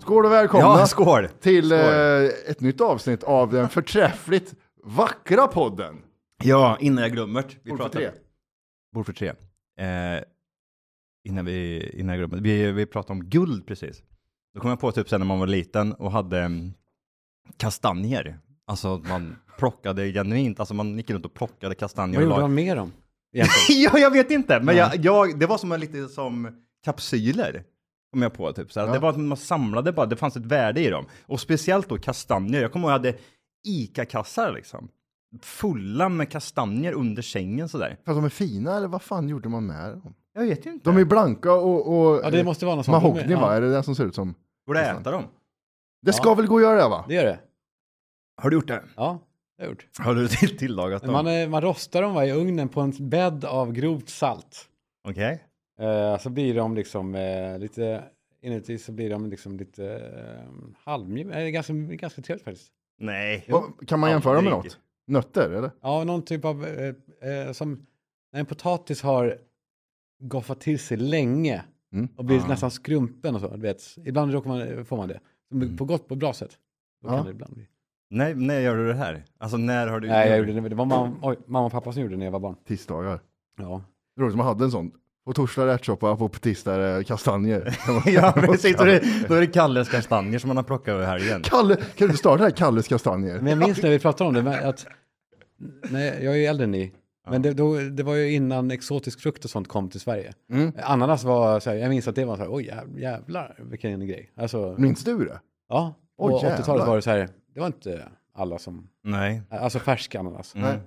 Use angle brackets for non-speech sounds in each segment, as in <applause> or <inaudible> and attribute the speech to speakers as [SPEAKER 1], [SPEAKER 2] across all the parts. [SPEAKER 1] Skål och välkomna
[SPEAKER 2] Ja, skål!
[SPEAKER 1] till
[SPEAKER 2] skål.
[SPEAKER 1] eh, ett nytt avsnitt av den förträffligt vackra podden.
[SPEAKER 2] Ja, innan jag glömmer. det. Vi
[SPEAKER 1] Ord för
[SPEAKER 2] pratar-
[SPEAKER 1] tre.
[SPEAKER 2] Bord för tre. Eh, innan, vi, innan jag glömmer. Vi, vi pratade om guld precis. Då kom jag på typ sen när man var liten och hade mm, kastanjer. Alltså att man plockade genuint, alltså man gick runt och plockade kastanjer
[SPEAKER 3] Vad
[SPEAKER 2] och
[SPEAKER 3] gjorde
[SPEAKER 2] lag.
[SPEAKER 3] han med dem?
[SPEAKER 2] <laughs> ja, jag vet inte, men jag, jag, det var som en, lite som kapsyler. Kom jag på typ. Så här. Det var att man samlade bara, det fanns ett värde i dem. Och speciellt då kastanjer. Jag kommer ihåg att jag hade ICA-kassar liksom. Fulla med kastanjer under sängen sådär.
[SPEAKER 1] Fast de är fina, eller vad fan gjorde man med dem?
[SPEAKER 2] Jag vet ju inte.
[SPEAKER 1] De är blanka och, och
[SPEAKER 3] <laughs> Ja, det måste vara någon sån.
[SPEAKER 1] mahogny va?
[SPEAKER 3] Ja,
[SPEAKER 1] Är det den som ser ut som?
[SPEAKER 2] Går det att äta dem?
[SPEAKER 1] Det ska väl gå att göra det va?
[SPEAKER 3] det gör det.
[SPEAKER 2] Har du gjort det?
[SPEAKER 3] Ja, det har jag gjort.
[SPEAKER 2] Har du till- tillagat
[SPEAKER 3] Men
[SPEAKER 2] dem?
[SPEAKER 3] man, eh, man rostar dem va, i ugnen på en bädd av grovt salt.
[SPEAKER 2] Okej.
[SPEAKER 3] Eh, så blir de liksom eh, lite, inuti så blir de liksom lite eh, halvmjuka. Eh, ganska, ganska trevligt faktiskt.
[SPEAKER 2] Nej.
[SPEAKER 1] Och, kan man jämföra med
[SPEAKER 2] Aldrig.
[SPEAKER 1] något? Nötter eller?
[SPEAKER 3] Ja, någon typ av, eh, eh, som när en potatis har goffat till sig länge
[SPEAKER 1] Mm.
[SPEAKER 3] och blir
[SPEAKER 2] Ah.
[SPEAKER 3] nästan skrumpen och så. Du vet. Ibland råkar man, eh, får man det. Men På gott, på bra sätt. Då
[SPEAKER 1] Mm. Ja.
[SPEAKER 3] kan det ibland bli.
[SPEAKER 2] Nej, när gör du det här? Alltså när har du...
[SPEAKER 3] Nej, jag gjorde det. Det var mamma, oj, mamma och pappa som gjorde det när jag var barn.
[SPEAKER 1] Tisdagar.
[SPEAKER 3] Ja.
[SPEAKER 1] Det var som man hade en sån. På torsdag ärtsoppa, på tisdag är det
[SPEAKER 3] <laughs>
[SPEAKER 1] kastanjer.
[SPEAKER 2] <laughs> ja, precis. Då är, det, då är det Kalles kastanjer som man har plockat över helgen.
[SPEAKER 1] Kalle, kan du inte starta det här Kalles kastanjer?
[SPEAKER 3] Men jag minns när vi pratade om det, men att, nej, jag är ju äldre än ni, men det, då, det var ju innan exotisk frukt och sånt kom till Sverige. Ananas var så här, jag minns att det var så här, oj jäv- jävlar vilken grej. Alltså,
[SPEAKER 1] Minns du det?
[SPEAKER 3] ja,
[SPEAKER 1] Mm. Oj,
[SPEAKER 3] och
[SPEAKER 1] jävlar.
[SPEAKER 3] 80-talet var det så här, det var inte alla som,
[SPEAKER 2] Nej.
[SPEAKER 3] alltså färsk ananas.
[SPEAKER 2] Mm.
[SPEAKER 1] Nej.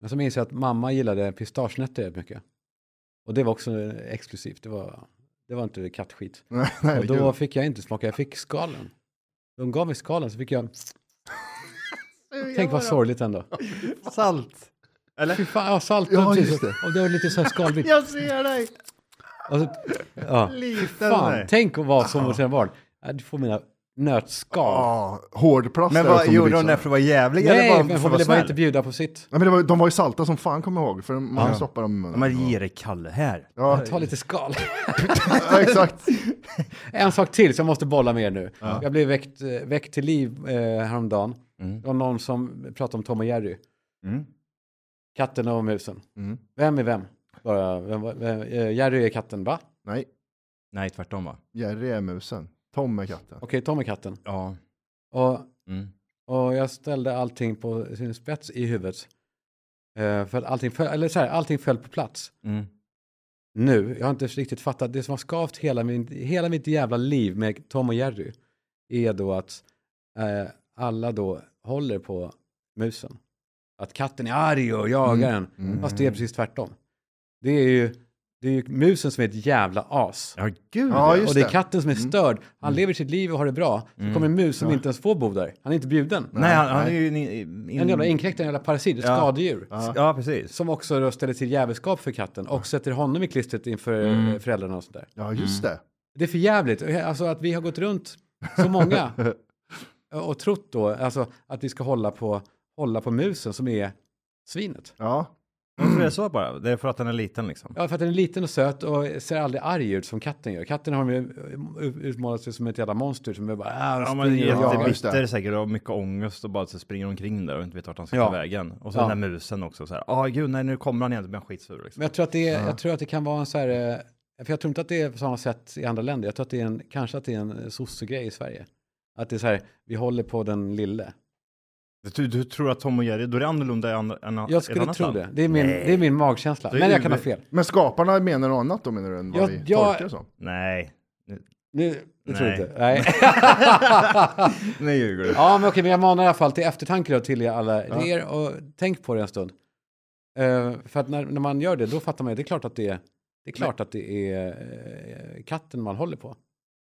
[SPEAKER 3] Men så minns jag att mamma gillade pistagenötter rätt mycket. Och det var också exklusivt, det var, det var inte kattskit.
[SPEAKER 1] Nej, nej,
[SPEAKER 3] Och då fick jag inte smaka, jag fick skalen. De gav mig skalen så fick jag, tänk vad sorgligt ändå.
[SPEAKER 2] Salt. Eller?
[SPEAKER 3] Fy fan, ja, salt.
[SPEAKER 1] Ja,
[SPEAKER 3] precis.
[SPEAKER 1] just det.
[SPEAKER 3] Och det var lite så
[SPEAKER 2] <laughs>
[SPEAKER 3] här skalvitt.
[SPEAKER 2] Jag ser dig!
[SPEAKER 3] Alltså, ja.
[SPEAKER 2] Liten.
[SPEAKER 3] Fan,
[SPEAKER 2] där.
[SPEAKER 3] tänk att vara som sina barn. Ja, Du får mina nötskal.
[SPEAKER 1] Ah, hårdplast
[SPEAKER 2] Men
[SPEAKER 1] är det
[SPEAKER 2] vad
[SPEAKER 1] som
[SPEAKER 2] gjorde
[SPEAKER 1] blir
[SPEAKER 2] hon
[SPEAKER 1] så-
[SPEAKER 2] där för att vara jävlig eller
[SPEAKER 3] Nej,
[SPEAKER 2] bara
[SPEAKER 3] men
[SPEAKER 2] för
[SPEAKER 3] hon
[SPEAKER 2] att vara
[SPEAKER 3] ville bara inte
[SPEAKER 2] snäll?
[SPEAKER 3] bjuda på sitt.
[SPEAKER 1] Nej, men det var, de var ju salta som fan kommer jag ihåg, för man kan stoppa dem i munnen.
[SPEAKER 2] Men ge dig Kalle här.
[SPEAKER 1] Ja,
[SPEAKER 3] Ta lite skal.
[SPEAKER 1] <laughs>
[SPEAKER 3] <laughs>
[SPEAKER 1] ja, exakt.
[SPEAKER 3] En sak till, så jag måste bolla med er nu. Jag blev väckt, eh, väckt till liv eh, häromdagen. Det var någon som pratade om Tom och Jerry.
[SPEAKER 2] Mm.
[SPEAKER 3] Katten och musen.
[SPEAKER 1] Mm.
[SPEAKER 3] Vem är vem? Bara, vem, var- vem eh, Jerry är katten, va?
[SPEAKER 1] Nej,
[SPEAKER 2] Nej, tvärtom va?
[SPEAKER 1] Jerry är musen. Tom är katten.
[SPEAKER 3] Okej, Tom är katten.
[SPEAKER 2] Ja.
[SPEAKER 3] Och
[SPEAKER 2] Mm.
[SPEAKER 3] Och jag ställde allting på sin spets i huvudet. Eh, för att allting, föll, eller så här, allting föll på plats.
[SPEAKER 2] Mm.
[SPEAKER 3] Nu, jag har inte riktigt fattat, det som har skavt hela, min, hela mitt jävla liv med Tom och Jerry är då att eh, alla då håller på musen. Att katten är arg och jagar
[SPEAKER 1] Mm.
[SPEAKER 3] den, fast det är precis tvärtom. Det är ju, det är ju musen som är ett jävla as.
[SPEAKER 2] Ja, gud.
[SPEAKER 1] Ja, just
[SPEAKER 3] och det
[SPEAKER 1] det. Mm.
[SPEAKER 3] är katten som är störd. Han lever sitt liv och har det bra. Så kommer en mus som inte ens får bo där. Han är inte bjuden.
[SPEAKER 2] Nej, han, han är ju... In, in,
[SPEAKER 3] En jävla inkräktare, en jävla parasit, ett
[SPEAKER 2] Ja.
[SPEAKER 3] skadedjur.
[SPEAKER 2] Ja, precis.
[SPEAKER 3] Som också då ställer till jävelskap för katten och sätter honom i klistret inför
[SPEAKER 2] Mm.
[SPEAKER 3] eh, föräldrarna och sånt där.
[SPEAKER 1] Ja, just
[SPEAKER 3] Mm.
[SPEAKER 1] det.
[SPEAKER 3] Det är för jävligt. Alltså att vi har gått runt så många
[SPEAKER 2] <laughs>
[SPEAKER 3] och trott då alltså, att vi ska hålla på, hålla på musen som är svinet.
[SPEAKER 1] Ja,
[SPEAKER 2] Varför är det så bara? Det är för att han är liten liksom.
[SPEAKER 3] Ja, för att den är liten och söt och ser aldrig arg ut som katten gör. Katten har ju eh, utmålat sig som ett jävla monster som är bara... "Ah,
[SPEAKER 2] Ja, men
[SPEAKER 3] springer och jagar."
[SPEAKER 1] just
[SPEAKER 2] jättebitter säkert och mycket ångest och bara så springer omkring där och inte vet vart han ska ta
[SPEAKER 3] Ja.
[SPEAKER 2] vägen. Och så
[SPEAKER 3] Ja.
[SPEAKER 2] den där musen också så här. Ja, gud, nej, nu kommer han igen, då blir han skitsur liksom.
[SPEAKER 3] Men jag tror att det, är, jag tror att det kan vara en så här, eh, för jag tror inte att det är på samma sätt i andra länder. Jag tror att det är en, kanske att det är en eh, sossegrej i Sverige. Att det är så här, vi håller på den lille.
[SPEAKER 2] Du, du tror att Tom och Jerry, då är det annorlunda i andra- än
[SPEAKER 3] Jag
[SPEAKER 2] ett
[SPEAKER 3] skulle
[SPEAKER 2] annat
[SPEAKER 3] tro
[SPEAKER 2] land.
[SPEAKER 3] det. Det är min, det är min magkänsla.
[SPEAKER 2] Det är
[SPEAKER 3] Men jag
[SPEAKER 2] ju-
[SPEAKER 3] kan ha fel.
[SPEAKER 1] men skaparna menar något annat då menar du än vad
[SPEAKER 3] Ja,
[SPEAKER 1] vi
[SPEAKER 3] jag-
[SPEAKER 1] tolkar som?
[SPEAKER 2] Nej.
[SPEAKER 3] Nu, det tror jag
[SPEAKER 2] Nej.
[SPEAKER 3] inte. Nej.
[SPEAKER 2] Nej, ljuger du.
[SPEAKER 3] ja, men okej, men jag manar i alla fall till eftertanke då till er alla. Det är, och tänk på det en stund. Eh, för att när, när man gör det, då fattar man ju, det är klart att det är, det är, klart att det är eh, katten man håller på.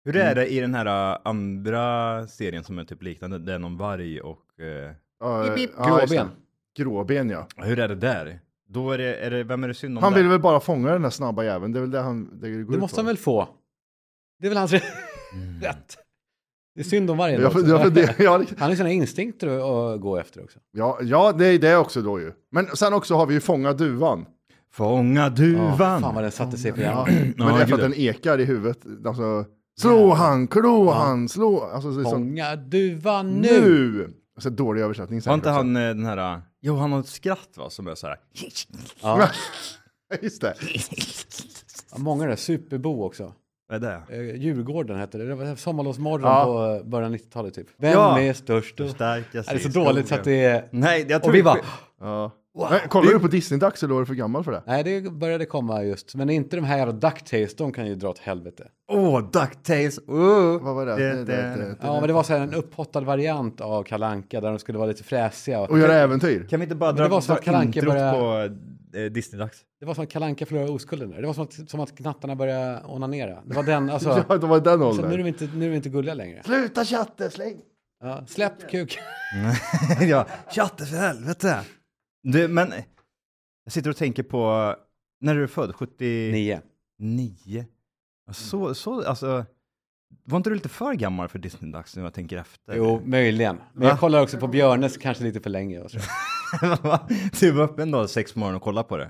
[SPEAKER 2] Hur
[SPEAKER 3] Mm.
[SPEAKER 2] är det i den här äh, andra serien som är typ liknande? Det är någon varg och... eh,
[SPEAKER 1] Ja,
[SPEAKER 3] Pip, pip.
[SPEAKER 1] ja, just det.
[SPEAKER 3] Gråben.
[SPEAKER 1] Gråben ja.
[SPEAKER 2] hur är det där? Då är det, är det, vem är det synd om
[SPEAKER 1] Han
[SPEAKER 2] där?
[SPEAKER 1] vill väl bara fånga den där snabba jäveln, det är väl det han det går
[SPEAKER 3] Det
[SPEAKER 1] ut
[SPEAKER 3] måste
[SPEAKER 1] på.
[SPEAKER 3] han väl få? Det är väl hans <laughs> rätt. Det är synd om vargen
[SPEAKER 1] Jag,
[SPEAKER 3] också.
[SPEAKER 1] fun- jag,
[SPEAKER 3] <laughs>
[SPEAKER 1] funderar- jag,
[SPEAKER 3] Han har sina instinkter att- att gå efter också.
[SPEAKER 1] ja, ja, det är det också då ju. Men sen också har vi ju Fånga duvan.
[SPEAKER 2] Fånga
[SPEAKER 3] Ja,
[SPEAKER 2] duvan!
[SPEAKER 3] fan vad den satte sig på
[SPEAKER 1] Ja.
[SPEAKER 3] hjärnan.
[SPEAKER 1] <clears throat> Men det är för
[SPEAKER 2] gud.
[SPEAKER 1] att den ekar i huvudet. Alltså, Slå han, klo han, slå... Alltså, det är sån,
[SPEAKER 3] Fånga duvan nu!
[SPEAKER 1] nu! Så dålig översättning
[SPEAKER 2] Var
[SPEAKER 1] säkert
[SPEAKER 2] inte
[SPEAKER 1] också.
[SPEAKER 2] han eh, den här... Jo, han har ett skratt va, som är så här...
[SPEAKER 3] Ja,
[SPEAKER 1] <laughs> Just det.
[SPEAKER 3] många där, Superbo också.
[SPEAKER 2] Vad är det?
[SPEAKER 3] Eh, Djurgården hette det, det var Sommarlovsmorgon
[SPEAKER 1] Ja.
[SPEAKER 3] på eh, början av 90-talet typ. Vem
[SPEAKER 2] Ja.
[SPEAKER 3] är störst?
[SPEAKER 2] Du
[SPEAKER 3] och-
[SPEAKER 2] starkaste
[SPEAKER 3] Ja, det är
[SPEAKER 2] i
[SPEAKER 3] så dåligt så
[SPEAKER 2] skogen.
[SPEAKER 3] att det är...
[SPEAKER 2] Nej, jag tror
[SPEAKER 3] Och vi bara,
[SPEAKER 1] Ja. Nej, kollar du på Disney-dags eller var du för gammal för det?
[SPEAKER 3] nej det började komma just, men inte de här jävla Ducktails, de kan ju dra åt helvete.
[SPEAKER 2] Åh, DuckTales! Uh.
[SPEAKER 1] Vad var det?
[SPEAKER 2] Det-
[SPEAKER 1] Det-
[SPEAKER 2] det-
[SPEAKER 1] det-
[SPEAKER 3] Ja, men det var så här en upphottad variant av Kalanka där de skulle vara lite fräsiga. Och
[SPEAKER 1] Och göra äventyr?
[SPEAKER 2] Kan vi inte bara
[SPEAKER 3] det
[SPEAKER 2] dra,
[SPEAKER 3] var så att
[SPEAKER 2] dra
[SPEAKER 3] Kalle
[SPEAKER 2] introt
[SPEAKER 3] Anka
[SPEAKER 2] på eh, Disney-dags?
[SPEAKER 3] det var som att Kalanka förlorade oskulden där. Det var som att, som att knattarna började onanera. Det var den, alltså.
[SPEAKER 1] <laughs> Ja, det var i den
[SPEAKER 3] så nu, är
[SPEAKER 1] åldern.
[SPEAKER 3] de inte, nu är de inte gulliga längre.
[SPEAKER 1] Sluta chatte, släng!
[SPEAKER 3] Ja, släpp kuk.
[SPEAKER 2] <laughs> ja, chatte för helvete! Du, men... eh, Jag sitter och tänker på... När du är född? 79?
[SPEAKER 3] Nio.
[SPEAKER 2] Så, så, alltså... Var inte du lite för gammal för Disney-dags nu jag tänker efter? <laughs>
[SPEAKER 3] Jo, möjligen. Men jag kollar också på Björnes kanske lite för länge. och så.
[SPEAKER 2] du var uppe en dag sex på morgonen och kollade på det.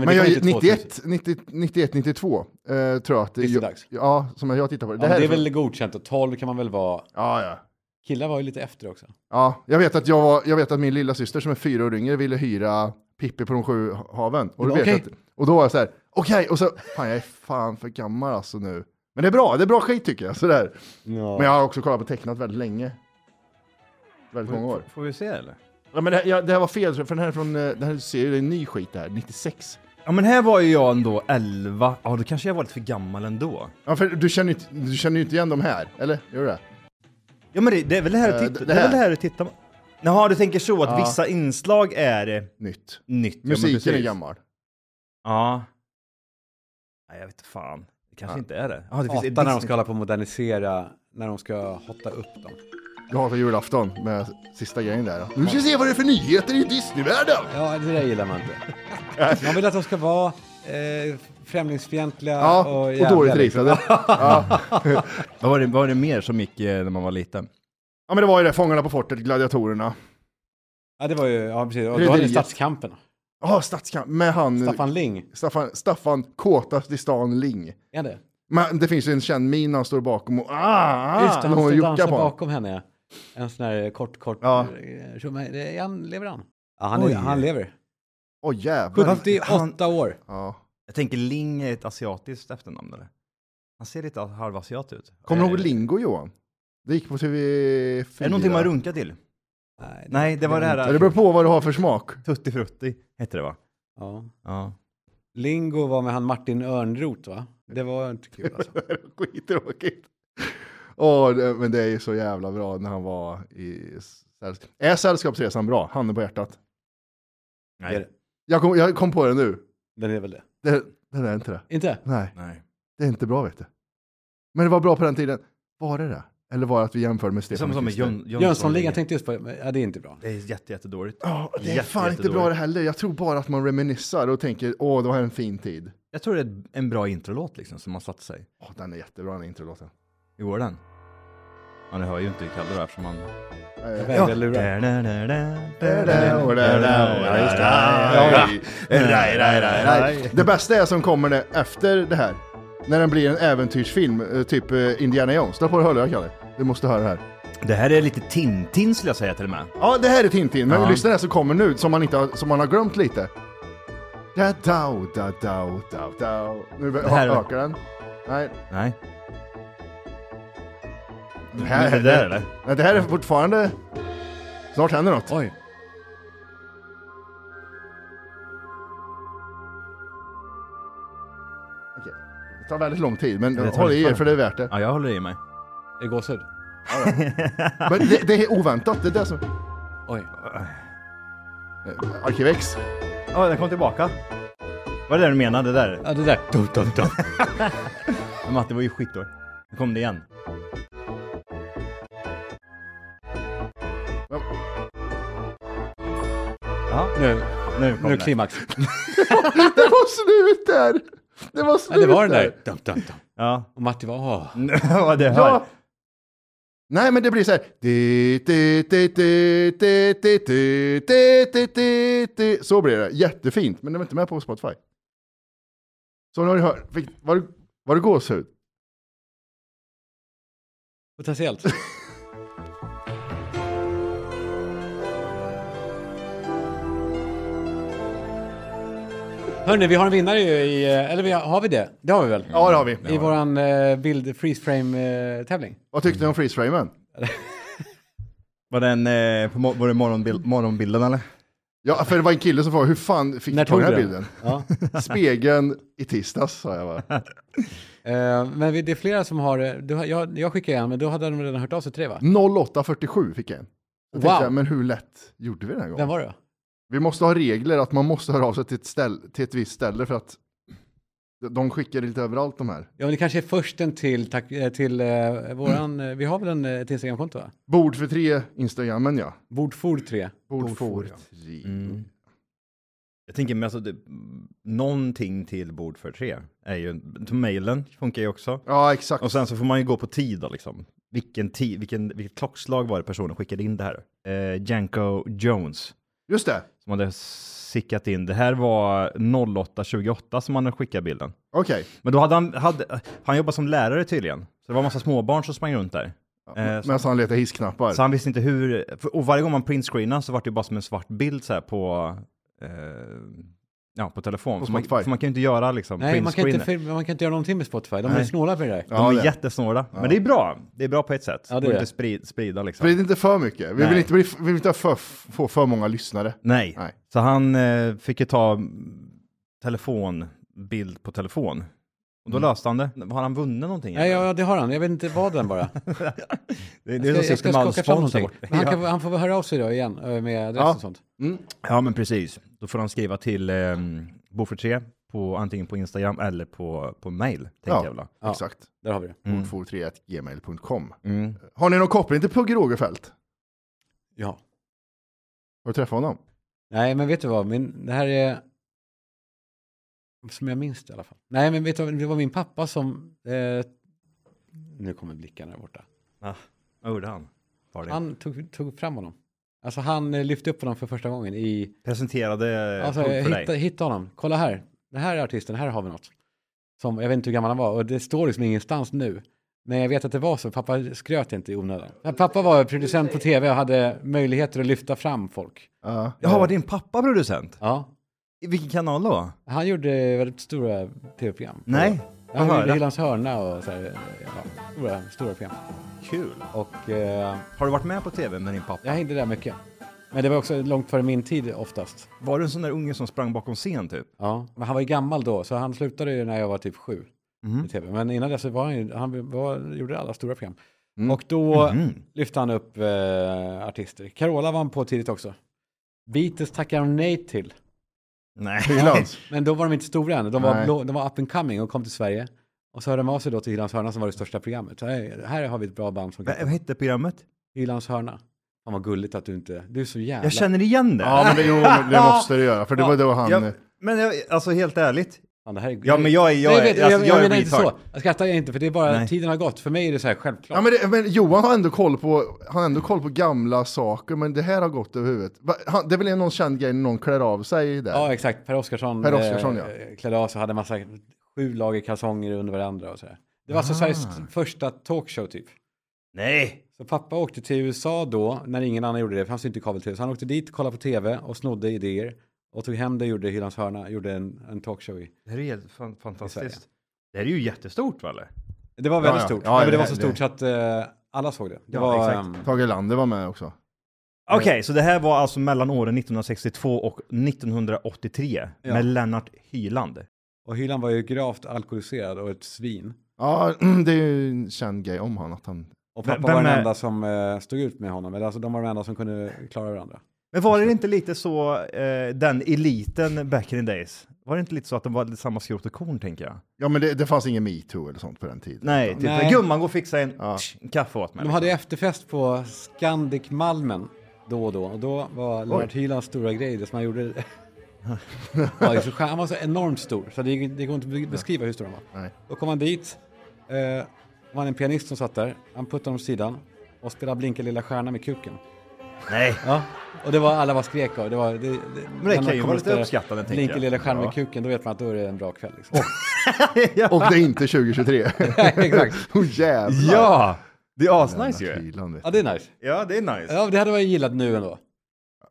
[SPEAKER 1] Men
[SPEAKER 3] det var
[SPEAKER 1] jag,
[SPEAKER 3] ju inte 2000.
[SPEAKER 1] 91, 90, 91, 92 eh, tror jag att det jag,
[SPEAKER 3] Disney-dags.
[SPEAKER 1] Ja, som jag tittar på. Det,
[SPEAKER 3] Ja, men
[SPEAKER 1] här
[SPEAKER 3] det
[SPEAKER 1] är
[SPEAKER 3] är
[SPEAKER 1] från-
[SPEAKER 3] väl godkänt och 12 kan man väl vara.
[SPEAKER 1] Ja, ja.
[SPEAKER 3] Killar var ju lite efter också.
[SPEAKER 1] Ja, jag vet att jag var, jag vet att min lilla syster som är fyra år yngre ville hyra Pippi på de sju haven. Och,
[SPEAKER 3] Du
[SPEAKER 1] du
[SPEAKER 3] bara,
[SPEAKER 1] vet
[SPEAKER 3] okej.
[SPEAKER 1] att, och då var jag så här, okej, och så, fan jag är fan för gammal alltså nu. Men det är bra, det är bra skit tycker jag. Sådär. Men jag har också kollat på tecknat väldigt länge. Väldigt många år.
[SPEAKER 2] Får vi se eller?
[SPEAKER 1] Ja, men det, här- ja, det här var fel, för den här, är från, eh, den här serien är en ny skit det här, 96.
[SPEAKER 2] Ja men här var ju jag ändå 11, ja då kanske jag var lite för gammal ändå.
[SPEAKER 1] Ja, för du känner ju inte- du känner ju inte igen de här, eller? Gör du det?
[SPEAKER 2] Ja men det, det är väl det här
[SPEAKER 1] Eh,
[SPEAKER 2] du tittar,
[SPEAKER 1] det
[SPEAKER 2] det är väl
[SPEAKER 1] här.
[SPEAKER 2] det här du tittar på? Jaha, du tänker så att
[SPEAKER 1] Ja.
[SPEAKER 2] vissa inslag är eh,
[SPEAKER 1] Nytt.
[SPEAKER 2] nytt? ja, men
[SPEAKER 1] Musiken är
[SPEAKER 2] precis.
[SPEAKER 1] gammal.
[SPEAKER 2] Ja. Nej jag vet fan. Det kanske
[SPEAKER 1] Ja.
[SPEAKER 2] inte är det. Ja, det finns
[SPEAKER 3] Hatar
[SPEAKER 2] ett
[SPEAKER 3] när de
[SPEAKER 2] Disney-
[SPEAKER 3] ska hålla på och modernisera, när de ska hotta upp dem.
[SPEAKER 1] Jag hatar julafton med sista grejen där. då. Nu ska vi se vad det är för nyheter i Disneyvärlden!
[SPEAKER 3] Ja, det där gillar man
[SPEAKER 1] <laughs>
[SPEAKER 3] inte. Man vill att de ska vara eh, främlingsfientliga
[SPEAKER 1] Ja,
[SPEAKER 3] och,
[SPEAKER 1] och,
[SPEAKER 3] jävliga,
[SPEAKER 1] dåligt
[SPEAKER 3] liksom.
[SPEAKER 1] ritade.
[SPEAKER 3] <laughs>
[SPEAKER 1] ja.
[SPEAKER 2] Vad var, det, vad var det mer som gick eh, när man var liten?
[SPEAKER 1] ja, men det var ju det, Fångarna på fortet, Gladiatorerna.
[SPEAKER 3] Ja, det var ju, ja precis. Och då hade
[SPEAKER 1] Rederiet.
[SPEAKER 3] vi statskampen.
[SPEAKER 1] Ja, statskamp med han...
[SPEAKER 3] Staffan Ling,
[SPEAKER 1] Staffan, Staffan kåtast i stan Ling.
[SPEAKER 3] är det?
[SPEAKER 1] Men det finns ju en känd min han står bakom och... Ah, ah,
[SPEAKER 3] Just
[SPEAKER 1] när
[SPEAKER 3] det,
[SPEAKER 1] hon
[SPEAKER 3] han stod och
[SPEAKER 1] juckar
[SPEAKER 3] dansade
[SPEAKER 1] på honom.
[SPEAKER 3] bakom henne. En sån här kort, kort...
[SPEAKER 1] Ja.
[SPEAKER 3] eh, tjomme. Det- är han, lever han? Ja, han,
[SPEAKER 2] Oj.
[SPEAKER 3] är, han lever.
[SPEAKER 1] Åh jävlar.
[SPEAKER 3] 78 år.
[SPEAKER 1] Ja.
[SPEAKER 2] Jag tänker Ling är ett asiatiskt efternamn eller? Han ser lite halvasiat ut.
[SPEAKER 1] Kommer du
[SPEAKER 2] Eh,
[SPEAKER 1] ihåg Lingo Johan? Det gick på TV4.
[SPEAKER 2] Är det någonting man runkar till?
[SPEAKER 3] Nej,
[SPEAKER 2] Nej, det var det
[SPEAKER 1] Ja, Det
[SPEAKER 2] här.
[SPEAKER 1] beror på vad du har för smak.
[SPEAKER 2] Tutti frutti hette det va?
[SPEAKER 3] Ja.
[SPEAKER 2] Ja.
[SPEAKER 3] Lingo var med han Martin Örnrot va? Det var inte kul
[SPEAKER 1] <laughs>
[SPEAKER 3] alltså.
[SPEAKER 1] Skittråkigt. Åh, det- men det är ju så jävla bra när han var i... sällsk- Är Sällskapsresan bra? Handen på hjärtat.
[SPEAKER 3] Det är det.
[SPEAKER 2] Nej.
[SPEAKER 1] Jag kom, jag kom på det nu.
[SPEAKER 3] Den är väl det.
[SPEAKER 1] Det, den är inte det.
[SPEAKER 3] Inte?
[SPEAKER 1] Nej,
[SPEAKER 2] Nej.
[SPEAKER 1] det är inte bra vet du. Men det var bra på den tiden. Var det det? Eller var det att vi jämförde med
[SPEAKER 2] Det är
[SPEAKER 1] Stefan
[SPEAKER 2] som, som med
[SPEAKER 1] Krister?
[SPEAKER 2] Jön,
[SPEAKER 3] Jönssonligan jag tänkte just på, men, ja det är inte bra.
[SPEAKER 2] Det är jätte, jättedåligt.
[SPEAKER 1] Ja, det är
[SPEAKER 2] Jätte-
[SPEAKER 1] fan inte
[SPEAKER 2] jättedåligt.
[SPEAKER 1] bra det heller. Jag tror bara att man reminissar och tänker, åh, det var en fin tid.
[SPEAKER 2] Jag tror det är en bra introlåt liksom som man satt sig.
[SPEAKER 1] Åh, den är jättebra, den introlåten.
[SPEAKER 2] I går den? Ja, ni hör ju inte Kalle då eftersom han...
[SPEAKER 3] Jag
[SPEAKER 1] Eh,
[SPEAKER 3] vägrar lura.
[SPEAKER 1] Ja, just det. Ja, ja. Det bästa är som kommer det efter det här. När den blir en äventyrsfilm, eh, typ eh, Indiana Jones. Dra på dig hörlurar Kalle. Du måste höra det här.
[SPEAKER 2] Det här är lite Tintin skulle jag säga till och med.
[SPEAKER 1] Ja, det här är Tintin, men
[SPEAKER 2] Ja.
[SPEAKER 1] lyssna det som kommer nu, som man, inte har, som man har glömt lite. Da, da, da, da, da, da. Nu
[SPEAKER 2] Det här-
[SPEAKER 1] ö- ökar den. Nej,
[SPEAKER 2] Nej.
[SPEAKER 1] det
[SPEAKER 2] Det
[SPEAKER 1] här,
[SPEAKER 2] är det där eller?
[SPEAKER 1] Nej, det här är fortfarande... Snart händer något.
[SPEAKER 3] Oj.
[SPEAKER 1] Okej. Det tar väldigt lång tid, men
[SPEAKER 2] Det tar
[SPEAKER 1] håll i
[SPEAKER 2] lite
[SPEAKER 1] er
[SPEAKER 2] fan.
[SPEAKER 1] för det är värt det.
[SPEAKER 2] Ja, jag håller i mig.
[SPEAKER 3] Är det gåshud?
[SPEAKER 1] Men det, det är oväntat, det är det som...
[SPEAKER 3] Oj.
[SPEAKER 1] Eh, <laughs> Arkivex.
[SPEAKER 2] Ja, den kom tillbaka. Vad är det du menade det där?
[SPEAKER 3] Ja det där. Dum, dum, dum.
[SPEAKER 2] Men Matte var ju skitdålig. Nu kom det igen. Ja,
[SPEAKER 3] Nu,
[SPEAKER 2] nu kom
[SPEAKER 3] nu
[SPEAKER 2] det.
[SPEAKER 3] klimax.
[SPEAKER 1] Det var slut där! Det var
[SPEAKER 3] Ja
[SPEAKER 1] slut
[SPEAKER 3] det var den där. Dum, dum, dum.
[SPEAKER 2] Ja. <laughs>
[SPEAKER 3] Och Matti var, åh.
[SPEAKER 2] Vad det hör.
[SPEAKER 1] Ja. Nej, men det blir så här. Di, di, di, di, di, di, di, di, di, di, di. Så blir det. Jättefint, men det var inte med på Spotify. Så nu har du hört. Fick, var, det- var det gåshud?
[SPEAKER 3] Potentiellt. <laughs> Hörni, vi har en vinnare ju i, eller vi har, har vi det? Det har vi väl?
[SPEAKER 1] Ja, det har vi.
[SPEAKER 3] I våran eh, bild freeze frame eh, tävling.
[SPEAKER 1] Vad tyckte ni om freeze-framen?
[SPEAKER 2] Var, den, eh, på, mor- var det morgonbild, morgonbilden eller?
[SPEAKER 1] Ja, för det var en kille som frågade, hur fan fick
[SPEAKER 3] När
[SPEAKER 1] du ta den
[SPEAKER 3] tog
[SPEAKER 1] här
[SPEAKER 3] du den?
[SPEAKER 1] bilden?
[SPEAKER 3] Ja.
[SPEAKER 1] Spegeln i tisdags, sa jag bara.
[SPEAKER 3] <laughs> Eh, men vi, det är flera som har, eh, du, har- jag, jag skickade en, men då hade de redan hört av sig tre va?
[SPEAKER 1] 08.47 fick jag en. Jag tänkte,
[SPEAKER 3] Wow.
[SPEAKER 1] men hur lätt gjorde vi den här gången?
[SPEAKER 3] Vem var det då?
[SPEAKER 1] Vi måste ha regler att man måste höra av sig till ett, ställ, till ett visst ställe för att de skickar lite överallt de här.
[SPEAKER 3] Ja, men det kanske är försten till, tack, eh, till eh, våran, eh, vi har väl en, eh, ett Instagramkonto va?
[SPEAKER 1] Bord för tre, Instagrammen ja.
[SPEAKER 3] Bordfor 3.
[SPEAKER 1] Bord
[SPEAKER 2] Bord
[SPEAKER 1] för
[SPEAKER 2] för,
[SPEAKER 1] tre.
[SPEAKER 2] Jag tänker, men alltså, det, någonting till bord för tre är ju, mailen funkar ju också.
[SPEAKER 1] Ja, exakt.
[SPEAKER 2] Och sen så får man ju gå på tid då liksom. Vilken tid, vilken, vilket klockslag var det personen skickade in det här? Eh, Janko Jones.
[SPEAKER 1] Just det.
[SPEAKER 2] som hade sickat in. Det här var 08.28 som han hade skickat bilden.
[SPEAKER 1] Okej.
[SPEAKER 2] Men då hade han, hade, han jobbat som lärare tydligen. Så det var en massa småbarn som sprang runt där. Eh, så,
[SPEAKER 1] Medan han letar hissknappar.
[SPEAKER 2] så han visste inte hur, för, och varje gång man printscreenade så var det ju bara som en svart bild så här på, eh, ja, på telefon.
[SPEAKER 1] På
[SPEAKER 2] så man,
[SPEAKER 1] Spotify.
[SPEAKER 2] för man kan ju inte göra liksom
[SPEAKER 3] Nej, man kan, inte,
[SPEAKER 2] printscreener.
[SPEAKER 3] filma- man kan inte göra någonting med Spotify, de är
[SPEAKER 2] Nej.
[SPEAKER 3] snåla med det där.
[SPEAKER 2] De
[SPEAKER 1] Ja,
[SPEAKER 2] är
[SPEAKER 1] det.
[SPEAKER 2] jättesnåla. Men det är bra. Det är bra på ett sätt.
[SPEAKER 3] Ja, det
[SPEAKER 2] det går
[SPEAKER 3] är
[SPEAKER 2] inte
[SPEAKER 3] det.
[SPEAKER 2] sprid, sprida liksom.
[SPEAKER 1] Sprid inte för mycket. Vi vill
[SPEAKER 2] Nej.
[SPEAKER 1] inte, bli, vi vill inte ha för, få för många lyssnare.
[SPEAKER 2] Nej.
[SPEAKER 1] Nej.
[SPEAKER 2] Så han eh, fick ju ta mm, telefon, bild på telefon. Och då löste han det. Har han vunnit någonting?
[SPEAKER 3] Nej, Mm. ja, ja, det har han, jag vet inte vad den <laughs> bara.
[SPEAKER 2] det, det är som
[SPEAKER 3] Jag ska, jag
[SPEAKER 2] sitter
[SPEAKER 3] ska
[SPEAKER 2] med all
[SPEAKER 3] skaka fram
[SPEAKER 2] spons där
[SPEAKER 3] någonting.
[SPEAKER 2] borta.
[SPEAKER 3] Men Han, kan, han får väl höra av sig då igen eh, med adress
[SPEAKER 1] Ja.
[SPEAKER 3] och sånt.
[SPEAKER 2] <laughs>
[SPEAKER 1] Mm,
[SPEAKER 2] Ja, men precis. Då får han skriva till eh, Bofors 3 på antingen på Instagram eller på, på mail. Tänker
[SPEAKER 1] Ja.
[SPEAKER 2] jag väl.
[SPEAKER 3] Ja.
[SPEAKER 1] Exakt.
[SPEAKER 3] Där har vi det.
[SPEAKER 2] Mm.
[SPEAKER 1] Bordfor3.gmail.com.
[SPEAKER 2] Mm.
[SPEAKER 1] Har ni någon koppling till Pugh Rogefeldt?
[SPEAKER 3] Ja.
[SPEAKER 1] Har du träffat honom?
[SPEAKER 3] Nej, men vet du vad? Min, det här är... Som jag minns det i alla fall. Nej, men vet du vad? Det var min pappa som... Eh, nu kommer blickarna där borta.
[SPEAKER 2] Ah, Vad gjorde han? Var det?
[SPEAKER 3] Han tog, tog fram honom. Alltså han eh, lyfte upp honom för första gången i...
[SPEAKER 2] Presenterade
[SPEAKER 3] Alltså
[SPEAKER 2] alltså, för
[SPEAKER 3] hitta,
[SPEAKER 2] dig.
[SPEAKER 3] hitta honom. Kolla här. Den här är artisten, här har vi något. Som, jag vet inte hur gammal han var och det står liksom ingenstans nu. Men jag vet att det var så. Pappa skröt inte i onödan. Men Pappa var producent på tv och hade möjligheter att lyfta fram folk.
[SPEAKER 1] Ja.
[SPEAKER 2] Jaha, var din pappa producent?
[SPEAKER 3] Ja.
[SPEAKER 2] I vilken kanal då?
[SPEAKER 3] Han gjorde väldigt stora tv-program.
[SPEAKER 2] Nej.
[SPEAKER 3] Ja, Han gjorde
[SPEAKER 2] Jaha,
[SPEAKER 3] Hyllans hörna och så här, ja, stora, stora program.
[SPEAKER 2] Kul.
[SPEAKER 3] Och eh,
[SPEAKER 2] Har du varit med på tv med din pappa?
[SPEAKER 3] jag hängde där mycket. Men det var också långt före min tid oftast.
[SPEAKER 2] Var du en sån där unge som sprang bakom scen typ?
[SPEAKER 3] Ja. Men han var ju gammal då, så han slutade ju när jag var typ sju
[SPEAKER 2] Mhm.
[SPEAKER 3] i tv. Men innan dess så var han ju, han var, gjorde alla stora program.
[SPEAKER 2] Mm.
[SPEAKER 3] Och då
[SPEAKER 2] Mhm.
[SPEAKER 3] lyfte han upp eh, artister. Carola var han på tidigt också. Beatles tackade han nej till.
[SPEAKER 2] Nej.
[SPEAKER 1] Hylands.
[SPEAKER 3] Men då var de inte stora än. De var,
[SPEAKER 1] Nej.
[SPEAKER 3] blå, de var up and coming och kom till Sverige. Och så hörde de av sig då till Hylands hörna som var det största programmet. Så här, här har vi ett bra band som
[SPEAKER 2] Vad
[SPEAKER 3] kan...
[SPEAKER 2] vad hette programmet?
[SPEAKER 3] Hylands hörna. Fan vad gulligt att du inte... Du är så jävla...
[SPEAKER 2] Jag känner igen det.
[SPEAKER 1] Ja, men det, jo, men det måste du göra. För det var då han...
[SPEAKER 2] jag, men jag, alltså helt ärligt.
[SPEAKER 3] Fan, det här är...
[SPEAKER 2] Ja, men jag är, jag,
[SPEAKER 3] Nej,
[SPEAKER 2] är-
[SPEAKER 3] vet du,
[SPEAKER 2] alltså,
[SPEAKER 3] jag, jag,
[SPEAKER 2] är
[SPEAKER 3] menar inte
[SPEAKER 2] retard.
[SPEAKER 3] så. Jag skrattar inte för det är bara
[SPEAKER 2] Nej.
[SPEAKER 3] tiden har gått. För mig är det så här självklart.
[SPEAKER 1] Ja, men, det, men Johan har ändå, koll på, han har ändå koll på gamla saker, men det här har gått över huvudet. Va, han, det är väl någon känd grej när någon klär av sig där?
[SPEAKER 3] Ja, exakt. Per Oscarsson,
[SPEAKER 1] Per Oscarsson,
[SPEAKER 3] eh, klädde av sig och hade massa sju lager kalsonger under varandra och så här. Det var alltså Sveriges
[SPEAKER 1] Ah.
[SPEAKER 3] första talkshow typ.
[SPEAKER 2] Nej.
[SPEAKER 3] Så pappa åkte till USA då, när ingen annan gjorde det, för han syntes inte i kabel-tv. Så han åkte dit, kollade på tv och snodde idéer. Och tog hem det, gjorde Hyllans hörna, gjorde en, en talkshow i.
[SPEAKER 2] Det här är helt fan,
[SPEAKER 3] I Sverige.
[SPEAKER 2] fantastiskt. Det här är ju jättestort va eller?
[SPEAKER 3] Det var väldigt
[SPEAKER 1] ja.
[SPEAKER 3] stort.
[SPEAKER 1] Ja,
[SPEAKER 3] Nej, men det
[SPEAKER 1] det-
[SPEAKER 3] var så
[SPEAKER 1] det-
[SPEAKER 3] stort så att eh, alla såg det. Det
[SPEAKER 2] Ja,
[SPEAKER 3] var...
[SPEAKER 2] exakt.
[SPEAKER 3] ehm,
[SPEAKER 1] Tage Erlander var med också.
[SPEAKER 2] Okej, så det här var alltså mellan åren 1962 och 1983
[SPEAKER 3] Ja.
[SPEAKER 2] med Lennart Hyland.
[SPEAKER 3] och Hyllan var ju gravt alkoholiserad och ett svin.
[SPEAKER 1] Ja, <clears throat> det är ju en känd grej om han, att han...
[SPEAKER 3] Och
[SPEAKER 2] Vem-
[SPEAKER 3] pappa var den
[SPEAKER 2] vem är-
[SPEAKER 3] enda som eh, stod ut med honom. Eller alltså de var de enda som kunde klara varandra.
[SPEAKER 2] Men var det inte lite så, eh, den eliten back in the days, var det inte lite så att de var lite samma skrot och korn tänker jag?
[SPEAKER 1] Ja, men det, det fanns ingen metoo eller sånt på den tiden.
[SPEAKER 2] Nej, typ
[SPEAKER 3] Nej.
[SPEAKER 2] gumman går och fixar en,
[SPEAKER 1] Ja.
[SPEAKER 2] en kaffe åt mig.
[SPEAKER 3] De hade efterfest på Scandic Malmen då och då. Och då var Lennart Hylands stora grej, det som han gjorde. <laughs> ja, det är så skär- han var så enormt stor, så det, det går inte att be- beskriva hur stor han var.
[SPEAKER 1] Nej.
[SPEAKER 3] Då kom han dit, eh, det var en pianist som satt där, han puttade honom åt sidan och spelade Blinka lilla stjärna med kuken.
[SPEAKER 2] Nej.
[SPEAKER 3] <laughs> Ja. Och det var alla var skrek och det var... Det, det,
[SPEAKER 2] det kan
[SPEAKER 3] när
[SPEAKER 2] ju
[SPEAKER 3] kom
[SPEAKER 2] vara
[SPEAKER 3] och
[SPEAKER 2] lite
[SPEAKER 3] spelade
[SPEAKER 2] uppskattande, tänker
[SPEAKER 3] Blinka
[SPEAKER 2] jag.
[SPEAKER 3] lilla stjärna
[SPEAKER 2] Ja. Oh.
[SPEAKER 3] med kuken, då vet man att då är det en bra kväll liksom.
[SPEAKER 2] <laughs>
[SPEAKER 1] Och det är inte 2023.
[SPEAKER 3] <laughs> Exakt.
[SPEAKER 1] <laughs> Åh jävlar!
[SPEAKER 2] Ja! Det är asnice ju.
[SPEAKER 1] Kylan, vet du.
[SPEAKER 3] Ja, det är nice.
[SPEAKER 2] Ja, det är nice.
[SPEAKER 3] Ja, det hade jag gillat nu ändå.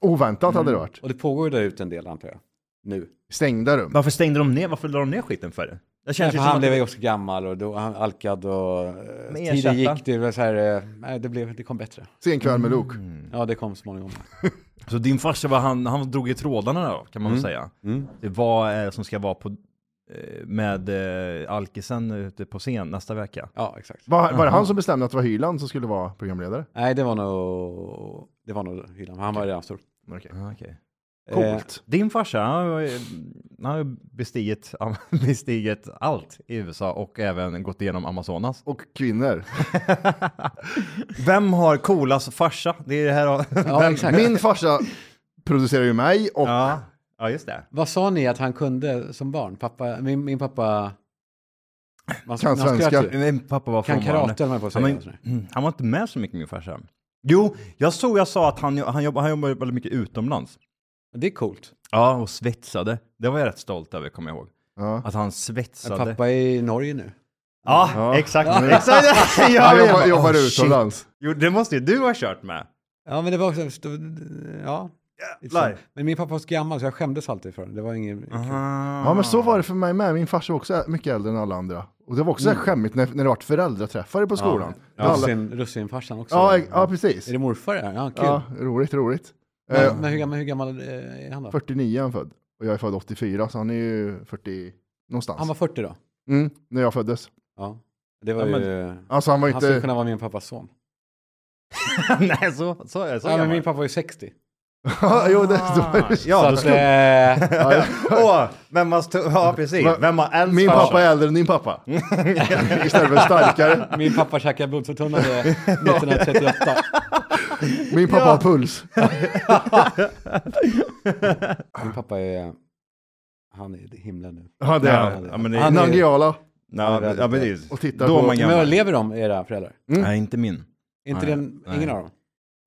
[SPEAKER 1] Oväntat hade det varit.
[SPEAKER 3] Och det pågår ju där ute en del antar jag. Nu.
[SPEAKER 1] Stängda rum.
[SPEAKER 2] Varför stängde de ner? Varför la de ner skiten för? Jag
[SPEAKER 3] Nej,
[SPEAKER 2] känns
[SPEAKER 3] för
[SPEAKER 2] ju
[SPEAKER 3] han
[SPEAKER 2] som
[SPEAKER 3] blev
[SPEAKER 2] att...
[SPEAKER 3] ju också gammal och då, han alkad och eh,
[SPEAKER 2] Men
[SPEAKER 3] tiden
[SPEAKER 2] ersätta.
[SPEAKER 3] gick. Det var så här, eh, nej det, blev, det kom bättre.
[SPEAKER 1] Sen kväll med Luke.
[SPEAKER 2] Mm.
[SPEAKER 3] Ja, det kom småningom.
[SPEAKER 2] Så din farsa var han, han drog i trådarna då, kan man väl säga.
[SPEAKER 3] Mm.
[SPEAKER 2] Det vad är det som ska vara på, eh, med eh, alkisen ute på scen nästa vecka?
[SPEAKER 3] Ja, exakt.
[SPEAKER 1] Var, var det han som bestämde att det var Hyland som skulle vara programledare?
[SPEAKER 3] Nej, det var nog, det var nog hyllan. Han var redan stor.
[SPEAKER 1] Okay.
[SPEAKER 2] Ah, okej.
[SPEAKER 3] Eh,
[SPEAKER 1] Coolt.
[SPEAKER 2] Din farsa, han har ju- han har ju bestigit, <laughs> bestigit allt i USA och även gått igenom Amazonas.
[SPEAKER 1] Och kvinnor. <laughs>
[SPEAKER 2] Vem har coolast farsa? Det är det här...
[SPEAKER 3] ja, exakt.
[SPEAKER 1] Min farsa producerar ju mig och
[SPEAKER 2] <laughs> <laughs> ja. ja, just det.
[SPEAKER 3] Vad sa ni att han kunde som barn? Pappa, min, min pappa... Man,
[SPEAKER 1] Kan
[SPEAKER 3] man skröt
[SPEAKER 1] svenska.
[SPEAKER 3] ju.
[SPEAKER 2] Min pappa var
[SPEAKER 3] alltså- Kan
[SPEAKER 2] frånvarande.
[SPEAKER 3] karate, höll man på att
[SPEAKER 2] Ja,
[SPEAKER 3] säga.
[SPEAKER 2] men, mm, han var inte med så mycket min farsa. Jo, jag såg jag sa att han, han, jobb, han jobbade väldigt mycket utomlands.
[SPEAKER 3] Det är coolt.
[SPEAKER 2] Ja, och svetsade. Det var jag rätt stolt över, kommer jag ihåg.
[SPEAKER 1] Ja.
[SPEAKER 2] Att han svetsade.
[SPEAKER 3] Pappa är i Norge nu.
[SPEAKER 2] Ja,
[SPEAKER 1] Ja.
[SPEAKER 2] exakt. exakt. <laughs> jag
[SPEAKER 1] han
[SPEAKER 2] vet.
[SPEAKER 1] jobbar, jobbar
[SPEAKER 2] Oh, shit.
[SPEAKER 1] utomlands.
[SPEAKER 2] Jo, det måste ju du ha kört med.
[SPEAKER 3] Ja, men det var också... då- Ja.
[SPEAKER 2] Jävlar.
[SPEAKER 3] Men min pappa var så gammal så jag skämdes alltid för honom. Det var ingen...
[SPEAKER 1] Ja men så var det för mig med, min farsa var också mycket äldre än alla andra. Och det var också så här skämmigt när, när det var föräldraträffar på skolan.
[SPEAKER 3] Ja,
[SPEAKER 1] Alla-
[SPEAKER 3] Russin, russinfarsan också.
[SPEAKER 1] ja, ja, precis.
[SPEAKER 3] Är det morfar det här? Ja, kul.
[SPEAKER 1] Ja, roligt, roligt. Eh,
[SPEAKER 3] Men, men, hur, gammal- hur gammal eh, är han då?
[SPEAKER 1] 49 är han född. Och jag är född 84, så han är ju 40 någonstans.
[SPEAKER 3] Han var 40 då?
[SPEAKER 1] mm, när jag föddes.
[SPEAKER 3] Ja. Det var
[SPEAKER 2] Ja, men-
[SPEAKER 3] ju...
[SPEAKER 1] Alltså han var
[SPEAKER 3] Han skulle
[SPEAKER 1] inte...
[SPEAKER 3] kunna vara min pappas son.
[SPEAKER 2] <laughs> Nej, så, så är jag. Så
[SPEAKER 3] Ja, men
[SPEAKER 2] gammal. Ah.
[SPEAKER 3] min pappa var ju 60.
[SPEAKER 1] <laughs> jo, det, då var det...
[SPEAKER 2] Ja,
[SPEAKER 3] så
[SPEAKER 2] då
[SPEAKER 3] att,
[SPEAKER 2] skulle...
[SPEAKER 3] eh,
[SPEAKER 1] <laughs> Ja,
[SPEAKER 2] Åh, vem har... St- ja, precis.
[SPEAKER 1] Men-
[SPEAKER 2] Vem har äldst
[SPEAKER 1] Min
[SPEAKER 2] farsa?
[SPEAKER 1] pappa är äldre än din
[SPEAKER 2] <laughs>
[SPEAKER 1] pappa. Istället för starkare.
[SPEAKER 3] Min pappa käkade blodförtunnande 1938.
[SPEAKER 1] Min pappa har puls.
[SPEAKER 3] Min pappa är... Han är i himlen nu.
[SPEAKER 1] Ja, det är han.
[SPEAKER 2] Ja, men det är...
[SPEAKER 3] Han-
[SPEAKER 1] Nangiala.
[SPEAKER 2] Ja, men- ja, men det är...
[SPEAKER 1] Och tittar
[SPEAKER 2] Då
[SPEAKER 1] på-
[SPEAKER 2] är man
[SPEAKER 3] Men
[SPEAKER 2] gammal.
[SPEAKER 3] lever de, era föräldrar?
[SPEAKER 2] Nej, inte min.
[SPEAKER 3] Är Inte
[SPEAKER 2] Nej,
[SPEAKER 3] den,
[SPEAKER 2] nej.
[SPEAKER 3] ingen av dem?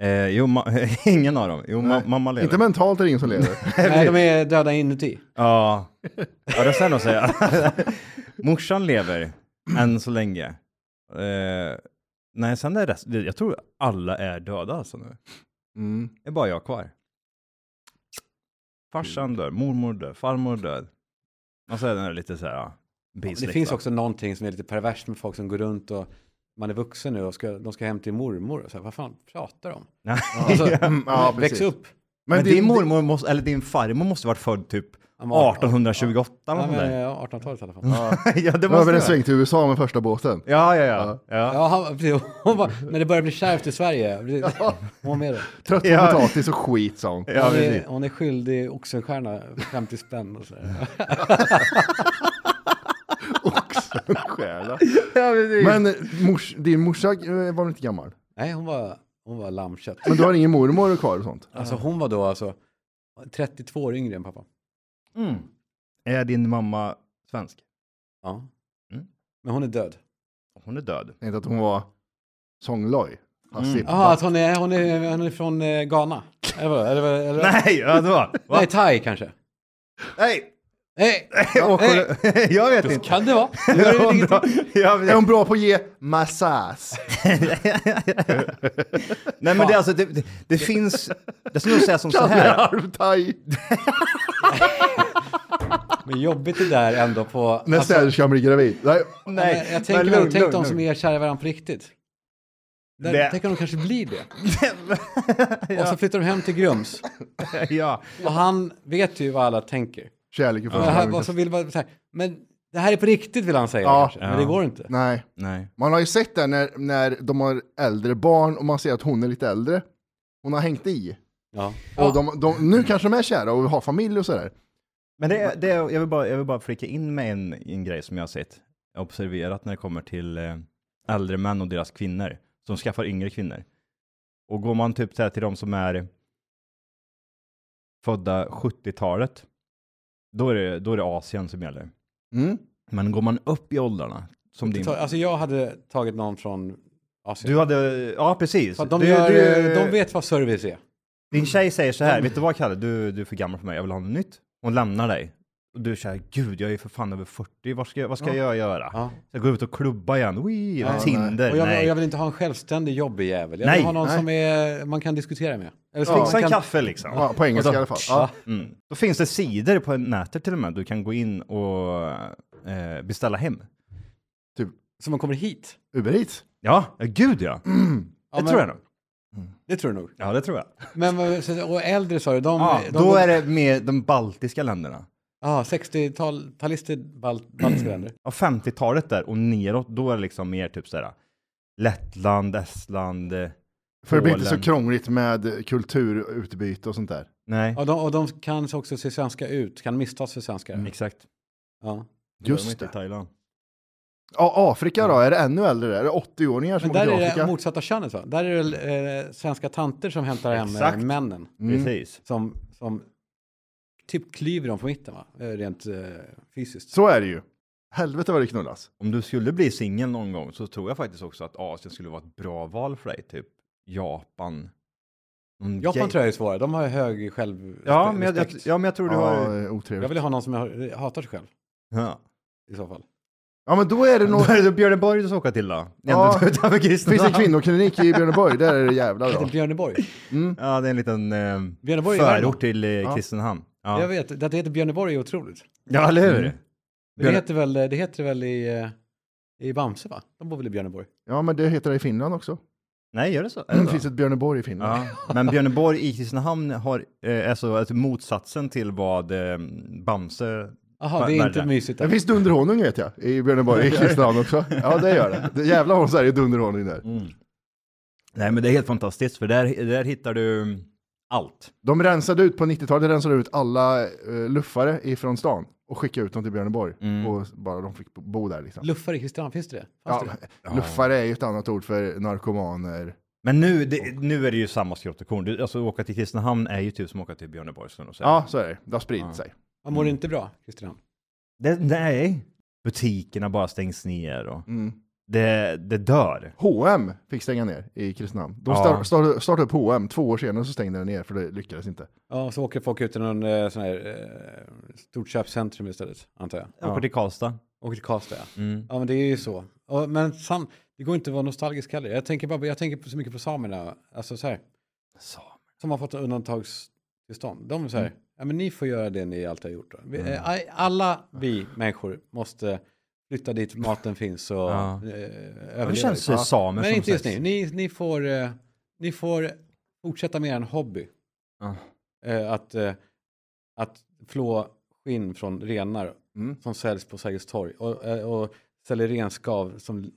[SPEAKER 2] Eh, jo, ma- <laughs> ingen av dem. Jo, ma-
[SPEAKER 1] Nej.
[SPEAKER 2] mamma lever. Mm.
[SPEAKER 1] Inte mentalt är det ingen
[SPEAKER 2] <laughs>
[SPEAKER 1] som lever.
[SPEAKER 3] Nej, de är döda inuti.
[SPEAKER 2] Ja, ja det ska jag nog säga. <laughs> Morsan lever än så länge. Eh, nej, sen är rest, jag tror alla är döda alltså nu.
[SPEAKER 1] Mm.
[SPEAKER 2] Det är bara jag kvar. Farsan dör, mormor dör, farmor dör. Och så är den här lite så här, ja, liksom.
[SPEAKER 3] Det
[SPEAKER 2] bisläkt,
[SPEAKER 3] finns
[SPEAKER 2] va?
[SPEAKER 3] också någonting som är lite perverst med folk som går runt och man är vuxen nu och ska, de ska hem till mormor och så här, vad fan pratar de om?
[SPEAKER 2] Nej.
[SPEAKER 3] Alltså,
[SPEAKER 1] Mm, ja,
[SPEAKER 3] väx
[SPEAKER 1] precis.
[SPEAKER 3] upp.
[SPEAKER 2] Men,
[SPEAKER 1] Men, det
[SPEAKER 2] din
[SPEAKER 1] är mor...
[SPEAKER 2] mormor, måste, eller din farmor måste varit född typ
[SPEAKER 3] Han var-
[SPEAKER 2] 1828 eller
[SPEAKER 3] Ja,
[SPEAKER 2] nåt
[SPEAKER 3] men,
[SPEAKER 2] där.
[SPEAKER 3] eh, 1800-talet i alla fall.
[SPEAKER 2] <laughs> Ja, det
[SPEAKER 1] Det var väl en
[SPEAKER 2] måste det.
[SPEAKER 1] sväng till USA med första båten.
[SPEAKER 2] Ja, ja, ja. ja.
[SPEAKER 3] Ja, han, precis. hon var, när det började bli kärvt i Sverige, precis. hon var med då.
[SPEAKER 1] Trött på
[SPEAKER 2] Ja.
[SPEAKER 1] potatis och skit sa hon.
[SPEAKER 2] Ja,
[SPEAKER 3] Hon
[SPEAKER 2] precis.
[SPEAKER 3] är, hon är skyldig Oxenstierna 50 spänn och sådär.
[SPEAKER 2] <laughs>
[SPEAKER 1] Oxenstierna. Men eh, mors, din morsa eh, var väl inte gammal?
[SPEAKER 3] Nej, hon var, hon var lammkött.
[SPEAKER 1] Men du har ingen mormor kvar och sånt?
[SPEAKER 3] Alltså hon var då alltså 32 år yngre än pappa.
[SPEAKER 2] Mm. Är din mamma svensk?
[SPEAKER 3] Ja.
[SPEAKER 2] Mm.
[SPEAKER 3] Men hon är död.
[SPEAKER 2] Hon är död.
[SPEAKER 1] Tänkte att hon var sångloj.
[SPEAKER 2] Mm.
[SPEAKER 1] Hassip.
[SPEAKER 3] Jaha, att alltså, hon är, hon är, hon är från eh, Ghana? Eller, vad? eller, vad- eller, vad?
[SPEAKER 2] Nej, vadå? Va?
[SPEAKER 3] Nej, thai kanske?
[SPEAKER 2] Nej! <laughs>
[SPEAKER 3] Nej,
[SPEAKER 2] Ah, Och- jag vet inte.
[SPEAKER 3] kan
[SPEAKER 2] <laughs>
[SPEAKER 3] det vara? Det gör ju
[SPEAKER 2] Hon
[SPEAKER 3] ingenting.
[SPEAKER 2] drar- jag
[SPEAKER 1] Eh, Är
[SPEAKER 2] vet.
[SPEAKER 3] Mm.
[SPEAKER 1] hon bra på att ge massage?
[SPEAKER 2] Nej men det är alltså, det, det, det finns, jag skulle nog säga som <laughs> så här.
[SPEAKER 1] <laughs> Halvtaj.
[SPEAKER 3] Men jobbigt det där ändå på...
[SPEAKER 1] När
[SPEAKER 3] alltså,
[SPEAKER 1] städerskan blir gravid. Nej.
[SPEAKER 3] nej, jag tänker
[SPEAKER 2] men
[SPEAKER 3] väl,
[SPEAKER 2] lugn,
[SPEAKER 3] tänk
[SPEAKER 2] lugn,
[SPEAKER 3] de som
[SPEAKER 2] lugn.
[SPEAKER 3] är kära i varandra på riktigt. Där,
[SPEAKER 2] Det-
[SPEAKER 3] Tänk om de kanske blir det. Och så flyttar de hem till Grums.
[SPEAKER 2] <laughs> ja.
[SPEAKER 3] Och han vet ju vad alla tänker.
[SPEAKER 1] Kärlek och
[SPEAKER 3] Men, här,
[SPEAKER 1] förståelse.
[SPEAKER 3] vad som vill, vara så här, men det här är på riktigt vill han säga
[SPEAKER 1] Ja.
[SPEAKER 3] kanske. Men det går inte.
[SPEAKER 1] Nej.
[SPEAKER 2] Nej.
[SPEAKER 1] Man har ju sett det när, när de har äldre barn och man ser att hon är lite äldre. Hon har hängt i.
[SPEAKER 3] Ja.
[SPEAKER 1] Och de, de, nu kanske de är kära och har familj och sådär.
[SPEAKER 2] Men det, är-
[SPEAKER 3] Mm.
[SPEAKER 2] det, är- jag, vill bara, jag vill bara flika in med en, en grej som jag har sett, observerat när det kommer till eh, äldre män och deras kvinnor, som skaffar yngre kvinnor. Och går man typ så här till de som är födda 70-talet, då är, det, då är det Asien som gäller.
[SPEAKER 1] Mm.
[SPEAKER 2] Men går man upp i åldrarna, som din...
[SPEAKER 3] Ta- Alltså jag hade tagit någon från Asien.
[SPEAKER 2] Du hade, ja precis.
[SPEAKER 3] För att de,
[SPEAKER 2] du,
[SPEAKER 3] gör, eh,
[SPEAKER 2] du,
[SPEAKER 3] de vet vad service är. Mm.
[SPEAKER 2] Din tjej säger så här, vet du vad Kalle, du, du är för gammal för mig, jag vill ha något nytt. Hon lämnar dig. Och du säger, gud jag är ju för fan över 40, vad ska jag, vad ska jag göra?
[SPEAKER 3] Ja.
[SPEAKER 2] Ska jag gå ut och klubba igen? Wee,
[SPEAKER 3] Ja,
[SPEAKER 2] Tinder?
[SPEAKER 3] Och jag,
[SPEAKER 2] nej.
[SPEAKER 3] jag vill inte ha en självständig jobbig jävel. Jag
[SPEAKER 2] Nej.
[SPEAKER 3] vill ha någon som är, man kan diskutera med. Eller som
[SPEAKER 2] Fixa
[SPEAKER 3] man
[SPEAKER 2] en
[SPEAKER 3] kan,
[SPEAKER 2] kaffe liksom.
[SPEAKER 1] Ja, på engelska
[SPEAKER 3] Och så-
[SPEAKER 1] i alla fall. Ja.
[SPEAKER 2] Mm. Då finns det sidor på nätet till och med, du kan gå in och eh, beställa hem.
[SPEAKER 3] som man kommer hit.
[SPEAKER 1] Uber Eats.
[SPEAKER 2] Ja, ja, gud ja.
[SPEAKER 3] Ja,
[SPEAKER 2] det
[SPEAKER 3] men-
[SPEAKER 2] tror jag nog.
[SPEAKER 3] Det tror du nog.
[SPEAKER 2] Ja, det tror jag.
[SPEAKER 3] Men, vad- så- och äldre sa du, de...
[SPEAKER 2] Ja,
[SPEAKER 3] de
[SPEAKER 2] då är det med de baltiska länderna.
[SPEAKER 3] Ja, 60-talister, bal, baltiska länder.
[SPEAKER 2] Ja, 50-talet där och neråt, då är det liksom mer typ sådär Lettland, Estland, eh,
[SPEAKER 1] För det blir inte så
[SPEAKER 2] Polen.
[SPEAKER 1] krångligt med kulturutbyte och sånt där.
[SPEAKER 2] Nej,
[SPEAKER 3] Och de, och de kan också se svenska ut, kan misstas för svenskar.
[SPEAKER 2] exakt.
[SPEAKER 3] Ja.
[SPEAKER 2] de är
[SPEAKER 1] Just
[SPEAKER 2] inte i
[SPEAKER 1] det.
[SPEAKER 2] Thailand.
[SPEAKER 1] Ja, Afrika då, är det ännu äldre där? Är det 80-åringar som
[SPEAKER 3] Men
[SPEAKER 1] åker
[SPEAKER 3] där
[SPEAKER 1] till
[SPEAKER 3] är
[SPEAKER 1] Afrika?
[SPEAKER 3] det motsatta könet va? Där är det eh, svenska tanter som hämtar hem eh,
[SPEAKER 2] Exakt.
[SPEAKER 3] männen.
[SPEAKER 1] Mm.
[SPEAKER 2] Precis.
[SPEAKER 3] Som, som typ klyver dem på mitten va? Eh, Rent eh, fysiskt.
[SPEAKER 1] Så är det ju. Helvete vad det knullas.
[SPEAKER 2] Om du skulle bli singel någon gång så tror jag faktiskt också att Asien skulle vara ett bra val för dig, typ Japan. Någon
[SPEAKER 3] Japan
[SPEAKER 2] gay-
[SPEAKER 3] tror jag är svårare, de har ju hög självrespekt.
[SPEAKER 2] Ja, men jag, jag, ja, men jag tror du
[SPEAKER 1] Ja,
[SPEAKER 2] har...
[SPEAKER 1] det är otrevligt.
[SPEAKER 3] Jag vill ha någon som jag hatar sig själv
[SPEAKER 2] <laughs> Ja.
[SPEAKER 3] i så fall.
[SPEAKER 1] Ja, men då är det
[SPEAKER 3] <laughs>
[SPEAKER 1] nog...
[SPEAKER 2] Vad är det Björn Borg du ska åka till då?
[SPEAKER 1] Ja.
[SPEAKER 2] Ja. <laughs> Utanför
[SPEAKER 1] Finns det en
[SPEAKER 2] Kristinehamn?
[SPEAKER 1] kvinnoklinik i Björneborg? Där är det Mm. jävlar
[SPEAKER 3] Heter
[SPEAKER 1] då.
[SPEAKER 3] <laughs> det Björneborg?
[SPEAKER 2] Ja, det är en liten eh,
[SPEAKER 3] Björneborg i
[SPEAKER 2] förort
[SPEAKER 3] Värmland.
[SPEAKER 2] till eh, Kristinehamn. Ja.
[SPEAKER 3] Jag vet, att det heter Björneborg är otroligt.
[SPEAKER 2] ja, eller hur?
[SPEAKER 3] Det
[SPEAKER 2] Björne-
[SPEAKER 3] heter väl, det heter väl i, eh, i Bamse va? De bor väl i Björneborg?
[SPEAKER 1] Ja, men det heter det i Finland också.
[SPEAKER 2] Nej, gör det så? Är
[SPEAKER 1] Det
[SPEAKER 2] det så?
[SPEAKER 1] Mm, finns ett Björneborg i Finland.
[SPEAKER 2] Ja, men Björneborg i Kristinehamn har, eh, är så att motsatsen till vad eh, Bamse...
[SPEAKER 3] Jaha,
[SPEAKER 2] Va-
[SPEAKER 3] det är inte
[SPEAKER 2] värre.
[SPEAKER 3] mysigt
[SPEAKER 1] Det
[SPEAKER 3] där.
[SPEAKER 1] finns dunderhonung vet jag, i <laughs> Björneborg, i Kristinehamn också. Ja, det gör det. det jävlar vad så är det dunderhonung där.
[SPEAKER 2] Mm. Nej, men det är helt fantastiskt, för där, där hittar du allt.
[SPEAKER 1] De rensade ut, på 90-talet rensade de ut alla eh, luffare ifrån stan och skickade ut dem till Björneborg. Och bara de fick bo där liksom.
[SPEAKER 3] Luffar i Kristianhamn, finns det det? Fanns
[SPEAKER 1] Ja,
[SPEAKER 3] det det?
[SPEAKER 1] luffare är ju ett annat ord för narkomaner.
[SPEAKER 2] Men nu, det, nu är det ju samma skrott och korn. Du- Alltså, åka till Kristinehamn är ju typ som att åka till Björneborg. skulle jag nog säga.
[SPEAKER 1] Ja, så är det. Det har spridit sig.
[SPEAKER 3] Man mår inte bra, Kristianhamn.
[SPEAKER 2] Det, nej, butikerna bara stängs ner och
[SPEAKER 1] Mm.
[SPEAKER 2] det, det dör.
[SPEAKER 1] H&M fick stänga ner i Kristinehamn. De
[SPEAKER 2] Ja.
[SPEAKER 1] star- star- startade upp H&M två år senare så stängde den ner för det lyckades inte.
[SPEAKER 3] Ja, och så åker folk ut till någon eh, sån här eh, stort köpcentrum istället, antar jag.
[SPEAKER 2] Åker till Karlstad.
[SPEAKER 3] Åker till Karlstad, ja.
[SPEAKER 2] Mm.
[SPEAKER 3] Ja, men det är ju så. Ja, men sam, det går inte att vara nostalgisk heller. Jag tänker, bara, jag tänker på så mycket på samerna, alltså så här, som har fått undantagstillstånd. De säger,
[SPEAKER 2] Mm.
[SPEAKER 3] ja men ni får göra det ni alltid har gjort. Då. Vi, eh, aj- Alla vi människor måste flytta dit maten finns och
[SPEAKER 2] Ja.
[SPEAKER 3] eh, överleva.
[SPEAKER 2] Ja, det känns
[SPEAKER 3] liksom.
[SPEAKER 2] ju samer
[SPEAKER 3] Men
[SPEAKER 2] som
[SPEAKER 3] inte just
[SPEAKER 2] sägs.
[SPEAKER 3] ni. Ni, ni, får, eh, ni får fortsätta med er hobby.
[SPEAKER 2] Ja.
[SPEAKER 3] Eh, att, eh, att flå skinn från renar
[SPEAKER 1] Mm.
[SPEAKER 3] som säljs på Sergels torg och, eh, och säljer renskav som,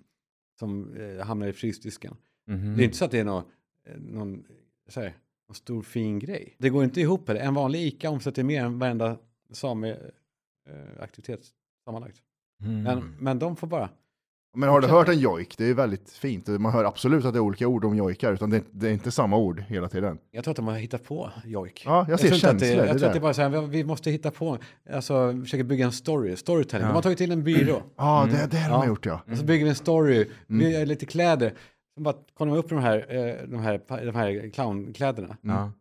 [SPEAKER 3] som eh, hamnar i frysdisken.
[SPEAKER 1] Mm.
[SPEAKER 2] Mhm.
[SPEAKER 3] Det är inte så att det är någon, eh, någon, så här, någon stor fin grej. Det går inte ihop heller. En vanlig ICA omsätter mer än varenda sameaktivitet sammanlagt.
[SPEAKER 2] Mm.
[SPEAKER 3] Men, men de får bara...
[SPEAKER 1] Men har du hört en jojk? Det är väldigt fint. Man hör absolut att det är olika ord om jojkar, utan det, det är inte samma ord hela tiden.
[SPEAKER 3] Jag tror att de har hittat på jojk.
[SPEAKER 1] Ja, jag ser
[SPEAKER 3] tror inte att det-
[SPEAKER 1] känslor, det
[SPEAKER 3] Jag tror
[SPEAKER 1] där.
[SPEAKER 3] att det är bara så här, vi- vi måste hitta på, alltså försöka bygga en story, storytelling. De har tagit in en byrå.
[SPEAKER 1] Ja, det är det de har
[SPEAKER 3] Mm. Ja.
[SPEAKER 1] gjort ja.
[SPEAKER 3] Och så bygger vi en story,
[SPEAKER 1] Mm.
[SPEAKER 3] vi gör lite kläder. Sen bara kollar man upp de här, eh, de här, pa- de här clownkläderna.
[SPEAKER 2] Ja.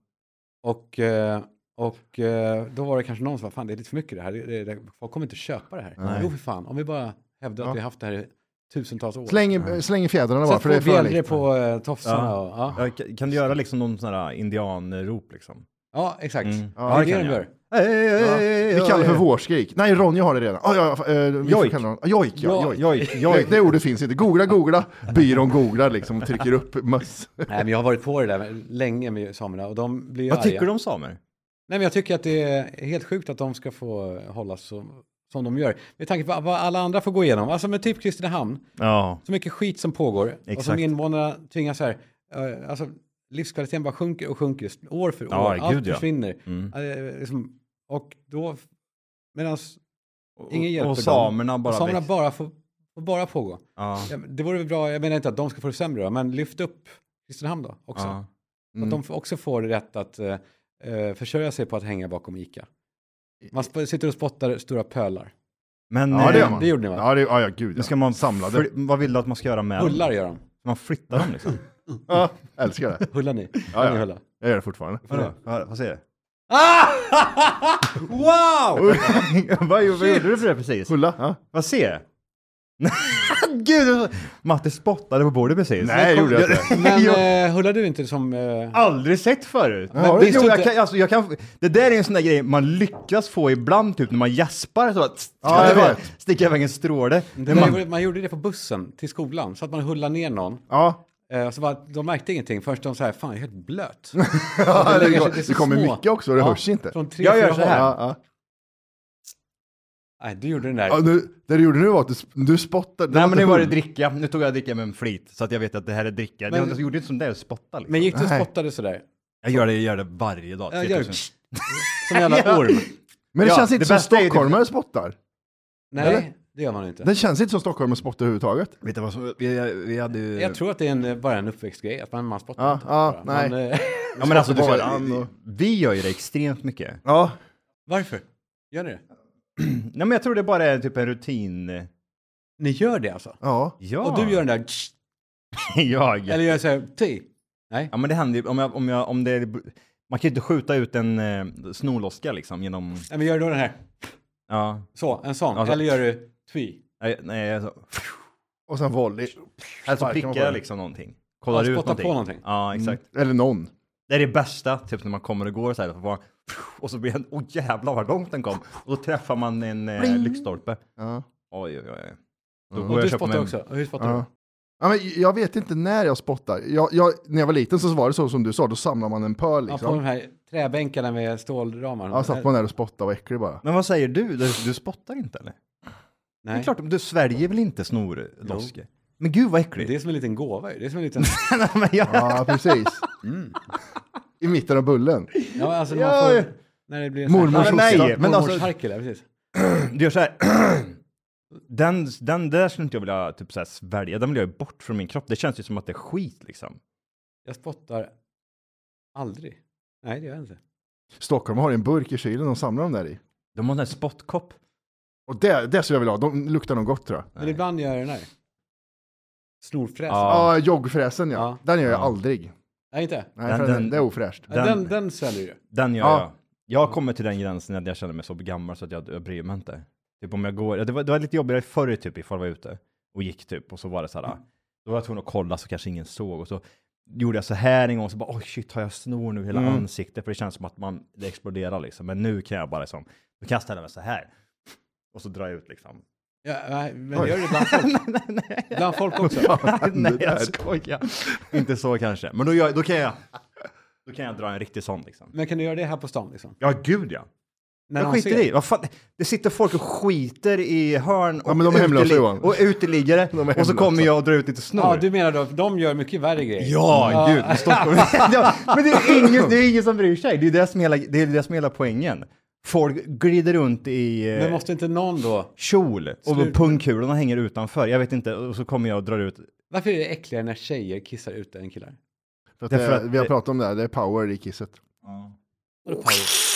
[SPEAKER 3] Och, eh, och eh, då var det kanske någon som bara, fan det är lite för mycket det här. Det, det, det, folk kommer inte köpa det här. Jo för fan, om vi bara hävdar att vi har haft det här i tusentals år.
[SPEAKER 1] Släng, i- släng i fjädrarna bara,
[SPEAKER 3] Mm. Sätt
[SPEAKER 1] för det är
[SPEAKER 3] på
[SPEAKER 1] för
[SPEAKER 3] bjällror
[SPEAKER 1] likt.
[SPEAKER 3] på eh, tofsarna
[SPEAKER 2] Ja.
[SPEAKER 3] och... Ja,
[SPEAKER 2] Ja, ka- Kan du göra liksom någon sån här indianrop liksom? Mm.
[SPEAKER 3] ja exakt.
[SPEAKER 1] Ja,
[SPEAKER 3] det är
[SPEAKER 2] det
[SPEAKER 3] det de
[SPEAKER 2] kan jag.
[SPEAKER 3] gör.
[SPEAKER 1] Vi kallar det för vårskrik. Nej, Ronja har det redan. Ah, ja, ja, eh, vi får
[SPEAKER 2] Jojk.
[SPEAKER 1] kalla den- Ah, Jojk, ja. Jojk.
[SPEAKER 2] Jojk,
[SPEAKER 1] Det,
[SPEAKER 2] jojk.
[SPEAKER 1] det ordet finns inte. Googla, googla. Byrån googlar liksom och trycker upp möss.
[SPEAKER 3] Nej, men jag har varit på det där länge med samerna och de blir ju
[SPEAKER 2] Vad
[SPEAKER 3] arga.
[SPEAKER 2] tycker du om samer?
[SPEAKER 3] Nej, men jag tycker att det är helt sjukt att de ska få hållas som, som de gör. Med tanke på vad alla andra får gå igenom. Alltså med typ Kristinehamn,
[SPEAKER 2] Ja.
[SPEAKER 3] så mycket skit som pågår. Och som
[SPEAKER 2] Exakt.
[SPEAKER 3] invånarna tvingas så här, eh, alltså livskvaliteten bara sjunker och sjunker år för år.
[SPEAKER 2] Ja,
[SPEAKER 3] Allt
[SPEAKER 2] gud, ja.
[SPEAKER 3] försvinner.
[SPEAKER 2] Mm.
[SPEAKER 3] Eh, liksom, och då, medan ingen hjälper
[SPEAKER 2] och
[SPEAKER 3] dem.
[SPEAKER 2] samerna bara...
[SPEAKER 3] och samerna
[SPEAKER 2] väx-
[SPEAKER 3] bara får, får bara pågå.
[SPEAKER 2] Ja.
[SPEAKER 3] Ja, men Det vore väl bra, jag menar inte att de ska få det sämre då, men lyft upp Kristinehamn då också.
[SPEAKER 2] Ja. Mm.
[SPEAKER 3] Så Att de får- också får rätt att eh, eh, försörja sig på att hänga bakom ICA. Man sp- sitter och spottar stora pölar.
[SPEAKER 2] Men
[SPEAKER 1] Ja, det gör
[SPEAKER 2] eh,
[SPEAKER 1] man.
[SPEAKER 3] det gjorde ni, va?
[SPEAKER 1] Ja, det, ja, ja gud ja.
[SPEAKER 2] nu ska man samla det. Vad vill du att man ska göra med dem?
[SPEAKER 3] Hullar gör de.
[SPEAKER 2] Man flyttar dem <laughs> liksom.
[SPEAKER 1] Ja, älskar det.
[SPEAKER 3] Hullar ni?
[SPEAKER 1] Ja,
[SPEAKER 3] ni
[SPEAKER 1] ja.
[SPEAKER 3] hullar?
[SPEAKER 1] Jag gör det fortfarande.
[SPEAKER 2] Vadå? Vad vad säger du? <laughs>
[SPEAKER 3] wow!
[SPEAKER 2] vad gjorde vad gjorde du för det precis?
[SPEAKER 1] Hulla? Ja.
[SPEAKER 2] Vad ser? <laughs> Gud, det var- Matte spottade på bordet precis.
[SPEAKER 1] Nej,
[SPEAKER 2] kom-
[SPEAKER 1] gjorde jag inte.
[SPEAKER 3] <laughs> Men
[SPEAKER 2] jag
[SPEAKER 3] eh, hullar du inte som... Eh,
[SPEAKER 2] har aldrig sett förut.
[SPEAKER 1] har du
[SPEAKER 2] det,
[SPEAKER 1] inte?
[SPEAKER 2] jo, jag kan, alltså, jag kan, det där är en sån där grej man lyckas få ibland, typ när man jaspar så att
[SPEAKER 1] Ja, jag
[SPEAKER 2] det bara
[SPEAKER 1] vet.
[SPEAKER 2] sticker iväg en stråle.
[SPEAKER 3] man,
[SPEAKER 2] Men man,
[SPEAKER 3] gjorde, man gjorde det på bussen till skolan, så att man hullade ner någon.
[SPEAKER 1] Ja.
[SPEAKER 3] Eh, och så bara, de märkte ingenting först de så här, fan jag är helt blöt.
[SPEAKER 1] <laughs> ja
[SPEAKER 3] lägger
[SPEAKER 1] det,
[SPEAKER 3] sig-
[SPEAKER 1] går-
[SPEAKER 3] det är så
[SPEAKER 1] det kommer
[SPEAKER 3] små.
[SPEAKER 1] mycket också, det
[SPEAKER 3] Ja,
[SPEAKER 1] hörs inte.
[SPEAKER 3] Från tre,
[SPEAKER 2] Jag gör
[SPEAKER 3] fyra
[SPEAKER 2] så här.
[SPEAKER 3] håll.
[SPEAKER 1] Ja, ja.
[SPEAKER 3] Nej, du gjorde den där.
[SPEAKER 1] Ja, nu, det du gjorde nu var att du, sp- du spottade.
[SPEAKER 2] nej, men nu
[SPEAKER 1] inte
[SPEAKER 2] var det
[SPEAKER 1] hull.
[SPEAKER 2] dricka. Nu tog jag dricka med en flit så att jag vet att det här är dricka.
[SPEAKER 3] Men-
[SPEAKER 2] Men, jag gjorde inte som det, jag spottade liksom.
[SPEAKER 3] Men gick du och
[SPEAKER 1] Nej.
[SPEAKER 3] spottade sådär?
[SPEAKER 2] Jag gör det, jag gör det varje dag.
[SPEAKER 3] Jag gör
[SPEAKER 2] 3000.
[SPEAKER 1] <laughs>
[SPEAKER 3] som en jävla orm.
[SPEAKER 1] Men det
[SPEAKER 2] Ja,
[SPEAKER 1] känns inte
[SPEAKER 2] det
[SPEAKER 1] som
[SPEAKER 2] bästa är ju typ-
[SPEAKER 1] stockholmare spottar.
[SPEAKER 3] Nej,
[SPEAKER 1] Eller?
[SPEAKER 3] det gör man inte.
[SPEAKER 1] Det känns inte som stockholmare spottar överhuvudtaget.
[SPEAKER 2] Vet du vad som, vi, vi hade ju...
[SPEAKER 3] Jag tror att det är en, eh, bara en uppväxtgrej, att man, man spottar
[SPEAKER 1] Ja,
[SPEAKER 3] inte.
[SPEAKER 1] ja,
[SPEAKER 3] bara.
[SPEAKER 1] nej.
[SPEAKER 3] Man, eh, <laughs>
[SPEAKER 2] ja men alltså, du,
[SPEAKER 1] Bara
[SPEAKER 2] ser,
[SPEAKER 1] an och-
[SPEAKER 2] vi gör ju det extremt mycket. <clears throat>
[SPEAKER 1] Ja,
[SPEAKER 3] varför? Gör ni det?
[SPEAKER 2] Nej men jag tror det bara är typ en rutin...
[SPEAKER 3] Ni gör det alltså?
[SPEAKER 1] ja.
[SPEAKER 2] Ja.
[SPEAKER 3] Och
[SPEAKER 2] <laughs>
[SPEAKER 3] du gör den där... tsch,
[SPEAKER 2] jag.
[SPEAKER 3] Eller gör såhär... Ti. Nej.
[SPEAKER 2] Ja men det händer ju, om, jag, om, jag, om det... Man kan ju inte skjuta ut en eh, snorloska liksom genom...
[SPEAKER 3] Nej, men gör du då den här?
[SPEAKER 2] Ja.
[SPEAKER 3] Så, en sån.
[SPEAKER 2] Alltså-
[SPEAKER 3] Eller gör du... Tvi.
[SPEAKER 2] Nej, nej alltså,
[SPEAKER 1] Och sen volley.
[SPEAKER 2] alltså
[SPEAKER 1] Sparkar man på
[SPEAKER 2] prickar jag
[SPEAKER 1] det?
[SPEAKER 2] liksom någonting. Kollar
[SPEAKER 3] Ja,
[SPEAKER 2] ut
[SPEAKER 3] spotta
[SPEAKER 2] någonting.
[SPEAKER 3] på någonting. Mm.
[SPEAKER 2] Ja exakt.
[SPEAKER 1] Mm. Eller någon.
[SPEAKER 2] Det är det bästa, typ när man kommer och går så här. Bara, och så blir den, åh jävlar vad långt den kom. Och då träffar man en eh, lyktstolpe.
[SPEAKER 1] Ja.
[SPEAKER 2] Oj oj oj. Då går jag
[SPEAKER 3] Mm. Och du
[SPEAKER 2] köper mig
[SPEAKER 3] spottar
[SPEAKER 2] en-
[SPEAKER 3] också? Och Hur spottar
[SPEAKER 1] Ja. Ja, men jag vet inte när jag spottar. Jag, jag, när jag var liten så var det så som du sa, då samlar man en pöl
[SPEAKER 3] du? Ja, på de
[SPEAKER 1] liksom.
[SPEAKER 3] här träbänkarna med stålramar.
[SPEAKER 1] Ja, satt man där och spottade och var äcklig bara.
[SPEAKER 2] Men vad säger du? Du, du spottar inte eller? Det är
[SPEAKER 3] Nej.
[SPEAKER 2] klart, du sväljer väl inte snorloske? Men gud vad äckligt.
[SPEAKER 3] Det är som en liten gåva ju. Det är som en liten...
[SPEAKER 2] <laughs> Nej, men jag...
[SPEAKER 1] Ja,
[SPEAKER 2] <laughs>
[SPEAKER 1] precis.
[SPEAKER 2] Mm.
[SPEAKER 1] I mitten av bullen.
[SPEAKER 3] Ja, alltså när
[SPEAKER 2] Ja,
[SPEAKER 3] man
[SPEAKER 2] ja.
[SPEAKER 3] får... När det blir en
[SPEAKER 1] Mormors
[SPEAKER 2] Nej, nej, men
[SPEAKER 3] men
[SPEAKER 2] alltså-
[SPEAKER 3] alltså... harkel, ja, precis.
[SPEAKER 2] Du gör så här. <clears throat> Den, den där skulle inte jag vilja typ så här, svälja, den vill jag ju bort från min kropp. Det känns ju som att det är skit liksom.
[SPEAKER 3] Jag spottar aldrig. Nej, det gör jag inte.
[SPEAKER 1] Stockholm har en burk i kylen och samlar dem där i.
[SPEAKER 2] De har en sån här spottkopp.
[SPEAKER 1] Och det, det skulle jag vilja ha, de luktar nog gott tror jag.
[SPEAKER 3] Men ibland gör jag den här. Snorfräs.
[SPEAKER 2] Ja.
[SPEAKER 1] Ja, joggfräsen ja.
[SPEAKER 3] Ja.
[SPEAKER 1] Den gör jag
[SPEAKER 2] Ja.
[SPEAKER 1] aldrig.
[SPEAKER 3] Nej, inte?
[SPEAKER 1] Nej,
[SPEAKER 2] Den-
[SPEAKER 1] för den,
[SPEAKER 2] den-
[SPEAKER 1] det är ofräscht.
[SPEAKER 3] Den, den,
[SPEAKER 2] Den-
[SPEAKER 3] den säljer ju.
[SPEAKER 2] Den gör
[SPEAKER 1] Ja.
[SPEAKER 2] jag. Jag kommer till den gränsen att jag känner mig så gammal så att jag, jag bryr mig inte. Typ om jag går, det var, det var lite jobbigare förr typ ifall jag var ute och gick typ och så var det så här, ah, då var jag tvungen att kolla så kanske ingen såg och så gjorde jag så här en gång så bara oj shit har jag snor nu i hela ansiktet för det känns som att man, det exploderar liksom. Men nu kan jag bara liksom, nu kan jag ställa mig så här och så drar jag ut <laughs> liksom.
[SPEAKER 3] Ja, nej, men det gör det bland folk.
[SPEAKER 2] <laughs> nej, nej,
[SPEAKER 3] bland folk också.
[SPEAKER 2] nej, <laughs> nej, jag skojar. Inte så kanske, men då, gör, då kan jag, då kan jag dra en riktig sån liksom.
[SPEAKER 3] Men kan du göra det här på stan liksom?
[SPEAKER 2] Ja gud ja.
[SPEAKER 3] När
[SPEAKER 2] Jag
[SPEAKER 3] någon
[SPEAKER 2] skiter
[SPEAKER 3] ser.
[SPEAKER 2] i. Vad fan? Det sitter folk och skiter i hörn och,
[SPEAKER 1] Ja, men de är hemlösa,
[SPEAKER 2] uteli-
[SPEAKER 1] Johan.
[SPEAKER 2] och uteliggare. och så
[SPEAKER 1] hemlösa.
[SPEAKER 2] kommer jag och drar ut lite snor.
[SPEAKER 3] Ja, du menar då, att de gör mycket värre grejer?
[SPEAKER 2] Ja, gud. men Stockholm. <laughs> ja, men det är, ingen, det är ingen som bryr sig. Det är det som är hela, det är det som är hela poängen. Folk glider runt i eh,
[SPEAKER 3] Men måste inte någon då...
[SPEAKER 2] kjol och
[SPEAKER 3] Slut.
[SPEAKER 2] pungkulorna hänger utanför. Jag vet inte. Och så kommer jag och drar ut.
[SPEAKER 3] Varför är det äckligare när tjejer kissar ute än killar?
[SPEAKER 1] För att
[SPEAKER 2] Därför
[SPEAKER 1] det,
[SPEAKER 2] att
[SPEAKER 1] vi har
[SPEAKER 2] det-
[SPEAKER 1] pratat om det här, det är power i kisset.
[SPEAKER 3] Vadå power?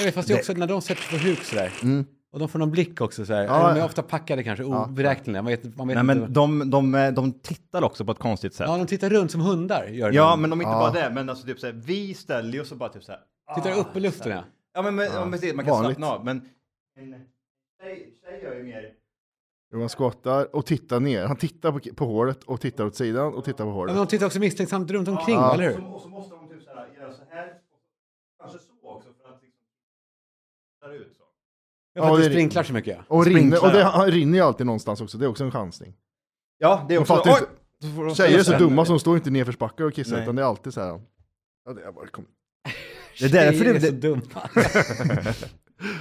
[SPEAKER 3] Jag vet, fast det är också när de sätter sig på huk sådär.
[SPEAKER 2] Mm.
[SPEAKER 3] Och de får någon blick också sådär.
[SPEAKER 1] Ja.
[SPEAKER 3] De är ofta packade kanske, oberäkneliga. Man vet, man vet
[SPEAKER 2] Nej, men
[SPEAKER 3] inte.
[SPEAKER 2] de, de, eh, de tittar också på ett konstigt sätt.
[SPEAKER 3] Ja, de tittar runt som hundar. Gör
[SPEAKER 2] Ja,
[SPEAKER 3] de.
[SPEAKER 2] men om inte
[SPEAKER 1] Ja.
[SPEAKER 2] bara det. Men alltså typ så här, vi ställer ju oss och bara typ så här.
[SPEAKER 3] Tittar upp i luften ja.
[SPEAKER 2] Ja, men, men ja, precis, man kan
[SPEAKER 1] vanligt.
[SPEAKER 2] slappna av. Men en tjej, tjej gör ju mer...
[SPEAKER 1] Johan skottar och tittar ner. Han tittar på, på håret och tittar åt sidan och tittar på
[SPEAKER 3] Ja,
[SPEAKER 1] håret.
[SPEAKER 3] Men de tittar också misstänksamt runt omkring,
[SPEAKER 1] Ja.
[SPEAKER 3] eller
[SPEAKER 2] Och
[SPEAKER 3] hur?
[SPEAKER 2] så, och så måste de typ så här, göra så här. och Kanske så också för att liksom... Där ut så.
[SPEAKER 3] Ja, för att
[SPEAKER 1] det
[SPEAKER 3] det
[SPEAKER 1] är-
[SPEAKER 3] sprinklar så mycket.
[SPEAKER 1] Och, rinner,
[SPEAKER 2] Sprinklar.
[SPEAKER 1] och det han rinner ju alltid någonstans också, det är också en chansning.
[SPEAKER 2] Ja, det är
[SPEAKER 1] också-
[SPEAKER 2] också...
[SPEAKER 1] fattar inte-
[SPEAKER 2] Oj!
[SPEAKER 1] Tjejer är så dumma som står inte i nerförsbackar och kissar
[SPEAKER 2] Nej.
[SPEAKER 1] utan det är alltid så här. Ja, det är bara, kom.
[SPEAKER 2] Det är därför
[SPEAKER 3] Tjejer är
[SPEAKER 2] det...
[SPEAKER 3] så dumma. <laughs>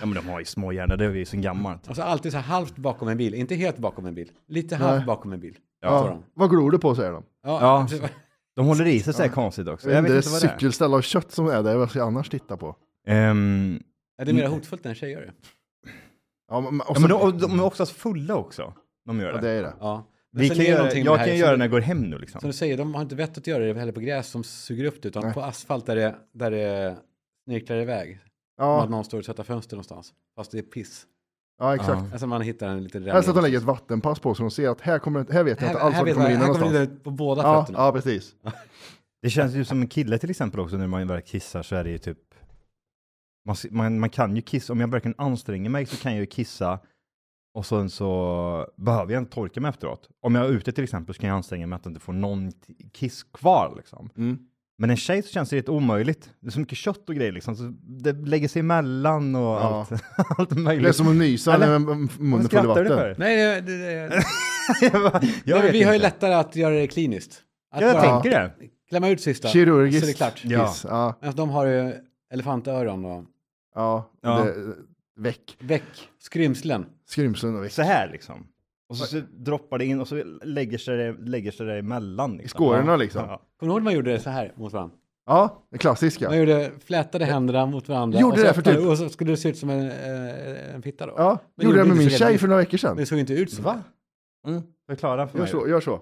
[SPEAKER 2] Ja, men de har ju små hjärnor, det är ju så gammalt.
[SPEAKER 3] Alltså alltid så här halvt bakom en bil, inte helt bakom en bil. Lite halvt bakom en bil. Står
[SPEAKER 1] Ja,
[SPEAKER 3] de.
[SPEAKER 1] vad glor du på säger de.
[SPEAKER 2] Ja.
[SPEAKER 3] precis.
[SPEAKER 2] De håller i sig så här konstigt också.
[SPEAKER 1] Det
[SPEAKER 2] Jag
[SPEAKER 1] är
[SPEAKER 2] vet
[SPEAKER 1] det
[SPEAKER 2] inte vad det är.
[SPEAKER 1] cykelställ av kött som är där, vad ska jag annars titta på?
[SPEAKER 2] Ehm,
[SPEAKER 3] <laughs> Ja, det är mer hotfullt än tjejer ju.
[SPEAKER 1] Ja, men, och
[SPEAKER 2] ja,
[SPEAKER 1] så,
[SPEAKER 2] men de, de är oftast fulla också. De gör
[SPEAKER 1] ja,
[SPEAKER 2] det.
[SPEAKER 1] det är det.
[SPEAKER 3] Ja. Men
[SPEAKER 2] Vi
[SPEAKER 3] sen
[SPEAKER 2] kan
[SPEAKER 3] är det
[SPEAKER 2] göra,
[SPEAKER 3] någonting
[SPEAKER 2] jag
[SPEAKER 3] med
[SPEAKER 2] kan
[SPEAKER 3] här
[SPEAKER 2] ju göra det
[SPEAKER 3] som,
[SPEAKER 2] när jag går hem nu liksom.
[SPEAKER 3] som du säger, de har inte vett att göra det heller på gräs som suger upp det, utan på asfalt där det, där det snirklar iväg. Som
[SPEAKER 1] Ja,
[SPEAKER 3] Att någon står och tvättar fönster någonstans, fast det är piss.
[SPEAKER 1] ja exakt.
[SPEAKER 2] Ja.
[SPEAKER 3] Alltså man hittar en liten
[SPEAKER 1] Här så att de
[SPEAKER 3] Här,
[SPEAKER 1] lägger ett vattenpass på så de ser att här, kommer, det- här vet jag inte
[SPEAKER 3] här,
[SPEAKER 1] alls
[SPEAKER 3] här,
[SPEAKER 1] var det
[SPEAKER 3] vet man-
[SPEAKER 1] kommer rinna
[SPEAKER 3] här kommer
[SPEAKER 1] någonstans.
[SPEAKER 3] det ut på båda
[SPEAKER 1] Ja,
[SPEAKER 3] fötterna.
[SPEAKER 1] ja, precis.
[SPEAKER 2] Det känns ju som en kille till exempel också när man väl kissar så är det ju typ Man, se- man, man kan ju kissa, om jag verkligen anstränger mig så kan jag ju kissa och sen så behöver jag inte torka mig efteråt. Om jag är ute till exempel så kan jag anstränga mig att inte få någon t- kiss kvar liksom.
[SPEAKER 1] Mm.
[SPEAKER 2] Men en tjej så känns det helt omöjligt. Det är så mycket kött och grejer liksom, så det lägger sig emellan och
[SPEAKER 1] Ja.
[SPEAKER 2] allt, <laughs> allt möjligt.
[SPEAKER 1] Det är som att nysa
[SPEAKER 2] Eller-
[SPEAKER 1] när m- munnen
[SPEAKER 2] Vad
[SPEAKER 1] full av
[SPEAKER 2] skrattar du
[SPEAKER 1] vatten.
[SPEAKER 2] för? <laughs>
[SPEAKER 3] Nej, det, det, det,
[SPEAKER 2] jag bara, jag
[SPEAKER 3] vi
[SPEAKER 2] vet
[SPEAKER 3] har ju
[SPEAKER 2] inte.
[SPEAKER 3] lättare att göra det kliniskt. Att
[SPEAKER 2] Ja, jag
[SPEAKER 3] bara
[SPEAKER 2] tänker det.
[SPEAKER 3] klämma ut sista.
[SPEAKER 1] Kirurgiskt.
[SPEAKER 3] Så är det klart.
[SPEAKER 2] Ja.
[SPEAKER 1] Kiss. Ja.
[SPEAKER 3] Men de har ju elefantöron och
[SPEAKER 1] Ja.
[SPEAKER 2] Ja.
[SPEAKER 1] Det, väck.
[SPEAKER 3] väck, skrymslen.
[SPEAKER 1] Skrymslen och väck.
[SPEAKER 2] Så här liksom. Och så, så droppar det in och så lägger sig det, lägger sig det emellan. Liksom.
[SPEAKER 1] I skårorna,
[SPEAKER 2] Ja.
[SPEAKER 1] liksom.
[SPEAKER 2] Ja.
[SPEAKER 3] Kommer du ihåg när man gjorde det så här mot varandra?
[SPEAKER 1] Ja, det klassiska.
[SPEAKER 3] Man gjorde flätade händerna mot varandra.
[SPEAKER 1] Gjorde
[SPEAKER 3] och så
[SPEAKER 1] det för
[SPEAKER 3] öppnade-
[SPEAKER 1] typ-
[SPEAKER 3] Och så skulle det se ut som en, eh, en fitta då.
[SPEAKER 1] Ja, gjorde
[SPEAKER 3] Men gjorde
[SPEAKER 1] jag med
[SPEAKER 3] inte
[SPEAKER 1] min
[SPEAKER 3] så redan.
[SPEAKER 1] tjej för några veckor sedan.
[SPEAKER 3] Det såg inte ut så.
[SPEAKER 2] Va? Mm. Förklara för
[SPEAKER 1] Gör
[SPEAKER 2] mig.
[SPEAKER 1] så, gör så.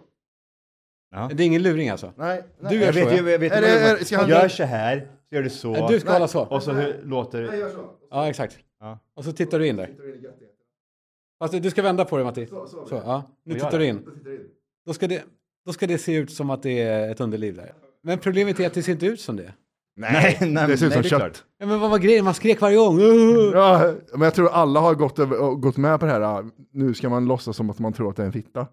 [SPEAKER 2] Ja.
[SPEAKER 3] Det är ingen luring alltså?
[SPEAKER 1] Nej, nej.
[SPEAKER 3] Du gör
[SPEAKER 2] Jag
[SPEAKER 3] så,
[SPEAKER 2] vet,
[SPEAKER 3] ja.
[SPEAKER 2] jag vet, jag vet
[SPEAKER 1] Är
[SPEAKER 2] vad
[SPEAKER 1] det-
[SPEAKER 2] du-
[SPEAKER 1] är- ska han-
[SPEAKER 2] Gör så här, så gör du
[SPEAKER 3] Nej,
[SPEAKER 2] så.
[SPEAKER 3] Du ska hålla så.
[SPEAKER 2] Och så hur, låter
[SPEAKER 1] Nej,
[SPEAKER 2] det.
[SPEAKER 1] gör så.
[SPEAKER 3] Ja, exakt.
[SPEAKER 2] Ja.
[SPEAKER 3] Och så tittar du in där. Fast du ska vända på det, Matti. Så, ja. Nu
[SPEAKER 2] gör
[SPEAKER 3] tittar
[SPEAKER 2] det.
[SPEAKER 3] du in. Då ska, det, då ska det se ut som att det är ett underliv där. Men problemet är att det ser inte ut som det.
[SPEAKER 2] Nej, nej,
[SPEAKER 1] Det ser ut som
[SPEAKER 2] nej, är
[SPEAKER 1] kött.
[SPEAKER 3] Ja, men vad var grejen? Man skrek
[SPEAKER 1] <laughs>
[SPEAKER 3] varje gång. "Åh!"
[SPEAKER 1] Ja, men jag tror alla har gått, över, och gått med på det här, ah, nu ska man låtsas som att man tror att det är en fitta.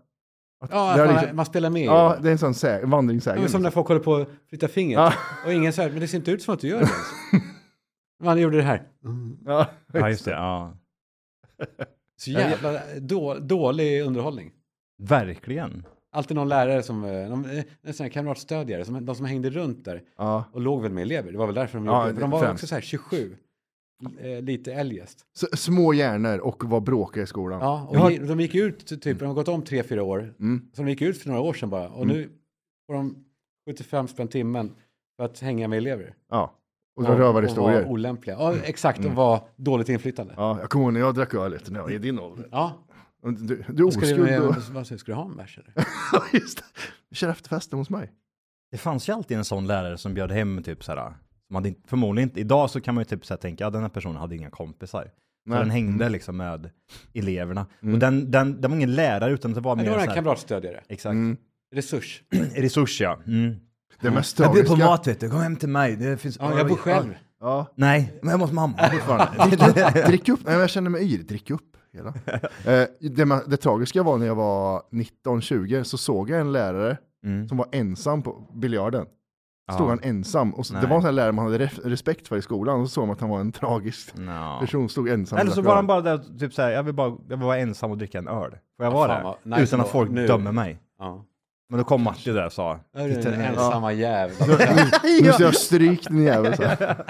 [SPEAKER 3] Ja,
[SPEAKER 1] Det är
[SPEAKER 3] att
[SPEAKER 1] liksom-
[SPEAKER 3] man, man spelar med.
[SPEAKER 1] Ja, det är en sån sä- vandringssägen. liksom.
[SPEAKER 3] Ja, men som när folk håller på att flytta fingret.
[SPEAKER 1] Ja.
[SPEAKER 3] Och ingen säger, men det ser inte ut som att du gör
[SPEAKER 1] <laughs>
[SPEAKER 3] det. Alltså. Man gjorde det här.
[SPEAKER 1] Ja,
[SPEAKER 2] Ja, just det. Ja.
[SPEAKER 3] Så jävla då, dålig underhållning.
[SPEAKER 2] Verkligen.
[SPEAKER 3] Alltid någon lärare som, eh, någon, eh, en sån här kamratstödjare, som, de som hängde runt där
[SPEAKER 1] ja.
[SPEAKER 3] och låg väl med elever. Det var väl därför de
[SPEAKER 1] Ja,
[SPEAKER 3] gjorde det. För De var
[SPEAKER 1] främst.
[SPEAKER 3] också så här 27, eh, lite eljest.
[SPEAKER 1] S- små hjärnor och var bråkiga i skolan.
[SPEAKER 3] Ja, och
[SPEAKER 1] Jag har-
[SPEAKER 3] gi- de gick ut, typ, de har gått om tre fyra år.
[SPEAKER 1] Mm.
[SPEAKER 3] Så de gick ut för några år sedan bara. Och nu får de 75 spänn timmen för att hänga med elever.
[SPEAKER 1] ja. Och dra rövarhistorier.
[SPEAKER 3] Och vara olämpliga. Ja, exakt. Och vara dåligt inflytande.
[SPEAKER 1] Mm. Ja, jag kommer ihåg när jag drack öl lite när jag var i
[SPEAKER 2] Mm.
[SPEAKER 1] din ålder.
[SPEAKER 3] Ja.
[SPEAKER 1] Och Du, du är
[SPEAKER 3] Ska du,
[SPEAKER 1] oskuld och...
[SPEAKER 3] vad säger, ska du ha en bärs eller?
[SPEAKER 1] <laughs> Ja, just det. Vi kör efterfesten hos mig.
[SPEAKER 2] Det fanns ju alltid en sån lärare som bjöd hem typ så här. Man hade inte, förmodligen inte. Idag så kan man ju typ så här tänka, ja, den här personen hade inga kompisar.
[SPEAKER 1] Nej.
[SPEAKER 2] För den hängde liksom med eleverna.
[SPEAKER 1] Mm.
[SPEAKER 2] Och den, den, den var ingen lärare utan det var
[SPEAKER 3] Nej,
[SPEAKER 2] mer
[SPEAKER 3] det
[SPEAKER 2] så
[SPEAKER 3] var den här
[SPEAKER 2] här,
[SPEAKER 3] kamratstödjare.
[SPEAKER 2] Exakt.
[SPEAKER 3] Resurs.
[SPEAKER 2] Resurs ja. Mm.
[SPEAKER 1] Det mest
[SPEAKER 2] Jag blir på
[SPEAKER 1] tragiska...
[SPEAKER 2] mat vet du, kom hem till mig. Det finns...
[SPEAKER 3] Ja, jag bor själv.
[SPEAKER 1] Ja,
[SPEAKER 2] Nej, men jag måste mamma. <laughs>
[SPEAKER 1] fortfarande. Drick upp. Nej, men jag känner mig yr. Drick upp. Hela. Eh, det, ma- det tragiska var när jag var 19-20 så såg jag en lärare
[SPEAKER 2] Mm.
[SPEAKER 1] som var ensam på biljarden. Stod
[SPEAKER 2] Ja.
[SPEAKER 1] han ensam. Och så, det
[SPEAKER 2] Nej.
[SPEAKER 1] var en sån här lärare man hade ref- respekt för i skolan. Och så såg man att han var en tragisk
[SPEAKER 2] Nja.
[SPEAKER 1] person. Stod ensam. och
[SPEAKER 2] Mm. Eller så
[SPEAKER 1] drack
[SPEAKER 2] var
[SPEAKER 1] öl.
[SPEAKER 2] han bara där och typ såhär, jag vill bara, jag vill vara ensam och dricka en öl. Får jag vara
[SPEAKER 3] fan,
[SPEAKER 2] där?
[SPEAKER 3] vad nice
[SPEAKER 2] Utan att
[SPEAKER 3] då.
[SPEAKER 2] folk
[SPEAKER 3] Nu.
[SPEAKER 2] dömer mig.
[SPEAKER 3] Ja.
[SPEAKER 2] Men då kom Matti där och sa,
[SPEAKER 3] Är du den
[SPEAKER 2] "Titta, eh,
[SPEAKER 3] ensamma jäveln?
[SPEAKER 1] Nu ska jag stryk din jävel.
[SPEAKER 2] <laughs>
[SPEAKER 1] Så. här.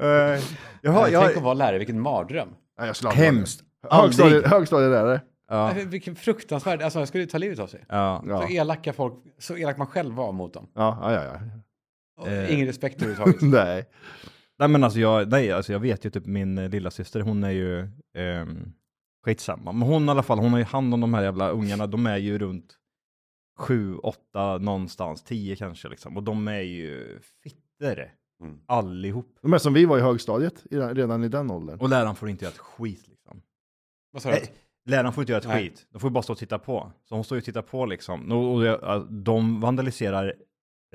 [SPEAKER 2] eh, jag har, jag
[SPEAKER 3] Tänk att
[SPEAKER 2] har,
[SPEAKER 3] vara lärare, vilken mardröm.
[SPEAKER 1] Nej, jag sladdade.
[SPEAKER 2] hemskt.
[SPEAKER 1] Högstadie-
[SPEAKER 2] Aldrig.
[SPEAKER 1] Högstadielärare.
[SPEAKER 2] Ja.
[SPEAKER 3] Nej, Vilken fruktansvärd, alltså jag skulle ju ta livet av sig.
[SPEAKER 2] Ja.
[SPEAKER 1] Ja.
[SPEAKER 3] Så elaka folk, så elak man själv var mot dem.
[SPEAKER 1] Ja, ja, ja.
[SPEAKER 3] Och
[SPEAKER 2] Eh.
[SPEAKER 3] Ingen
[SPEAKER 1] <laughs>
[SPEAKER 3] respekt överhuvudtaget.
[SPEAKER 1] Nej.
[SPEAKER 2] Nej men alltså jag, nej, alltså jag vet ju typ min eh, lilla syster hon är ju ehm, skitsamma. Men hon i alla fall, hon har ju hand om de här jävla ungarna. De är ju runt 7, 8 någonstans, 10 kanske liksom. Och de är ju fitter
[SPEAKER 3] Mm.
[SPEAKER 2] allihop.
[SPEAKER 1] De är som vi var i högstadiet i den- redan i den åldern.
[SPEAKER 2] Och läraren får inte göra ett skit liksom.
[SPEAKER 3] Vad sa du?
[SPEAKER 2] Nej, läraren får inte göra ett
[SPEAKER 3] Nej.
[SPEAKER 2] skit. De får bara stå och titta på. Så hon står ju och tittar på liksom. Och, och, jag- alltså, de vandaliserar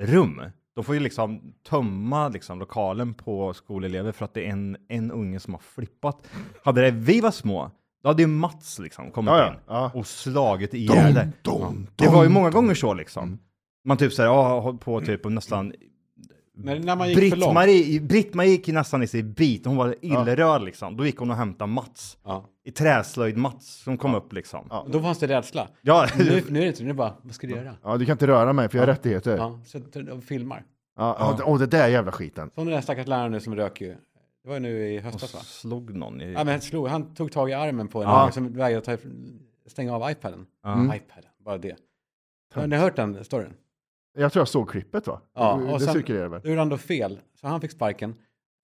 [SPEAKER 2] rum. De får ju liksom tömma liksom, lokalen på skolelever för att det är en, en unge som har flippat. Hade det vi var små, då hade ju Mats liksom kommit
[SPEAKER 1] Ja, ja.
[SPEAKER 2] in
[SPEAKER 1] Ja.
[SPEAKER 2] och slagit ihjäl
[SPEAKER 1] Dom,
[SPEAKER 2] det.
[SPEAKER 1] dom,
[SPEAKER 2] Det var ju
[SPEAKER 1] dom. Mm.
[SPEAKER 2] många gånger så liksom. Man typ såhär, ja, höll på typ och nästan
[SPEAKER 3] Men när man gick för långt.
[SPEAKER 2] Britt-Marie Britt-Marie gick ju nästan i sig i bit, hon var illröd liksom. Då gick hon och hämtade Mats.
[SPEAKER 3] Ja.
[SPEAKER 2] I träslöjd Mats som kom upp liksom.
[SPEAKER 1] Ja.
[SPEAKER 3] Då fanns det rädsla.
[SPEAKER 2] Ja,
[SPEAKER 3] <laughs>
[SPEAKER 2] <laughs>
[SPEAKER 3] Nu, nu är det inte, nu är det bara, vad ska du göra?
[SPEAKER 1] Ja, du kan inte röra mig för jag har rättigheter. Ja.
[SPEAKER 3] Ja, så de filmar.
[SPEAKER 1] Ja. Åh, det där jävla skiten.
[SPEAKER 3] Som den där stackars läraren nu som rök ju. Det var ju nu i höstas va?
[SPEAKER 2] slog någon i...
[SPEAKER 3] Ja, men han, slog, han tog tag i armen på en
[SPEAKER 2] Ja.
[SPEAKER 3] unge som vägrade ta, ifrån- stänga av iPaden. iPaden, bara det. Har ni hört den storyn?
[SPEAKER 1] Jag tror jag såg klippet va?
[SPEAKER 3] Ja,
[SPEAKER 1] det
[SPEAKER 3] och
[SPEAKER 1] det
[SPEAKER 3] sen-
[SPEAKER 1] cirkulerar väl?
[SPEAKER 3] Då gjorde han då fel, så han fick sparken.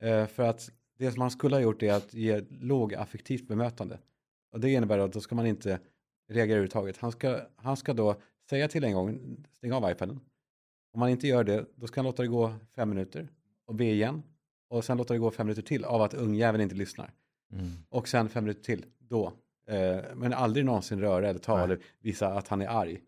[SPEAKER 3] eh, För att det som han skulle ha gjort är att ge lågaffektivt bemötande. Och det innebär att då ska man inte reagera överhuvudtaget. Han ska, han ska då säga till en gång, stäng av iPaden. Om man inte gör det, då ska han låta det gå fem minuter och be igen. Och sen låta det gå fem minuter till av att ungjäveln inte lyssnar. Och sen fem minuter till, då. Eh, Men aldrig någonsin röra eller ta eller visa att han är arg.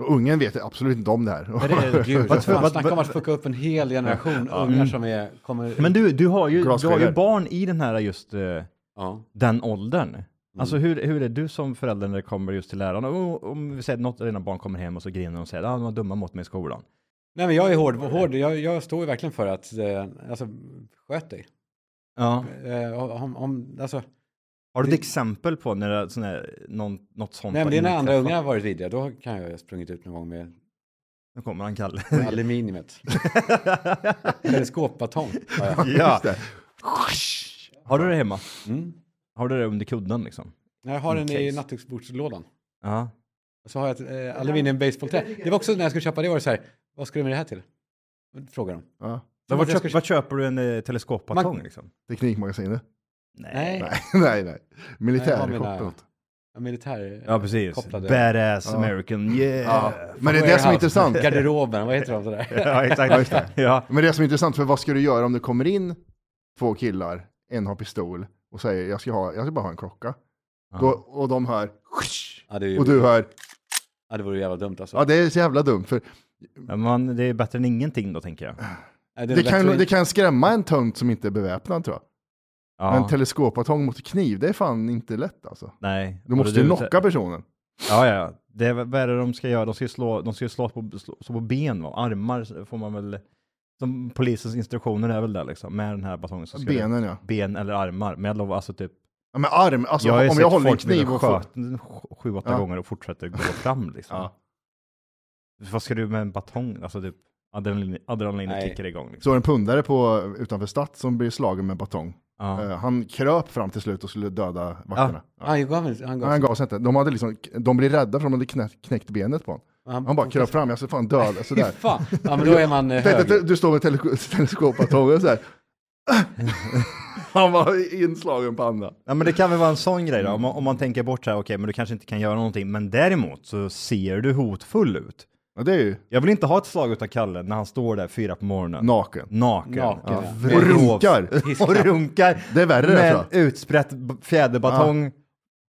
[SPEAKER 1] Och ungen vet absolut inte om
[SPEAKER 3] <laughs>
[SPEAKER 1] det här.
[SPEAKER 3] Men
[SPEAKER 1] <laughs>
[SPEAKER 3] det är gud,
[SPEAKER 2] Vad-
[SPEAKER 3] fan,
[SPEAKER 2] vad- Mm.
[SPEAKER 3] snacka om att fucka upp en hel generation ungar som är, kommer...
[SPEAKER 2] Men du, du har ju, du har ju
[SPEAKER 1] Glasskivor.
[SPEAKER 2] barn i den här just eh,
[SPEAKER 3] ja.
[SPEAKER 2] den åldern.
[SPEAKER 3] Mm.
[SPEAKER 2] Alltså hur, hur är du som förälder när det kommer just till lärarna? Och Om vi säger att något av dina barn kommer hem och så griner de och säger att ah, de var dumma mot mig i skolan.
[SPEAKER 3] Nej men jag är hård, hård. Jag, jag står ju verkligen för att, eh, alltså, sköt dig.
[SPEAKER 2] Ja.
[SPEAKER 3] Eh, om, om, alltså,
[SPEAKER 2] Har du ett exempel på när det, sån här, någon, något sånt?
[SPEAKER 3] nej men
[SPEAKER 2] har
[SPEAKER 3] det är när andra
[SPEAKER 2] inträffat?
[SPEAKER 3] ungar har varit vidriga, då kan jag ju ha sprungit ut någon gång med
[SPEAKER 2] Nu kommer han,
[SPEAKER 3] <laughs>
[SPEAKER 2] Kalle.
[SPEAKER 1] <laughs>
[SPEAKER 3] med aluminiumet. Teleskopbatong har jag.
[SPEAKER 2] ja.
[SPEAKER 1] det.
[SPEAKER 2] Har du det hemma?
[SPEAKER 3] Mm.
[SPEAKER 2] Har du det under kudden liksom?
[SPEAKER 3] Jag har den i
[SPEAKER 2] Case.
[SPEAKER 3] nattduksbordslådan.
[SPEAKER 2] Ja.
[SPEAKER 3] Och Så har jag ett eh, aluminium baseballträ. Det var också när jag skulle köpa det, var det så här, vad ska du med det här till? Frågar de.
[SPEAKER 1] Ja,
[SPEAKER 2] Men
[SPEAKER 3] Som
[SPEAKER 2] vad,
[SPEAKER 3] att jag
[SPEAKER 2] köp,
[SPEAKER 3] ska-
[SPEAKER 2] vad köper du en eh, teleskopbatong
[SPEAKER 3] Man-
[SPEAKER 2] liksom?
[SPEAKER 1] Teknikmagasinet. <laughs>
[SPEAKER 3] Nej,
[SPEAKER 1] Nej, nej, nej.
[SPEAKER 3] Nej, jag
[SPEAKER 1] Militärkortet.
[SPEAKER 3] menar- militär...
[SPEAKER 2] Ja, precis.
[SPEAKER 3] Kopplade.
[SPEAKER 2] Badass American, yeah!
[SPEAKER 1] Ja. Men det är det som är
[SPEAKER 3] <laughs>
[SPEAKER 1] intressant.
[SPEAKER 3] Garderoben, vad heter de så där?
[SPEAKER 2] <laughs> Ja,
[SPEAKER 1] Ja, just
[SPEAKER 2] exakt.
[SPEAKER 1] det.
[SPEAKER 2] Ja.
[SPEAKER 1] Men det som är intressant, för vad ska du göra om det kommer in två killar, en har pistol och säger jag ska, ha, jag ska bara ha en klocka.
[SPEAKER 2] Ja.
[SPEAKER 1] Då, och de hör
[SPEAKER 3] Ja, det, är ju,
[SPEAKER 1] och du hör,
[SPEAKER 3] ja, det vore ju jävla dumt alltså.
[SPEAKER 1] ja det är så jävla dumt. För
[SPEAKER 2] Men man, det är bättre än ingenting då, tänker jag.
[SPEAKER 3] Nej, är
[SPEAKER 1] det,
[SPEAKER 3] bättre
[SPEAKER 1] kan,
[SPEAKER 3] att-
[SPEAKER 1] det kan skrämma en tönt som inte är beväpnad tror jag. Men
[SPEAKER 2] Ja.
[SPEAKER 1] teleskopatong mot kniv, det är fan inte lätt alltså.
[SPEAKER 2] Nej.
[SPEAKER 1] Du måste
[SPEAKER 2] Och det-
[SPEAKER 1] ju knocka personen.
[SPEAKER 2] Ja, ja, ja. Det är, vad är det de ska göra? De ska ju slå, de ska ju slå, på, slå, slå på ben, va? Armar får man väl... Som polisens instruktioner är väl där liksom, med den här batongen så ska
[SPEAKER 1] Benen ja.
[SPEAKER 2] Du, ben eller armar. Men jag lovar, alltså typ...
[SPEAKER 1] ja men arm, alltså
[SPEAKER 2] jag har ju
[SPEAKER 1] om
[SPEAKER 2] sett
[SPEAKER 1] jag håller en
[SPEAKER 2] folk bli
[SPEAKER 1] kniv och får...
[SPEAKER 2] skjuten sju, åtta
[SPEAKER 1] Ja.
[SPEAKER 2] gånger och fortsätter gå fram liksom.
[SPEAKER 1] Ja.
[SPEAKER 2] Vad ska du med en batong? Alltså typ, adrenalin, adrenalin
[SPEAKER 3] Nej.
[SPEAKER 2] kickar igång liksom.
[SPEAKER 1] Så var det en pundare på, utanför Statt som blir slagen med batong.
[SPEAKER 2] Ja.
[SPEAKER 1] Eh, Han kröp fram till slut och skulle döda vakterna. Ja.
[SPEAKER 3] Han gav väl- han gav
[SPEAKER 1] Han
[SPEAKER 3] sig.
[SPEAKER 1] gav sig inte. De, hade liksom, de blev rädda för de hade knä, knäckt benet på honom. Han bara kröp fram, jag ska fan
[SPEAKER 2] <laughs>
[SPEAKER 1] döda sådär.
[SPEAKER 3] Fan, ja men då är man eh,
[SPEAKER 1] Tänk
[SPEAKER 3] hög.
[SPEAKER 1] att du- du står med <laughs> tele- teleskopatången
[SPEAKER 2] <laughs>
[SPEAKER 1] såhär. Han var inslagen panna.
[SPEAKER 2] Ja men det kan väl vara en sån grej då, om man, om man tänker bort så här, okej men du kanske inte kan göra någonting, men däremot så ser du hotfull ut.
[SPEAKER 1] Ja, det är ju
[SPEAKER 2] Jag vill inte ha ett slag utav Kalle när han står där fyra på morgonen.
[SPEAKER 1] naken.
[SPEAKER 2] Naken.
[SPEAKER 3] Naken,
[SPEAKER 2] Ja.
[SPEAKER 3] ja.
[SPEAKER 2] Vrov.
[SPEAKER 1] Och runkar.
[SPEAKER 2] <laughs> Och runkar.
[SPEAKER 1] Det är värre det,
[SPEAKER 2] Med
[SPEAKER 1] tror
[SPEAKER 2] en utsprätt b- fjäderbatong.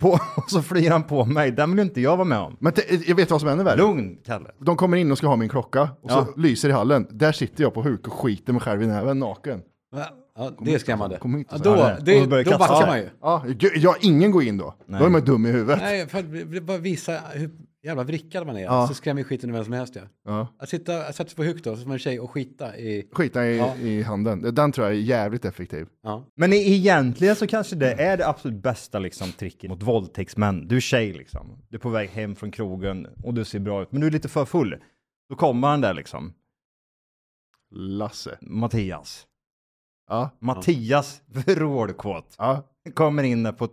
[SPEAKER 2] På, <laughs> och så flyr han på mig. Den vill inte jag vara med om.
[SPEAKER 1] Men te- jag vet vad som är ännu värre.
[SPEAKER 2] Lugn Kalle.
[SPEAKER 1] De kommer in och ska ha min klocka och så
[SPEAKER 2] Ja.
[SPEAKER 1] lyser i hallen. Där sitter jag på huk och skiter mig själv i näven naken.
[SPEAKER 3] Va? Ja, det är skrämmande.
[SPEAKER 1] Kom hit
[SPEAKER 3] Ja,
[SPEAKER 1] och
[SPEAKER 3] då,
[SPEAKER 1] så
[SPEAKER 2] här. Och
[SPEAKER 3] det,
[SPEAKER 2] så börjar
[SPEAKER 3] då
[SPEAKER 2] kasta
[SPEAKER 3] backar
[SPEAKER 2] sig.
[SPEAKER 3] man ju.
[SPEAKER 1] Ja, gud, ja, ingen går in då. Då är man dum i huvudet.
[SPEAKER 3] Nej, för att vi- vi bara visa hur jävla vrickad man är.
[SPEAKER 1] Ja.
[SPEAKER 3] Så skrämmer ju skiten ur vem som helst. Ja.
[SPEAKER 1] Ja.
[SPEAKER 3] Att sitta, att sätta sig på huk då, som en tjej, och skita i...
[SPEAKER 1] Skita i,
[SPEAKER 3] Ja.
[SPEAKER 1] i handen. Den tror jag är jävligt effektiv.
[SPEAKER 3] Ja.
[SPEAKER 2] Men e- egentligen så kanske det är det absolut bästa liksom, tricket mot våldtäktsmän. Du är tjej liksom. Du är på väg hem från krogen och du ser bra ut, men du är lite för full. Då kommer han där liksom.
[SPEAKER 1] Lasse.
[SPEAKER 2] Mattias.
[SPEAKER 1] Ja.
[SPEAKER 2] Mattias, vrålkåt.
[SPEAKER 1] Ja.
[SPEAKER 2] Kommer in där på...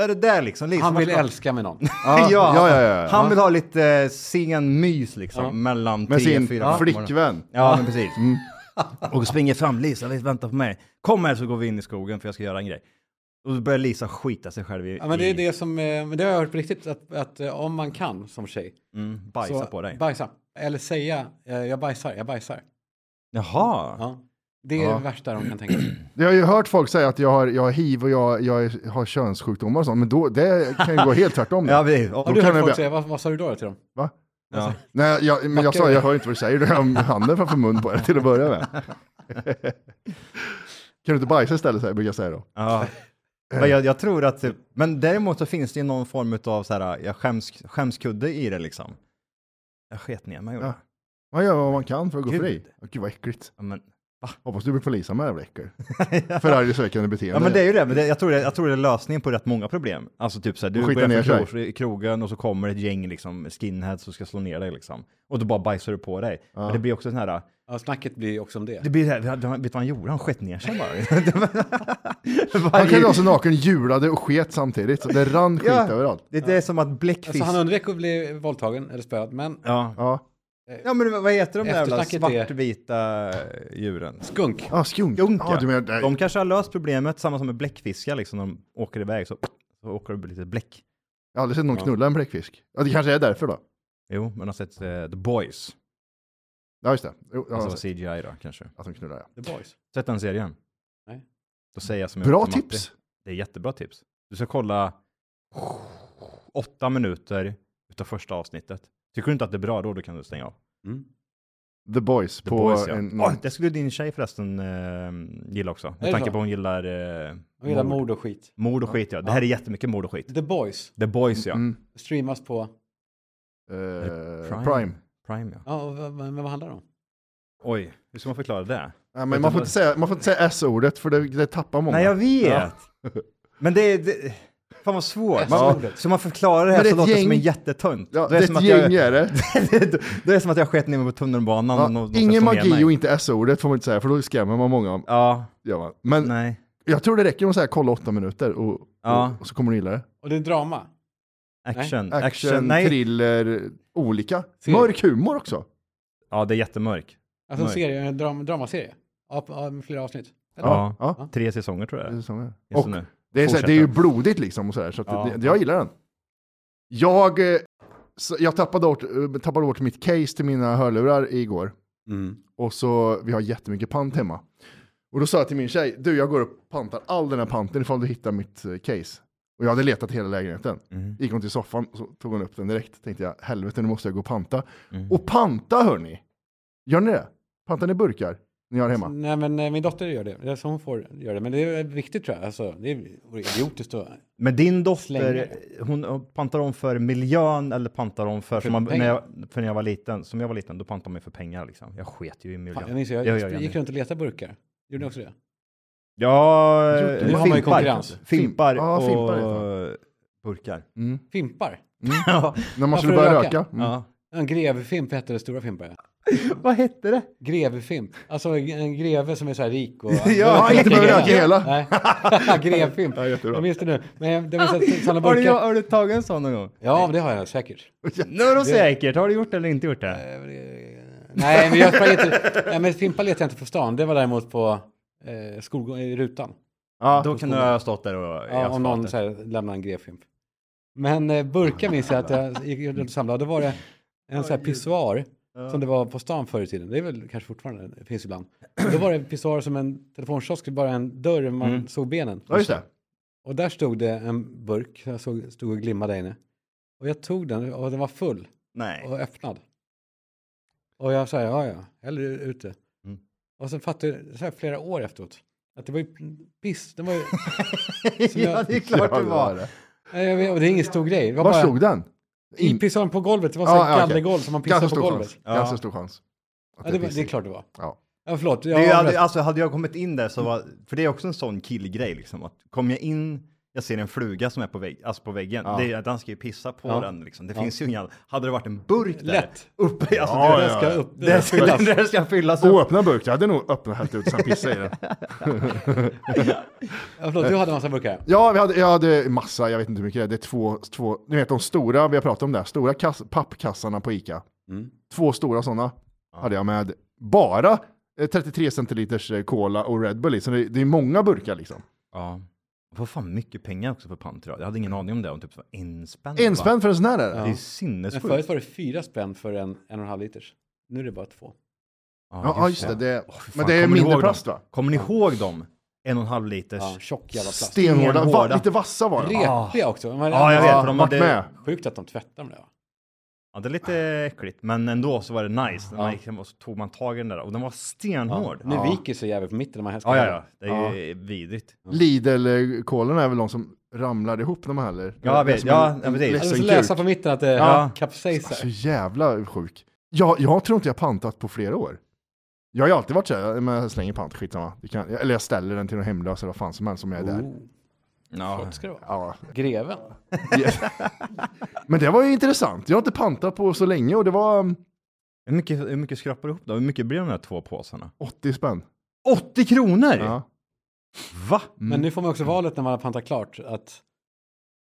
[SPEAKER 2] Är det där liksom? liksom
[SPEAKER 3] Han vill
[SPEAKER 2] ska-
[SPEAKER 3] älska med någon.
[SPEAKER 1] Ja,
[SPEAKER 2] ja,
[SPEAKER 1] ja, ja, ja, ja.
[SPEAKER 2] Han vill ha lite eh, sen mys liksom,
[SPEAKER 3] Ja.
[SPEAKER 2] mellan
[SPEAKER 1] Med
[SPEAKER 2] tre,
[SPEAKER 1] sin
[SPEAKER 2] fyra fem på morgonen.
[SPEAKER 1] flickvän. Mm.
[SPEAKER 2] Ja, men precis. Och springer fram, Lisa, vänta på mig. Kom här så går vi in i skogen för jag ska göra en grej. Och då börjar Lisa skita sig själv i,
[SPEAKER 3] Ja, men det
[SPEAKER 2] i
[SPEAKER 3] är det som, eh, men det har jag hört på riktigt, att, att eh, om man kan som tjej.
[SPEAKER 2] mm, bajsa
[SPEAKER 3] så
[SPEAKER 2] på dig.
[SPEAKER 3] Bajsa. Eller säga, eh, jag bajsar, jag bajsar.
[SPEAKER 2] Jaha.
[SPEAKER 3] Ja. Det är
[SPEAKER 1] Ja.
[SPEAKER 3] det värsta de kan
[SPEAKER 1] <clears throat>
[SPEAKER 3] tänka sig.
[SPEAKER 1] Jag har ju hört folk säga att jag har, jag har hiv och jag, jag är- har könssjukdomar och sånt, men då, det kan ju gå helt tvärtom.
[SPEAKER 2] <laughs> Ja,
[SPEAKER 1] ja.
[SPEAKER 2] precis.
[SPEAKER 3] Har
[SPEAKER 2] Och,
[SPEAKER 1] Då
[SPEAKER 3] du
[SPEAKER 1] kan
[SPEAKER 3] hört
[SPEAKER 1] jag
[SPEAKER 3] folk
[SPEAKER 1] börja-
[SPEAKER 3] säga, vad, vad sa du då till dem?
[SPEAKER 1] Va?
[SPEAKER 2] ja.
[SPEAKER 1] Nej, jag, men jag sa, jag hör inte vad du säger, du har handen framför mun på dig till att börja med.
[SPEAKER 2] <laughs>
[SPEAKER 1] Kan du inte bajsa istället, så här, brukar jag säga då.
[SPEAKER 2] Ja. Men jag, jag tror att, typ- men däremot så finns det ju någon form av så här, jag skäms, skämskudde i det liksom. Jag sket ner mig. gjorde jag.
[SPEAKER 1] Ja. Man gör vad man kan för att gå
[SPEAKER 2] Gud.
[SPEAKER 1] fri. Åh, Gud vad äckligt.
[SPEAKER 2] Ja, men,
[SPEAKER 1] Hoppas du blir polisanmäld jävla
[SPEAKER 2] <laughs>
[SPEAKER 1] äckel. Förargelseväckande beteende.
[SPEAKER 2] ja, men det är ju det, men det, jag, tror det, jag tror det är lösningen på rätt många problem. Alltså typ så här,
[SPEAKER 1] Och
[SPEAKER 2] du
[SPEAKER 1] skita
[SPEAKER 2] börjar
[SPEAKER 1] ner sig.
[SPEAKER 2] förkro- i krogen och så kommer ett gäng liksom skinheads som ska slå ner dig liksom. Och då bara bajsar du på dig. Men det blir också sån här,
[SPEAKER 3] Ja, snacket blir också om det.
[SPEAKER 2] det blir det här, vet du vad han gjorde? Han sket
[SPEAKER 1] <laughs>
[SPEAKER 2] ner sig bara.
[SPEAKER 1] Han kan ju vara så naken, julade och sket samtidigt. Så det rann skit
[SPEAKER 2] Ja.
[SPEAKER 1] överallt.
[SPEAKER 2] det, det är som att bläckfisk...
[SPEAKER 3] Alltså han undvek att bli våldtagen eller spöad, men
[SPEAKER 2] ja.
[SPEAKER 1] Ja,
[SPEAKER 2] ja, men vad heter de där jävla
[SPEAKER 3] Eftersnacket är-
[SPEAKER 2] svartvita djuren?
[SPEAKER 3] skunk.
[SPEAKER 1] ah, skunk.
[SPEAKER 2] Skunk,
[SPEAKER 1] ah,
[SPEAKER 2] ja.
[SPEAKER 1] du menar, nej.
[SPEAKER 2] De kanske har löst problemet, samma som med bläckfiskar liksom, när de åker iväg så, så åker det lite bläck.
[SPEAKER 1] Jag har aldrig sett någon knulla en bläckfisk. Ja, det kanske är därför då.
[SPEAKER 2] Jo, men de har sett eh, The Boys,
[SPEAKER 1] Ja, just det. Jo, jag har
[SPEAKER 2] alltså
[SPEAKER 1] sett
[SPEAKER 2] CGI då kanske.
[SPEAKER 1] att de knullar, ja.
[SPEAKER 3] The boys.
[SPEAKER 2] Sett den serien?
[SPEAKER 3] Nej.
[SPEAKER 2] Då säger jag som jag
[SPEAKER 1] Bra
[SPEAKER 2] gjorde till
[SPEAKER 1] tips!
[SPEAKER 2] Matti. Det är jättebra tips. Du ska kolla åtta minuter utav första avsnittet. Tycker du inte att det är bra då, då kan du stänga av.
[SPEAKER 3] Mm.
[SPEAKER 1] The Boys
[SPEAKER 2] The
[SPEAKER 1] på
[SPEAKER 2] Boys, ja.
[SPEAKER 1] en...
[SPEAKER 2] Åh, det skulle din tjej förresten eh, gilla också.
[SPEAKER 3] Är det
[SPEAKER 2] Med tanke
[SPEAKER 3] så?
[SPEAKER 2] på att hon gillar eh,
[SPEAKER 3] Jag gillar mord och skit.
[SPEAKER 2] mord och skit ja. Det här är jättemycket mord och skit.
[SPEAKER 3] The Boys
[SPEAKER 2] The Boys ja.
[SPEAKER 1] Mm,
[SPEAKER 3] streamas på...
[SPEAKER 1] eh,
[SPEAKER 2] Prime.
[SPEAKER 1] Prime.
[SPEAKER 2] Prime ja.
[SPEAKER 3] Ja, och vad- men vad handlar det om?
[SPEAKER 2] Oj, hur ska man förklara det?
[SPEAKER 1] Ja, men man får, inte säga, man får inte säga S-ordet för det, det tappar många.
[SPEAKER 2] Nej, jag vet.
[SPEAKER 1] Ja.
[SPEAKER 2] <laughs> Men det är... Det, fan vad svårt.
[SPEAKER 3] Ja.
[SPEAKER 2] Så man förklarar det här
[SPEAKER 1] Men det är
[SPEAKER 2] så
[SPEAKER 1] ett
[SPEAKER 2] låter det som en
[SPEAKER 1] gäng.
[SPEAKER 2] jättetönt.
[SPEAKER 1] Ja,
[SPEAKER 2] Då
[SPEAKER 1] det
[SPEAKER 2] är
[SPEAKER 1] är
[SPEAKER 2] som
[SPEAKER 1] ett
[SPEAKER 2] att
[SPEAKER 1] gäng
[SPEAKER 2] jag-
[SPEAKER 1] är det.
[SPEAKER 2] Då är <laughs> det som att jag sket ner mig på tunnelbanan. och
[SPEAKER 1] Ja,
[SPEAKER 2] någon ska
[SPEAKER 1] ingen
[SPEAKER 2] slå ner
[SPEAKER 1] magi
[SPEAKER 2] mig.
[SPEAKER 1] och inte S-ordet får man inte säga för då skrämmer man många.
[SPEAKER 2] Ja,
[SPEAKER 1] Gör man. Men
[SPEAKER 2] nej.
[SPEAKER 1] jag tror det räcker med att säga kolla åtta minuter och,
[SPEAKER 2] Ja.
[SPEAKER 1] och, och så kommer du gilla det.
[SPEAKER 3] Och det är drama.
[SPEAKER 1] Action,
[SPEAKER 2] Action. Action. Nej.
[SPEAKER 1] thriller, olika.
[SPEAKER 3] Serie.
[SPEAKER 1] Mörk humor också.
[SPEAKER 2] Ja, det är jättemörk.
[SPEAKER 3] Alltså en
[SPEAKER 2] Nej.
[SPEAKER 3] serie, en dram, dramaserie. Ja, på- ja, med flera avsnitt. Eller?
[SPEAKER 2] Ja.
[SPEAKER 1] ja.
[SPEAKER 2] Tre säsonger tror jag
[SPEAKER 1] Det
[SPEAKER 2] det
[SPEAKER 1] är
[SPEAKER 2] är.
[SPEAKER 1] så här.
[SPEAKER 2] just
[SPEAKER 1] Och
[SPEAKER 2] nu.
[SPEAKER 1] det är, så här,
[SPEAKER 2] Fortsätter.
[SPEAKER 1] det är ju blodigt liksom och sådär, så att
[SPEAKER 2] Ja.
[SPEAKER 1] det, jag gillar den. Jag, eh, så, jag tappade, bort, eh, tappade bort mitt case till mina hörlurar igår.
[SPEAKER 3] Mm.
[SPEAKER 1] Och så, vi har jättemycket pant hemma. Och då sa jag till min tjej, du jag går och pantar all den här panten ifall du hittar mitt eh, case. Och jag hade letat hela lägenheten.
[SPEAKER 2] Mm.
[SPEAKER 1] Gick hon till soffan och så tog hon upp den direkt. Tänkte jag, helvete nu måste jag gå och panta.
[SPEAKER 2] Mm.
[SPEAKER 1] Och panta hörni! Gör ni det? Pantar ni burkar? Ni har hemma?
[SPEAKER 3] Nej, men eh, min dotter gör det. det är så hon får göra det. Men det är viktigt tror jag. Alltså, det vore idiotiskt att...
[SPEAKER 2] Men din dotter,
[SPEAKER 3] Slänger.
[SPEAKER 2] hon eh, pantar om för miljön eller pantar om för... för, man,
[SPEAKER 3] pengar.
[SPEAKER 2] när jag, för när jag var liten, som jag var liten, då pantade man ju för pengar liksom. Jag sket ju i
[SPEAKER 3] Fan,
[SPEAKER 2] miljön.
[SPEAKER 3] jag minns, jag,
[SPEAKER 2] Ja, ja,
[SPEAKER 3] jag
[SPEAKER 2] ja,
[SPEAKER 3] gick
[SPEAKER 2] ja.
[SPEAKER 3] runt och letade burkar. Gjorde ni också det?
[SPEAKER 2] Ja,
[SPEAKER 1] Jo,
[SPEAKER 2] eh,
[SPEAKER 1] nu har man
[SPEAKER 3] ju
[SPEAKER 2] fimpar.
[SPEAKER 3] konkurrens.
[SPEAKER 2] Fimpar
[SPEAKER 1] Ja,
[SPEAKER 2] och
[SPEAKER 1] fimpar heter
[SPEAKER 2] burkar.
[SPEAKER 1] Mm.
[SPEAKER 3] Fimpar.
[SPEAKER 2] Ja.
[SPEAKER 1] När man skulle
[SPEAKER 3] för att
[SPEAKER 1] börja
[SPEAKER 3] röka?
[SPEAKER 1] röka? Mm.
[SPEAKER 2] Ja.
[SPEAKER 3] En grevefimp hette det, stora fimpar. ja.
[SPEAKER 2] Vad hette det?
[SPEAKER 3] Grevefimp. Alltså en greve som är så här
[SPEAKER 2] <laughs>
[SPEAKER 3] rik och...
[SPEAKER 1] Ja, inte
[SPEAKER 3] <laughs>
[SPEAKER 1] behöver röka hela.
[SPEAKER 3] Nej, grevfimp.
[SPEAKER 1] Ja, jättebra.
[SPEAKER 3] Jag minns det nu. Men jag, jag minns att sådana
[SPEAKER 2] Har du,
[SPEAKER 3] burkar...
[SPEAKER 2] har du tagit en sån någon gång?
[SPEAKER 3] Ja, men det har jag säkert.
[SPEAKER 2] Nu är det säkert. Har du gjort det eller inte gjort det?
[SPEAKER 3] Eh, det- Nej, men jag sprang inte... Nej, men fimpar letade jag inte på stan. Det var däremot på eh, skolgång- i rutan.
[SPEAKER 1] Ja.
[SPEAKER 2] Då kan du ha stått där och...
[SPEAKER 3] Ja, om någon så
[SPEAKER 2] säger...
[SPEAKER 3] här, lämnar en grevfimp. Men eh, burkar minns jag att jag gick runt och samlade. Då var det en sån här pissoar som det var på stan förr i tiden. Det är väl kanske fortfarande, det finns ibland. Då var det en pissoar som en telefonkiosk, bara en dörr man
[SPEAKER 2] Mm.
[SPEAKER 3] såg benen.
[SPEAKER 1] ja, just det.
[SPEAKER 3] Och där stod det en burk, jag såg, stod och glimmade där inne. Och jag tog den och den var full
[SPEAKER 2] Nej.
[SPEAKER 3] och öppnad. Och jag sa, ja ja, häller ut det.
[SPEAKER 2] Mm.
[SPEAKER 3] Och sen fattade jag så här, flera år efteråt att det var ju piss, den var ju...
[SPEAKER 2] <laughs>
[SPEAKER 3] som
[SPEAKER 2] ja,
[SPEAKER 3] jag-
[SPEAKER 2] det är klart
[SPEAKER 1] Ja,
[SPEAKER 2] det var.
[SPEAKER 1] det.
[SPEAKER 3] Nej, jag vet, och det är ingen stor grej. Det var
[SPEAKER 1] Var
[SPEAKER 3] bara-
[SPEAKER 1] stod den?
[SPEAKER 3] I
[SPEAKER 1] In-
[SPEAKER 3] pissade på golvet, det var så
[SPEAKER 1] Ja,
[SPEAKER 3] här
[SPEAKER 1] ja, okej.
[SPEAKER 3] gallergolv som man
[SPEAKER 1] Ganska
[SPEAKER 3] pissade på
[SPEAKER 1] stor
[SPEAKER 3] golvet.
[SPEAKER 1] chans. Ganska
[SPEAKER 2] Ja.
[SPEAKER 1] stor chans. Att
[SPEAKER 3] Ja, det, var,
[SPEAKER 1] pissigt.
[SPEAKER 3] det är klart det var.
[SPEAKER 1] Ja.
[SPEAKER 3] Ja, förlåt. Jag
[SPEAKER 2] Det är ju
[SPEAKER 3] har
[SPEAKER 2] aldrig,
[SPEAKER 3] rätt.
[SPEAKER 2] alltså hade jag kommit in där så var, för det är också en sån killgrej liksom, att kom jag in, jag ser en fluga som är på, vägg, alltså på väggen,
[SPEAKER 1] Ja.
[SPEAKER 2] det är att han ska ju pissa på
[SPEAKER 3] Ja.
[SPEAKER 2] den liksom. Det finns ju inga, hade det varit en burk där,
[SPEAKER 3] Lätt.
[SPEAKER 2] uppe, alltså
[SPEAKER 1] Ja,
[SPEAKER 2] det,
[SPEAKER 1] ja,
[SPEAKER 3] Den ska upp. Den
[SPEAKER 2] Det,
[SPEAKER 3] ska fyllas.
[SPEAKER 2] <laughs> det ska fyllas upp.
[SPEAKER 1] Oöppnad burk, jag hade nog öppnat hällt ut sen pissat i den.
[SPEAKER 3] Ja, förlåt, du hade en massa burkar.
[SPEAKER 1] Ja, vi hade, jag hade massa, jag vet inte hur mycket det är. Det är två, två ni vet de stora, vi har pratat om det, här, stora kass, pappkassarna på Ica.
[SPEAKER 3] Mm.
[SPEAKER 1] Två stora sådana hade jag med bara eh, 33 centiliters eh, cola och Red Bull i. Så det, det är många burkar liksom.
[SPEAKER 2] Ja. Vad fan mycket pengar också för pant idag. Jag hade ingen aning om det, om typ så en spänn.
[SPEAKER 1] En
[SPEAKER 2] va?
[SPEAKER 1] spänn för en sån här är det.
[SPEAKER 2] Det är
[SPEAKER 1] Mm. Ja.
[SPEAKER 3] Men
[SPEAKER 2] sinnessjukt.
[SPEAKER 3] förut var det fyra spänn för en en och en halv liters. Nu är det bara två.
[SPEAKER 1] Ja, just det. det
[SPEAKER 2] Åh, fy fan,
[SPEAKER 1] men det är
[SPEAKER 2] kommer ni
[SPEAKER 1] mindre
[SPEAKER 2] ihåg dem?
[SPEAKER 1] plast va?
[SPEAKER 2] Kommer ni ihåg dem? En och en halv liters.
[SPEAKER 3] Ja,
[SPEAKER 2] Ja,
[SPEAKER 3] tjock jävla plast.
[SPEAKER 1] Stenhårda, va,
[SPEAKER 2] Stenhårda.
[SPEAKER 1] lite vassa var de.
[SPEAKER 3] Repiga också. De var-
[SPEAKER 2] jag vet. för de
[SPEAKER 1] varit
[SPEAKER 2] hade,
[SPEAKER 1] med.
[SPEAKER 3] Sjukt att de tvättar med det. va?
[SPEAKER 2] Ja, det är lite äckligt, men ändå så var det nice. När
[SPEAKER 3] Ja.
[SPEAKER 2] man gick hem och så tog man tag i den där och den var stenhård.
[SPEAKER 3] Nu
[SPEAKER 2] Ja,
[SPEAKER 3] viker sig jäveln på mitten när man
[SPEAKER 2] ja, ja. Det är ju vidrigt.
[SPEAKER 1] Lidl-kolorna eh, är väl de som ramlar ihop när man häller.
[SPEAKER 2] Ja, jag
[SPEAKER 1] Det är
[SPEAKER 2] vet.
[SPEAKER 1] som
[SPEAKER 2] Ja,
[SPEAKER 1] en-
[SPEAKER 2] ja,
[SPEAKER 1] en
[SPEAKER 2] precis. Alltså,
[SPEAKER 1] ledsen
[SPEAKER 3] Eller så
[SPEAKER 1] kuk.
[SPEAKER 3] läsa på mitten att eh, det
[SPEAKER 2] Ja.
[SPEAKER 3] kapsejsar.
[SPEAKER 1] Så jävla sjuk. Jag, jag tror inte jag pantat på flera år. Jag har ju alltid varit så här, men jag slänger pant, skitsamma. Det kan, eller jag ställer den till någon hemlös eller vad fan som helst som jag är där.
[SPEAKER 3] Oh,
[SPEAKER 2] Ja.
[SPEAKER 3] gott ska det vara.
[SPEAKER 2] Oh.
[SPEAKER 1] Ja.
[SPEAKER 3] Greven.
[SPEAKER 1] <laughs> Men det var ju intressant. Jag har inte pantat på så länge och det var um,
[SPEAKER 2] Hur mycket, hur mycket skrapar du ihop då? Hur mycket blir de här två påsarna?
[SPEAKER 1] 80 spänn.
[SPEAKER 2] 80 kronor!
[SPEAKER 1] Ja.
[SPEAKER 2] Va?
[SPEAKER 3] Men nu får man också valet när man har pantat klart att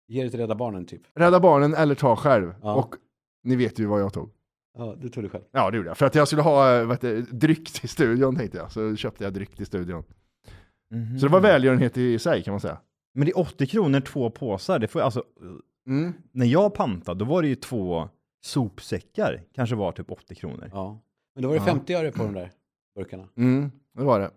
[SPEAKER 3] ge det till Rädda Barnen typ.
[SPEAKER 1] Rädda barnen eller ta själv.
[SPEAKER 3] Ja.
[SPEAKER 1] Och ni vet ju vad jag tog.
[SPEAKER 3] Ja, du tog det själv.
[SPEAKER 1] Ja, det gjorde jag. För att jag skulle ha eh, vet du, dryck till studion tänkte jag. Så köpte jag dryck till studion. Så det var
[SPEAKER 2] Mm.
[SPEAKER 1] välgörenhet i sig kan man säga.
[SPEAKER 2] Men det är 80 kronor, två påsar. Det får, alltså,
[SPEAKER 1] Mm.
[SPEAKER 2] när jag pantade, då var det ju två sopsäckar. Kanske var typ 80 kronor.
[SPEAKER 3] Ja. Men då var det
[SPEAKER 1] Ja.
[SPEAKER 3] 50 öre på de där burkarna.
[SPEAKER 1] Mm, det var det.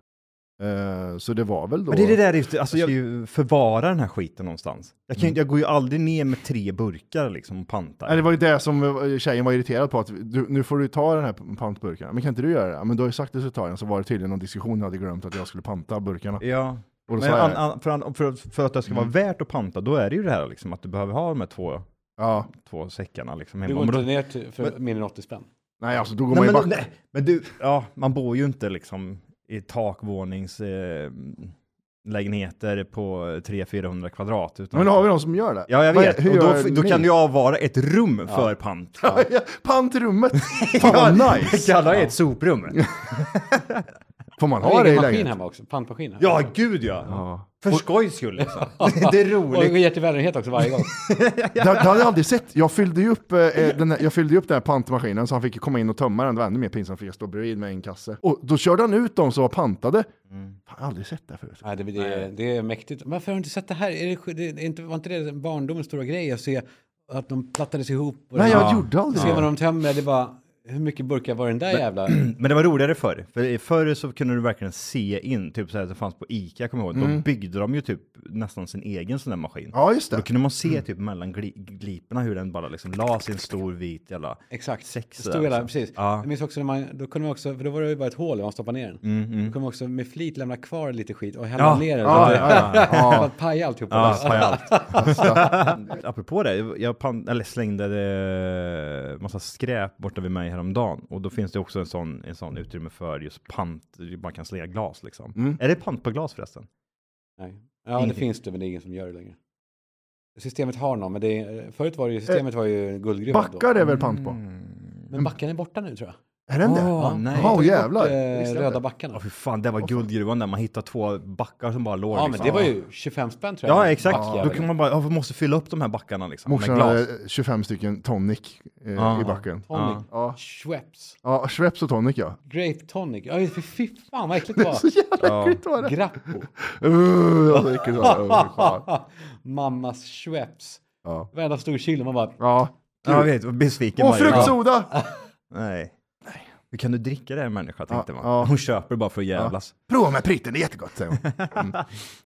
[SPEAKER 1] Eh, så det var väl då...
[SPEAKER 2] Men det är det där, ute, alltså jag ska ju förvara den här skiten någonstans. Jag, kan, ju- jag går ju aldrig ner med tre burkar liksom och pantar.
[SPEAKER 1] Nej, Mm. det var ju det som eh, tjejen var irriterad på, att du, nu får du ta den här p- pantburkarna. Men kan inte du göra det? "Ja, Men du har ju sagt att du ska ta den, så var det tydligen någon diskussion jag hade glömt att jag skulle panta burkarna.
[SPEAKER 2] Ja,
[SPEAKER 1] Och då
[SPEAKER 2] men
[SPEAKER 1] sa jag,
[SPEAKER 2] an, an, för, an, för, för att det ska vara
[SPEAKER 1] Mm.
[SPEAKER 2] värt att panta, då är det ju det här liksom att du behöver ha de här två,
[SPEAKER 1] ja,
[SPEAKER 2] två säckarna liksom
[SPEAKER 3] Du
[SPEAKER 2] hemma.
[SPEAKER 3] går
[SPEAKER 2] Men då-
[SPEAKER 3] inte ner till, för mindre än 80 spänn.
[SPEAKER 1] nej alltså då går
[SPEAKER 2] Nej,
[SPEAKER 1] man ju
[SPEAKER 2] men,
[SPEAKER 1] back.
[SPEAKER 2] nej, men du, ja, man bor ju inte liksom i takvånings eh, lägenheter på 300-400 kvadrat. Utan
[SPEAKER 1] Men då har vi någon som gör det.
[SPEAKER 2] Ja, jag
[SPEAKER 1] Vad-
[SPEAKER 2] vet.
[SPEAKER 1] hur
[SPEAKER 2] Och då,
[SPEAKER 1] gör
[SPEAKER 2] f- då
[SPEAKER 1] ni?
[SPEAKER 2] kan det ju avvara ett rum för pant.
[SPEAKER 1] <laughs> Ja, Pant i
[SPEAKER 2] <laughs>
[SPEAKER 1] rummet! Fan vad nice!
[SPEAKER 2] Kalla det ett soprum.
[SPEAKER 1] Får man
[SPEAKER 3] Jag
[SPEAKER 1] ha
[SPEAKER 3] har
[SPEAKER 1] det i
[SPEAKER 3] egen maskin
[SPEAKER 1] lägenheten?
[SPEAKER 3] hemma också, pantmaskin. Här.
[SPEAKER 2] Ja, gud ja.
[SPEAKER 1] Ja.
[SPEAKER 2] För skojs skull
[SPEAKER 1] <laughs>
[SPEAKER 2] liksom. Det är
[SPEAKER 3] Och
[SPEAKER 2] roligt.
[SPEAKER 3] jag ger till välgörenhet också varje gång.
[SPEAKER 1] Det, det hade jag aldrig sett. Jag fyllde ju
[SPEAKER 2] <laughs>
[SPEAKER 1] upp, eh, den, här, jag fyllde ju upp den här pantmaskinen så han fick ju komma in och tömma den. Det var ännu mer pinsamt för jag stod bredvid med en kasse. Och då körde han ut dem som var pantade.
[SPEAKER 2] Mm.
[SPEAKER 1] Fan, jag har aldrig sett det här förut.
[SPEAKER 3] Nej, det, det, det är mäktigt. Varför har du inte sett det här? Är det, det, är inte, var inte det barndomens stora grej att se att de plattades ihop? Och
[SPEAKER 1] Nej,
[SPEAKER 3] det-
[SPEAKER 1] jag gjorde aldrig
[SPEAKER 3] Ser man
[SPEAKER 1] det.
[SPEAKER 3] dem tömmer, det var hur mycket burkar var den
[SPEAKER 1] <clears throat>
[SPEAKER 3] där jävla...
[SPEAKER 2] Men det var roligare förr. För förr så kunde du verkligen se in, typ så här, det fanns på Ica, kommer jag ihåg. Då byggde de ju typ nästan sin egen sån där maskin.
[SPEAKER 1] Mm. Ja, Mm. just
[SPEAKER 2] Då
[SPEAKER 1] det.
[SPEAKER 2] kunde man se typ mellan gli gliporna hur den bara liksom la sin stor vit jävla...
[SPEAKER 3] Exakt.
[SPEAKER 2] Sex
[SPEAKER 3] Det stod
[SPEAKER 2] där,
[SPEAKER 3] hela,
[SPEAKER 1] alltså.
[SPEAKER 2] liksom.
[SPEAKER 3] precis.
[SPEAKER 2] Ja.
[SPEAKER 3] Jag minns också när man, då kunde man också, för då var det ju bara ett hål där man stoppade ner den. Då kunde man också med flit lämna kvar lite skit och hälla
[SPEAKER 2] Ja.
[SPEAKER 3] ner den.
[SPEAKER 1] Mm, Ja,
[SPEAKER 3] så att <laughs> det-
[SPEAKER 1] ja, ja, ja.
[SPEAKER 3] För att paja alltihopa.
[SPEAKER 2] Ja,
[SPEAKER 3] liksom.
[SPEAKER 2] paj allt. <laughs> Apropå det, jag pan- eller slängde eh, massa skräp borta vid mig häromdagen. Och då finns det också en sån, en sån utrymme för just pant, man kan slänga glas liksom.
[SPEAKER 1] Mm.
[SPEAKER 2] Är det pant på glas förresten?
[SPEAKER 3] Nej. Ja, det
[SPEAKER 2] Ingenting.
[SPEAKER 3] finns det, men det är ingen som gör det längre. Systemet har någon, men det är, förut var det ju, systemet var ju guldgruvan då.
[SPEAKER 1] Eh, Backar är väl pant på?
[SPEAKER 2] Mm.
[SPEAKER 3] Men backen är borta nu tror jag.
[SPEAKER 1] Är den det?
[SPEAKER 2] Åh, Ah, nej.
[SPEAKER 1] Jaha,
[SPEAKER 3] Tog
[SPEAKER 1] jävlar.
[SPEAKER 3] Bort, eh,
[SPEAKER 1] Visste jag
[SPEAKER 3] röda
[SPEAKER 1] inte.
[SPEAKER 2] Ja,
[SPEAKER 3] backarna.
[SPEAKER 2] fy fan, det var guldgruvan där. Man hittade två backar som bara låg.
[SPEAKER 3] Ja, men
[SPEAKER 2] liksom.
[SPEAKER 3] det var ju 25 spänn tror jag.
[SPEAKER 2] Ja, exakt.
[SPEAKER 3] Backjävel.
[SPEAKER 2] Då kan man bara, ja, vi måste fylla upp de här backarna liksom.
[SPEAKER 1] Morsan eh,
[SPEAKER 2] med glas.
[SPEAKER 1] hade 25 stycken tonic eh,
[SPEAKER 2] Ja.
[SPEAKER 1] i backen.
[SPEAKER 3] Tonic.
[SPEAKER 1] Ja.
[SPEAKER 3] Schweppes.
[SPEAKER 1] Ja, Schweppes och tonic ja.
[SPEAKER 3] Grape tonic. Ja, för fy fan vad äckligt
[SPEAKER 1] <laughs>
[SPEAKER 3] det var.
[SPEAKER 1] Så jävla äckligt var det.
[SPEAKER 3] Grappo.
[SPEAKER 1] Uh, vad äckligt var det. Uh, fan.
[SPEAKER 3] <laughs> Mammas Schweppes.
[SPEAKER 1] Ja.
[SPEAKER 3] Varenda stor kilo. Man bara,
[SPEAKER 1] Ja.
[SPEAKER 2] Ja, jag vet. vad Besviken
[SPEAKER 1] Och
[SPEAKER 2] varje gång.
[SPEAKER 1] fruktsoda!
[SPEAKER 2] Nej. Hur kan du dricka det här människa, tänkte
[SPEAKER 1] Ja,
[SPEAKER 2] man.
[SPEAKER 1] ja.
[SPEAKER 2] Hon köper bara för att jävlas.
[SPEAKER 1] Prova med pritten, det är jättegott säger hon.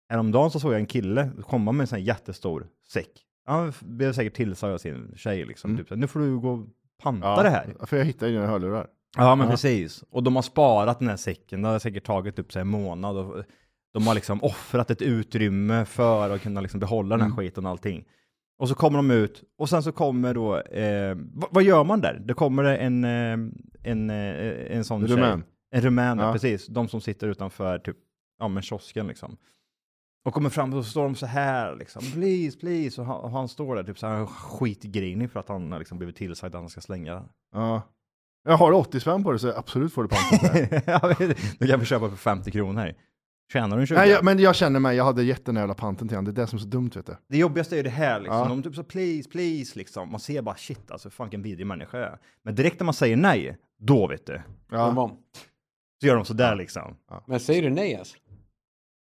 [SPEAKER 2] Häromdagen så såg jag en kille komma med en sån här jättestor säck. Han blev säkert tillsagd av sin tjej liksom. Typ så här, nu får du gå och panta det här.
[SPEAKER 1] För jag hittade ju dina hörlurar.
[SPEAKER 2] Ja, men precis. Och de har sparat den här säcken. Det har säkert tagit upp sig en månad. Och de har liksom offrat ett utrymme för att kunna liksom behålla den här skiten och allting. Och så kommer de ut och sen så kommer då, eh, vad, vad gör man där? Det kommer det en, eh, en, eh, en sån
[SPEAKER 1] Rumän.
[SPEAKER 2] tjej. En rumän, ja.
[SPEAKER 1] Ja.
[SPEAKER 2] precis. De som sitter utanför typ, ja men kiosken liksom. Och kommer fram och så står de så här liksom, please, please. Och han, och han står där typ så här skitgrinig för att han har liksom blivit tillsagd att han ska slänga den.
[SPEAKER 1] Ja. Jag har 80 spänn på det så absolut får du pant på det.
[SPEAKER 2] <laughs> Ja, men du kan få köpa för 50 kronor här. Tjänar du en 20?
[SPEAKER 1] Nej, jag, men jag känner mig, jag hade gett den här jävla panten till honom. Det är det som är så dumt vet du.
[SPEAKER 2] Det jobbigaste är ju det här liksom.
[SPEAKER 1] Ja.
[SPEAKER 2] De typ så please, please liksom. Man ser bara shit alltså, fan vilken vidrig människa jag är. Men direkt när man säger nej, då vet du.
[SPEAKER 1] Ja.
[SPEAKER 3] ja.
[SPEAKER 2] Så gör de sådär liksom.
[SPEAKER 3] men säger du nej alltså?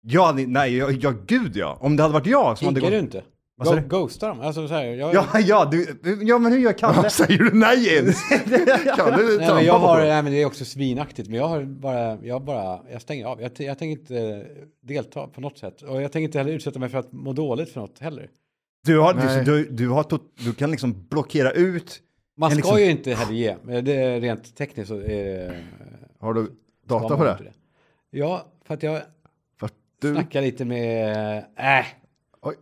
[SPEAKER 2] Ja, ni- nej, ja, ja gud ja. Om det hade varit jag som hade
[SPEAKER 3] Inkar du
[SPEAKER 2] gått...
[SPEAKER 3] inte?
[SPEAKER 2] Vad sa
[SPEAKER 3] Go-
[SPEAKER 2] du?
[SPEAKER 3] Ghostar dem? Alltså så här,
[SPEAKER 2] <laughs>
[SPEAKER 3] jag,
[SPEAKER 2] Ja, ja, du, ja, men hur gör Kalle?
[SPEAKER 1] Säger du nej ens? Kan du
[SPEAKER 3] nej, men
[SPEAKER 1] trampa
[SPEAKER 3] jag
[SPEAKER 1] på
[SPEAKER 3] har,
[SPEAKER 1] det?
[SPEAKER 3] nej, men det är också svinaktigt. Men jag har bara, jag bara, jag stänger av. Jag, t- jag tänker inte eh, delta på något sätt. Och jag tänker inte heller utsätta mig för att må dåligt för något heller.
[SPEAKER 2] <laughs> Du, har, du,
[SPEAKER 1] Nej.
[SPEAKER 2] du, du, har tot, du kan liksom blockera ut.
[SPEAKER 3] Man ska
[SPEAKER 2] En liksom-
[SPEAKER 3] ju inte heller ge. Men det är rent tekniskt så är det...
[SPEAKER 1] Har du
[SPEAKER 3] ska
[SPEAKER 1] data
[SPEAKER 3] man
[SPEAKER 1] på
[SPEAKER 3] inte
[SPEAKER 1] det?
[SPEAKER 3] Ja, för att jag
[SPEAKER 1] För att du...
[SPEAKER 3] snackar lite med... Äh,
[SPEAKER 1] Oj.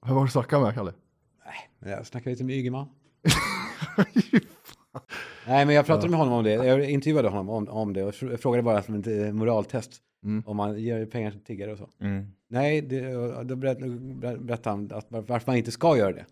[SPEAKER 1] Vad var du snackade med Kalle?
[SPEAKER 3] jag snackar lite med
[SPEAKER 1] <laughs>
[SPEAKER 3] Ygeman. Nej, men jag pratade med honom om det. Jag intervjuade honom om, om det och fr- frågade bara som ett eh, moraltest.
[SPEAKER 1] Mm.
[SPEAKER 3] Om man ger pengar till tiggare och så. Nej, det, och då berätt- ber- berättade han att var- varför man inte ska göra det.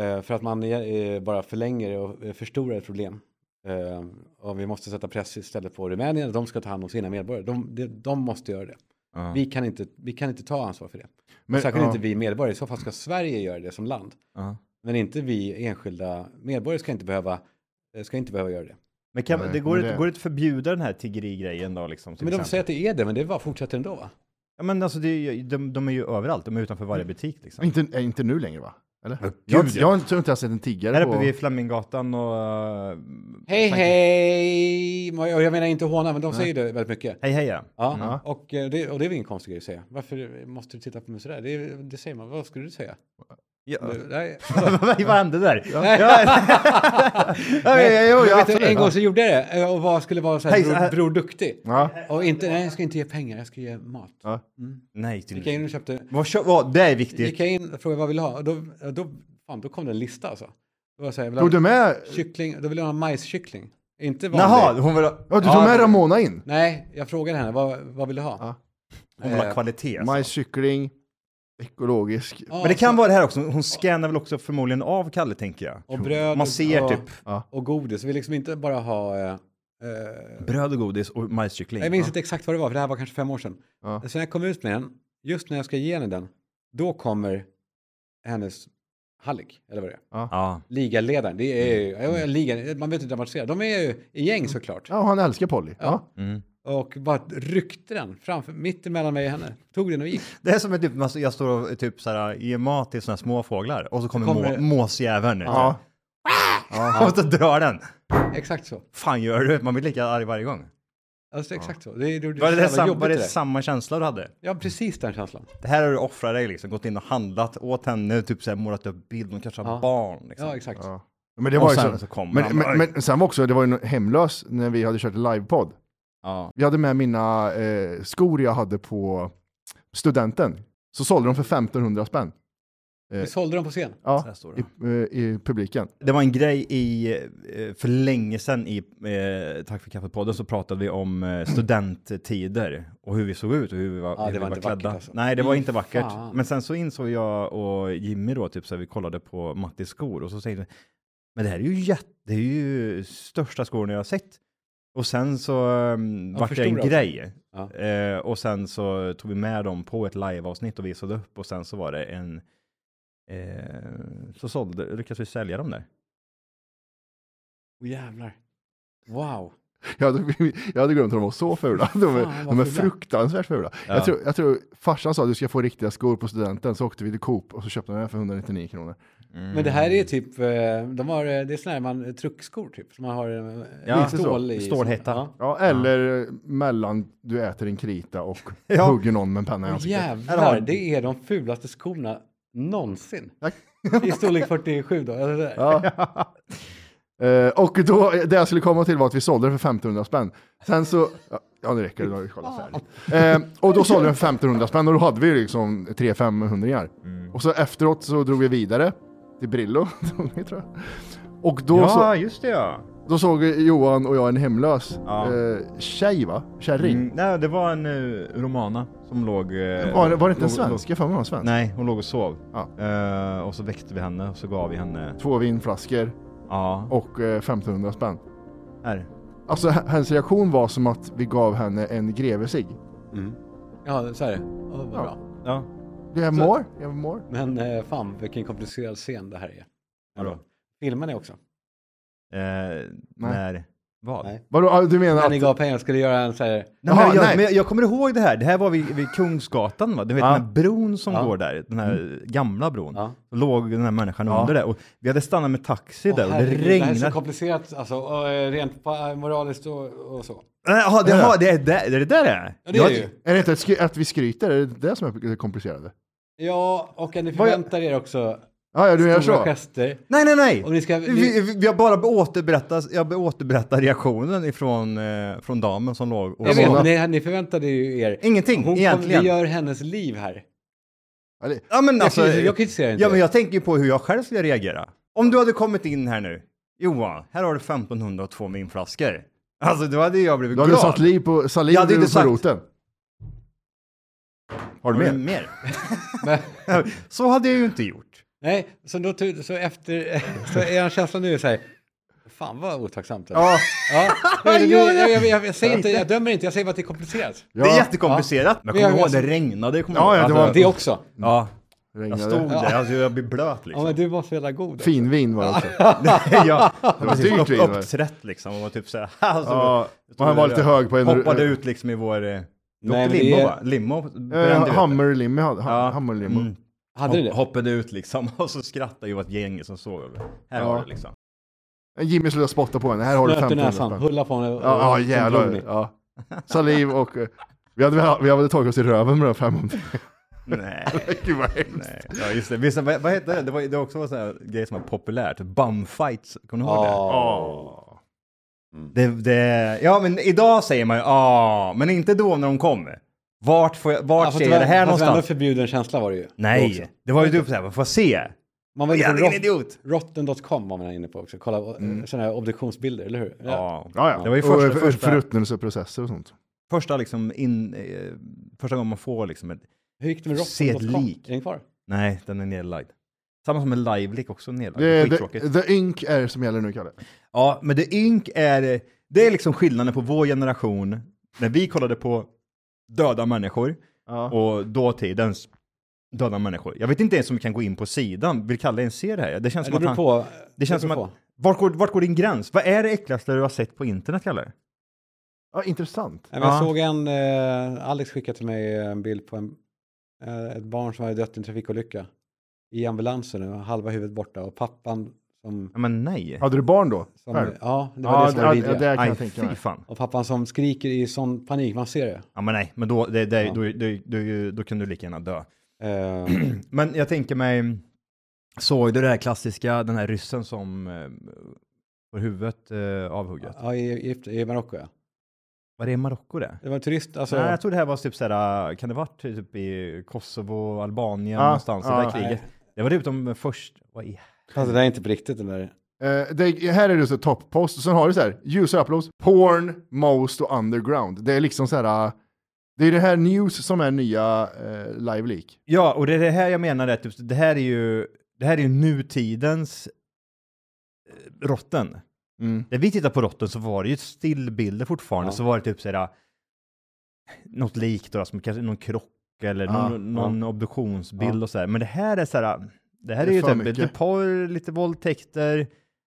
[SPEAKER 3] Eh, för att man eh, bara förlänger och eh, förstorar ett problem. Eh, och vi måste sätta press istället på Rumänien. De ska ta hand om sina medborgare. De, de, de måste göra det.
[SPEAKER 2] Ja.
[SPEAKER 3] Vi, kan inte, vi kan inte ta ansvar för det.
[SPEAKER 1] Men,
[SPEAKER 3] Särskilt
[SPEAKER 1] ja.
[SPEAKER 3] inte vi medborgare. I så fall ska Sverige göra det som land.
[SPEAKER 2] Ja.
[SPEAKER 3] Men inte vi enskilda medborgare ska inte behöva, eh, ska inte behöva göra det.
[SPEAKER 2] Men kan,
[SPEAKER 1] Nej,
[SPEAKER 2] det går
[SPEAKER 1] men
[SPEAKER 2] inte
[SPEAKER 1] det-
[SPEAKER 2] går inte att förbjuda den här tiggerigrejen då liksom? till
[SPEAKER 3] Men de
[SPEAKER 2] exempel?
[SPEAKER 3] säger att det är det, men det bara fortsätter ändå va?
[SPEAKER 2] Ja men alltså det är ju, de, de är ju överallt, de är utanför varje butik liksom.
[SPEAKER 1] Inte, äh, inte nu längre va? Eller?
[SPEAKER 2] Ja,
[SPEAKER 1] jag, har
[SPEAKER 2] gud,
[SPEAKER 1] inte-
[SPEAKER 2] ja.
[SPEAKER 1] jag har inte- tror inte jag har sett en tiggare
[SPEAKER 2] Här
[SPEAKER 1] på...
[SPEAKER 2] uppe vid Fleminggatan och... eh,
[SPEAKER 3] Hej
[SPEAKER 2] Sankt-
[SPEAKER 3] hej! Jag jag menar inte håna, men de säger det väldigt mycket.
[SPEAKER 2] Hej hej ja.
[SPEAKER 3] Ja,
[SPEAKER 1] Ja.
[SPEAKER 3] Och, eh, det, och det är väl ingen konstig grej att säga. Varför måste du titta på mig sådär? Det, det säger man, vad skulle du säga?
[SPEAKER 2] ja.
[SPEAKER 3] Du, nej.
[SPEAKER 2] <laughs> Vad hände där? Ja.
[SPEAKER 3] <laughs> Nej.
[SPEAKER 2] Ja, ja, jo, ja,
[SPEAKER 3] Men vet du,
[SPEAKER 2] absolut.
[SPEAKER 3] en gång så gjorde jag det eh, och vad skulle vara så här
[SPEAKER 2] Hej, så
[SPEAKER 3] bror,
[SPEAKER 2] här-
[SPEAKER 3] bror duktig.
[SPEAKER 1] Ja.
[SPEAKER 3] Och inte, nej jag ska inte ge pengar, jag ska ge mat.
[SPEAKER 1] Ja.
[SPEAKER 2] Nej,
[SPEAKER 3] Gick
[SPEAKER 2] till...
[SPEAKER 3] jag in och köpte,
[SPEAKER 2] Vad, kö- vad, det är
[SPEAKER 3] gick
[SPEAKER 2] viktigt.
[SPEAKER 3] jag in och frågade vad jag ville ha och då, och då, fan, då kom det en lista alltså. Då var jag så här, jag vill ha
[SPEAKER 1] Tog du med...
[SPEAKER 3] kyckling, då vill jag ha majskyckling. Inte vanlig.
[SPEAKER 2] Jaha, hon vill ha,
[SPEAKER 1] Ja, du
[SPEAKER 3] Ja,
[SPEAKER 1] tog med
[SPEAKER 3] det-
[SPEAKER 1] Ramona in.
[SPEAKER 3] Nej, jag frågade henne, vad, vad vill du ha?
[SPEAKER 1] Ja.
[SPEAKER 2] hon vill ha
[SPEAKER 3] Eh,
[SPEAKER 2] kvalitet. alltså.
[SPEAKER 1] Majs, kyckling, ekologisk.
[SPEAKER 3] Ja,
[SPEAKER 2] Men det
[SPEAKER 3] så-
[SPEAKER 2] kan vara det här också, hon scannar väl också förmodligen av Kalle tänker jag.
[SPEAKER 3] Och bröd
[SPEAKER 2] Man
[SPEAKER 3] och-
[SPEAKER 2] ser
[SPEAKER 3] och-
[SPEAKER 2] typ
[SPEAKER 3] och godis. Vi vill liksom inte bara ha... Eh, eh,
[SPEAKER 2] bröd och godis och majskyckling.
[SPEAKER 3] jag minns inte exakt vad det var, för det här var kanske fem år sedan.
[SPEAKER 1] Ja.
[SPEAKER 3] Så när jag kom ut med den, just när jag ska ge henne den, då kommer hennes hallick, eller vad det är.
[SPEAKER 2] Ja.
[SPEAKER 3] Ligaledaren, det är ju, ja, ja, ligan, man vet inte dramatisera. De är ju i gäng såklart.
[SPEAKER 1] Mm. Ja, han älskar Polly. Ja.
[SPEAKER 2] Mm.
[SPEAKER 3] Och bara ryckte den framför, mitt emellan mig och henne. Tog den och gick.
[SPEAKER 2] Det är som en typ, man- jag står och typ så här, ger mat till såna här småfåglar och så kommer,
[SPEAKER 3] Kommer-
[SPEAKER 2] må, måsjäveln.
[SPEAKER 1] Ja.
[SPEAKER 2] <laughs> Och så drar den.
[SPEAKER 3] Exakt så.
[SPEAKER 2] Fan gör du? Man blir lika arg varje gång.
[SPEAKER 3] Alltså exakt så. Det, det, det,
[SPEAKER 2] Var det,
[SPEAKER 3] är
[SPEAKER 2] det,
[SPEAKER 3] så jävla
[SPEAKER 2] sam,
[SPEAKER 3] jobbigt
[SPEAKER 2] var det
[SPEAKER 3] det där.
[SPEAKER 2] samma känsla du hade?
[SPEAKER 3] Ja, precis den känslan.
[SPEAKER 2] Det här har du offrat dig liksom, gått in och handlat åt henne, typ så här målat upp bild, hon kanske har
[SPEAKER 3] Ja.
[SPEAKER 2] barn. Liksom.
[SPEAKER 3] Ja, exakt.
[SPEAKER 1] Ja. Men det
[SPEAKER 2] Och
[SPEAKER 1] var ju
[SPEAKER 2] sen
[SPEAKER 1] så.
[SPEAKER 2] så kommer
[SPEAKER 1] men,
[SPEAKER 2] han.
[SPEAKER 1] men, men sen var också, det var ju en hemlös när vi hade kört livepodd.
[SPEAKER 2] Ja.
[SPEAKER 1] Jag hade med mina eh, skor jag hade på studenten. Så sålde de för 1500 spänn.
[SPEAKER 3] Vi sålde dem på scen.
[SPEAKER 2] Så här
[SPEAKER 1] Ja,
[SPEAKER 2] står
[SPEAKER 1] i,
[SPEAKER 2] det.
[SPEAKER 1] eh, i publiken.
[SPEAKER 2] Det var en grej i, eh, för länge sedan i eh, Tack för kaffet-podden så pratade vi om eh, studenttider och hur vi såg ut och hur vi var,
[SPEAKER 3] Ja,
[SPEAKER 2] hur
[SPEAKER 3] det
[SPEAKER 2] vi
[SPEAKER 3] var
[SPEAKER 2] var
[SPEAKER 3] inte
[SPEAKER 2] klädda.
[SPEAKER 3] vackert alltså.
[SPEAKER 2] Nej, det var inte vackert.
[SPEAKER 3] fan.
[SPEAKER 2] Men sen så insåg jag och Jimmy då, typ så här, vi kollade på Mattis skor och så säger vi, men det här är ju jätte, det är ju största skorna jag har sett. Och sen så um,
[SPEAKER 3] Ja,
[SPEAKER 2] vart
[SPEAKER 3] för
[SPEAKER 2] det en
[SPEAKER 3] stora
[SPEAKER 2] grej.
[SPEAKER 3] Ja.
[SPEAKER 2] Eh, och sen så tog vi med dem på ett liveavsnitt och visade upp och sen så var det en, eh, så sålde, lyckades vi sälja dem där.
[SPEAKER 3] Åh jävlar. Wow.
[SPEAKER 1] Jag hade, <laughs> jag hade glömt att de var så fula. <laughs> De är,
[SPEAKER 3] Fan, vad
[SPEAKER 1] de är
[SPEAKER 3] fula.
[SPEAKER 1] fruktansvärt fula. Jag, tror, jag tror farsan sa att du ska få riktiga skor på studenten, så åkte vi till Coop och så köpte de den för 199 kronor.
[SPEAKER 3] Men det här är typ, eh, de har, eh, det är sådana här man, truckskor typ, som man har en
[SPEAKER 2] Ja,
[SPEAKER 3] stål
[SPEAKER 2] så.
[SPEAKER 3] i. liksom.
[SPEAKER 2] Stålhätta.
[SPEAKER 3] Ja.
[SPEAKER 1] Ja, eller mellan du äter en krita och <laughs>
[SPEAKER 2] Ja.
[SPEAKER 1] hugger någon med en penna i
[SPEAKER 3] Åh,
[SPEAKER 1] ansiktet.
[SPEAKER 3] jävlar, det är de fulaste skorna någonsin.
[SPEAKER 1] Tack.
[SPEAKER 3] I storlek 47 då. eller sådär.
[SPEAKER 1] Ja. <laughs> Eh, och då, det jag skulle komma till var att vi sålde den för 1500 spänn. Sen så, ja, ja det räcker, då har vi kollat färdigt. Eh, och då sålde den för 1500 spänn och då hade vi ju liksom 3-500
[SPEAKER 2] Mm.
[SPEAKER 1] Och så efteråt så drog vi vidare till Brillo, <laughs> drog vi, tror jag. Och då,
[SPEAKER 2] Ja,
[SPEAKER 1] så,
[SPEAKER 2] just det ja.
[SPEAKER 1] då såg Johan och jag en hemlös
[SPEAKER 2] Ja.
[SPEAKER 1] eh, tjej va? Kärring.
[SPEAKER 2] Mm, nej, det var en eh, romana som låg... eh,
[SPEAKER 1] Var, var det inte en
[SPEAKER 2] låg- låg-
[SPEAKER 1] svensk? Jag har för mig det var en svensk.
[SPEAKER 2] Nej, hon låg och sov.
[SPEAKER 1] Ja.
[SPEAKER 2] Eh, och så väckte vi henne och så gav vi henne...
[SPEAKER 1] Två vinflaskor
[SPEAKER 2] Ja,
[SPEAKER 1] och eh, 1500 spänn.
[SPEAKER 2] här.
[SPEAKER 1] Alltså h- hennes reaktion var som att vi gav henne en grevesig.
[SPEAKER 3] Ja, så är det. Åh, vad bra.
[SPEAKER 2] Ja.
[SPEAKER 1] Do you have more? Do you have more?
[SPEAKER 3] Men eh, fan, vilken komplicerad scen det här är.
[SPEAKER 2] Vadå?
[SPEAKER 3] Filmar ni också?
[SPEAKER 2] Eh, när... Vad?
[SPEAKER 3] Nej.
[SPEAKER 1] Vadå, ah, du menar
[SPEAKER 3] När ni
[SPEAKER 1] att...
[SPEAKER 3] gav pengar skulle göra en så här,
[SPEAKER 2] Nej,
[SPEAKER 1] Jaha,
[SPEAKER 2] men jag,
[SPEAKER 1] nej.
[SPEAKER 2] Men jag kommer ihåg det här. Det här var vid, vid Kungsgatan, va? Du vet
[SPEAKER 1] Ja. Mm.
[SPEAKER 2] den här bron som
[SPEAKER 3] Ja.
[SPEAKER 2] går där, den här gamla bron.
[SPEAKER 3] Ja.
[SPEAKER 2] Då låg den här människan
[SPEAKER 1] Ja.
[SPEAKER 2] under där och vi hade stannat med taxi
[SPEAKER 3] Åh,
[SPEAKER 2] där och
[SPEAKER 3] herregud,
[SPEAKER 2] det
[SPEAKER 3] Det här är så
[SPEAKER 2] regnade.
[SPEAKER 3] komplicerat, alltså, och, eh, rent pa- moraliskt och, och så.
[SPEAKER 2] Eh, Jaha, det, jaha, det är där det är. Det där det är.
[SPEAKER 3] Ja, det är
[SPEAKER 2] Jag-
[SPEAKER 3] det ju.
[SPEAKER 1] Är det inte att, skry- att vi skryter? Är det det som är det komplicerade?
[SPEAKER 3] Ja, och att ni
[SPEAKER 1] jag-
[SPEAKER 3] förväntar er också
[SPEAKER 1] Ja, ja, du gör
[SPEAKER 3] stora
[SPEAKER 1] så.
[SPEAKER 3] gester.
[SPEAKER 2] Nej, nej, nej.
[SPEAKER 3] Om ni ska-
[SPEAKER 2] vi, vi, vi har bara återberättat, jag be- återberättar reaktionen ifrån, eh, från damen som låg och
[SPEAKER 3] Jag
[SPEAKER 1] Ramona.
[SPEAKER 3] vet, ni, ni förväntade ju er.
[SPEAKER 2] Ingenting,
[SPEAKER 3] Hon
[SPEAKER 2] egentligen.
[SPEAKER 3] Kom, vi gör hennes liv här.
[SPEAKER 1] Ja, det-
[SPEAKER 2] Ja, men alltså,
[SPEAKER 3] jag, jag kritiserar inte
[SPEAKER 2] ja, men
[SPEAKER 3] er.
[SPEAKER 2] jag tänker ju på hur jag själv skulle reagera. Om du hade kommit in här nu, Johan, här har du 1500 och två vinflaskor. Alltså, då hade jag blivit
[SPEAKER 1] Du hade
[SPEAKER 2] glad.
[SPEAKER 1] satt liv på, saliv
[SPEAKER 2] Jag hade inte
[SPEAKER 1] på
[SPEAKER 2] sagt-
[SPEAKER 1] roten. Har du
[SPEAKER 2] Har du
[SPEAKER 1] med?
[SPEAKER 2] mer?
[SPEAKER 3] Men,
[SPEAKER 2] <laughs> Så hade jag ju inte gjort.
[SPEAKER 3] nej, så, då, tu- så efter, <laughs> så er känsla nu är så här, fan vad otacksamt. eller?
[SPEAKER 1] Ja,
[SPEAKER 2] <laughs>
[SPEAKER 3] Ja, men det-
[SPEAKER 2] Ja, ja.
[SPEAKER 3] jag, jag, jag, jag, säger inte, jag dömer inte, jag säger bara att det är komplicerat.
[SPEAKER 1] ja.
[SPEAKER 2] Det är jättekomplicerat. Men jag
[SPEAKER 3] Men
[SPEAKER 2] kommer
[SPEAKER 3] jag-
[SPEAKER 2] ihåg, det regnade. jag kommer
[SPEAKER 1] Ja,
[SPEAKER 2] ihåg.
[SPEAKER 1] ja, det
[SPEAKER 2] Alltså,
[SPEAKER 1] var-
[SPEAKER 3] Det också.
[SPEAKER 2] ja, jag
[SPEAKER 1] Regnade.
[SPEAKER 2] stod där, alltså, jag blev blöt
[SPEAKER 3] Ja,
[SPEAKER 2] liksom.
[SPEAKER 3] men du var så jävla god. också.
[SPEAKER 1] Fin vin var det också.
[SPEAKER 2] <laughs> ja, typ
[SPEAKER 1] Det var dyrt vin.
[SPEAKER 2] upp,
[SPEAKER 1] va?
[SPEAKER 2] uppträtt liksom och var typ så här. <laughs> Alltså,
[SPEAKER 1] Ja,
[SPEAKER 2] jag tror
[SPEAKER 1] och han var
[SPEAKER 2] det-
[SPEAKER 1] lite hög på en...
[SPEAKER 2] Hoppade ut liksom i vår... Nej,
[SPEAKER 3] men
[SPEAKER 2] limo
[SPEAKER 3] det är-
[SPEAKER 2] va? Limo
[SPEAKER 1] Eh,
[SPEAKER 2] brände vi.
[SPEAKER 1] Hammerlimmy hade
[SPEAKER 2] Ja.
[SPEAKER 1] Hammerlimmo.
[SPEAKER 2] Mm.
[SPEAKER 3] Hade du det?
[SPEAKER 2] hoppade ut liksom <laughs> och så skrattade ju ett gäng som såg över. Här
[SPEAKER 1] Ja.
[SPEAKER 2] har du liksom.
[SPEAKER 1] Jimmy slutade spotta på henne, här har du
[SPEAKER 3] Snöt i
[SPEAKER 1] 1500
[SPEAKER 3] näsan,
[SPEAKER 1] spänn.
[SPEAKER 3] hulla på henne. och-
[SPEAKER 1] Ja, ja
[SPEAKER 3] och- och drog
[SPEAKER 1] jävlar.
[SPEAKER 3] ni.
[SPEAKER 1] Ja. Saliv och... eh, Vi hade, vi hade tagit oss i röven med de 500.
[SPEAKER 2] <laughs> Nej.
[SPEAKER 1] Gud vad hemskt.
[SPEAKER 2] Nej. Ja just det, Visst, vad, vad hette det? Det var, det var också var sån här grej som var populärt, bumfights, kommer du ihåg det?
[SPEAKER 1] Åh.
[SPEAKER 2] Det, det? Ja men idag säger man ju ah, men inte då när de kommer. Vart, får jag, vart
[SPEAKER 3] Ja, fast
[SPEAKER 2] ser
[SPEAKER 3] var-
[SPEAKER 2] jag det här
[SPEAKER 3] fast var ändå
[SPEAKER 2] någonstans?
[SPEAKER 3] förbjuden känsla var det ju. Också.
[SPEAKER 2] Nej, det var ju du på såhär, vad får jag se?
[SPEAKER 3] Man var inne på
[SPEAKER 2] Jävla
[SPEAKER 3] rot-
[SPEAKER 2] idiot!
[SPEAKER 3] rotten.com var man inne på också. Kolla mm. sådana här obduktionsbilder, eller hur?
[SPEAKER 2] Ja.
[SPEAKER 1] Ja, ja.
[SPEAKER 2] Det var ju
[SPEAKER 1] Och,
[SPEAKER 2] första,
[SPEAKER 1] eh, för-
[SPEAKER 2] första,
[SPEAKER 1] Förruttnelseprocesser och sånt.
[SPEAKER 2] första liksom in, eh, första gången man får liksom ett,
[SPEAKER 3] Hur gick det med
[SPEAKER 2] Se ett
[SPEAKER 3] rotten.com?
[SPEAKER 2] lik.
[SPEAKER 3] Är den kvar?
[SPEAKER 2] nej den är nedlagd. Samma som en live-lick också nedlagd,
[SPEAKER 1] Det,
[SPEAKER 2] skittråkigt.
[SPEAKER 1] the, the Ink är som gäller nu, Kalle.
[SPEAKER 2] Ja, men det ynk är, det är liksom skillnaden på vår generation, när vi kollade på döda människor
[SPEAKER 1] Ja.
[SPEAKER 2] och dåtidens döda människor. Jag vet inte ens om vi kan gå in på sidan, vill Kalle ens se det här? Det känns
[SPEAKER 3] Det
[SPEAKER 2] som
[SPEAKER 3] beror
[SPEAKER 2] att han,
[SPEAKER 3] på.
[SPEAKER 2] det känns som
[SPEAKER 3] beror
[SPEAKER 2] att, vart går, vart går din gräns? Vad är det äckligaste du har sett på internet, Kalle?
[SPEAKER 1] Ja, intressant.
[SPEAKER 3] Nej, men Jag
[SPEAKER 2] Ja.
[SPEAKER 3] såg en, eh, Alex skickade till mig en bild på en, eh, ett barn som hade dött i en trafikolycka i ambulansen och halva huvudet borta och pappan som...
[SPEAKER 2] Ja, men nej.
[SPEAKER 1] Hade du barn då?
[SPEAKER 3] som
[SPEAKER 1] Själv?
[SPEAKER 3] ja, det var
[SPEAKER 1] Ja,
[SPEAKER 3] det som var
[SPEAKER 1] det,
[SPEAKER 3] vidriga.
[SPEAKER 1] det, det kan
[SPEAKER 2] Nej,
[SPEAKER 1] jag tänka
[SPEAKER 2] fy
[SPEAKER 1] mig.
[SPEAKER 2] fan.
[SPEAKER 3] Och pappan som skriker i sån panik, man ser det.
[SPEAKER 2] Ja, men nej, men då, det, det,
[SPEAKER 3] Ja.
[SPEAKER 2] då, då, då, då kan du lika gärna dö.
[SPEAKER 3] Eh,
[SPEAKER 2] <clears throat> Men jag tänker mig, såg du det här klassiska, den här ryssen som eh, får huvudet eh, avhugget?
[SPEAKER 3] ja, i, Egypten- i Marocko ja.
[SPEAKER 2] Var det i Marocko det?
[SPEAKER 3] Det var en turist, alltså.
[SPEAKER 2] Nej, jag tror det här var typ såhär, kan det varit typ i Kosovo, Albanien
[SPEAKER 1] Ja,
[SPEAKER 2] någonstans,
[SPEAKER 1] ja.
[SPEAKER 2] det där kriget. Det var typ de först, vad i
[SPEAKER 3] Fast det där är inte på riktigt den där.
[SPEAKER 1] Eh, det, här är det så topppost, och sen har du så här, user uploads, porn, most och underground. Det är liksom så här, eh, det är det här news som är nya eh, live leak.
[SPEAKER 2] Ja, och det är det här jag menar, att typ, det här är ju, det här är ju nutidens eh, rotten.
[SPEAKER 1] Mm.
[SPEAKER 2] När vi tittar på rotten så var det ju stillbilder fortfarande,
[SPEAKER 3] Ja.
[SPEAKER 2] så var det typ såhär, något likt då, som kanske någon krock eller
[SPEAKER 1] Ja,
[SPEAKER 2] någon, någon obduktionsbild och sådär. Men det här är såhär, det här
[SPEAKER 1] Det
[SPEAKER 2] är,
[SPEAKER 1] är
[SPEAKER 2] ju
[SPEAKER 1] för
[SPEAKER 2] typ
[SPEAKER 1] mycket.
[SPEAKER 2] lite porr, lite våldtäkter, är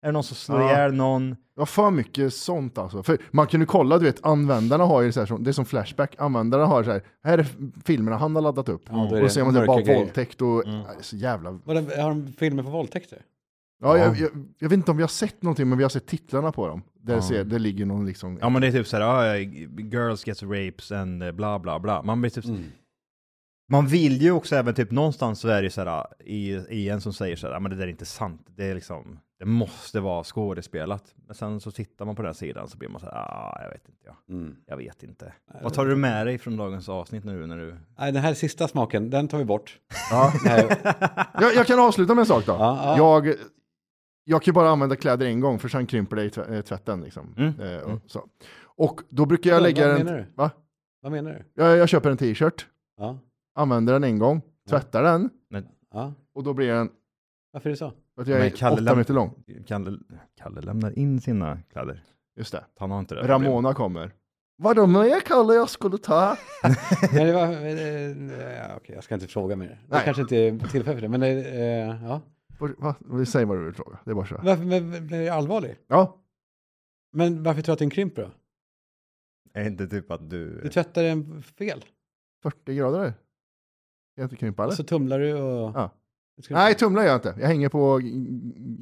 [SPEAKER 2] det någon som slår
[SPEAKER 1] Ja.
[SPEAKER 2] ihjäl någon?
[SPEAKER 1] Ja, för mycket sånt alltså. För man kan ju kolla, du vet, användarna har ju så här, som- det är som Flashback, användarna har så här, här är f- filmerna han har laddat upp.
[SPEAKER 3] Ja, då är
[SPEAKER 1] Och så ser man det är
[SPEAKER 3] mörka
[SPEAKER 1] bara
[SPEAKER 3] grejer. Mm.
[SPEAKER 1] våldtäkt och, nej, så jävla...
[SPEAKER 3] Vadå, Har de filmer på våldtäkter?
[SPEAKER 1] Ja,
[SPEAKER 2] Ja.
[SPEAKER 1] jag, jag, jag vet inte om vi har sett någonting, men vi har sett titlarna på dem. Där
[SPEAKER 2] Ja.
[SPEAKER 1] ser, det ligger någon liksom...
[SPEAKER 2] Ja men det är typ såhär, girls gets rapes and eh, bla bla bla. Man, blir typ,
[SPEAKER 3] Mm.
[SPEAKER 2] man vill ju också även typ någonstans så är det såhär, i, i en som säger såhär, "Ah, men det där är inte sant, det är liksom, det måste vara skådespelat. Men sen så tittar man på den här sidan så blir man såhär, ah, jag vet inte, jag,
[SPEAKER 3] Mm.
[SPEAKER 2] jag vet inte. Vad tar du med dig från dagens avsnitt nu när du...
[SPEAKER 3] Nej, den här sista smaken, den tar vi bort.
[SPEAKER 1] Ja.
[SPEAKER 3] <laughs> Nej,
[SPEAKER 1] Jag, jag kan avsluta med en sak då.
[SPEAKER 3] Ja, ja.
[SPEAKER 1] Jag, jag kan ju bara använda kläder en gång, för sen krymper det i tv- eh, tvätten. Liksom.
[SPEAKER 2] Mm,
[SPEAKER 1] Eh, och, så. och då brukar jag
[SPEAKER 3] Vadå,
[SPEAKER 1] lägga
[SPEAKER 3] vad
[SPEAKER 1] den...
[SPEAKER 3] menar du?
[SPEAKER 1] Va?
[SPEAKER 3] vad menar du?
[SPEAKER 1] Jag, jag köper en t-shirt,
[SPEAKER 3] Ja,
[SPEAKER 1] använder den en gång, tvättar den,
[SPEAKER 3] ja.
[SPEAKER 1] och då blir den...
[SPEAKER 3] Varför är det så?
[SPEAKER 1] för Att jag
[SPEAKER 2] Men
[SPEAKER 1] är
[SPEAKER 2] Kalle
[SPEAKER 1] åtta
[SPEAKER 2] läm-
[SPEAKER 1] meter lång.
[SPEAKER 2] Kalle, Kalle lämnar in sina kläder.
[SPEAKER 1] Just det.
[SPEAKER 2] Han har inte det. problemet.
[SPEAKER 1] Ramona kommer. Vadå, men jag Kalle, jag skulle ta...
[SPEAKER 3] Men det var, eh, ja, okej, jag ska inte fråga mer. Det
[SPEAKER 1] Nej.
[SPEAKER 3] kanske inte är tillfälle för det, men eh, eh, ja.
[SPEAKER 1] Var- Va? Säg vad du vill fråga, det är bara så. här.
[SPEAKER 3] Varför men, men, är det allvarlig?
[SPEAKER 1] Ja,
[SPEAKER 3] Men varför tror du att den krymper då?
[SPEAKER 2] Är inte typ att du...
[SPEAKER 3] Du tvättar den fel.
[SPEAKER 1] 40 grader där. Jag inte krympa eller?
[SPEAKER 3] Och så tumlar du och...
[SPEAKER 1] Ja.
[SPEAKER 3] Det ska-
[SPEAKER 1] Nej, tumlar gör jag inte. Jag hänger på g-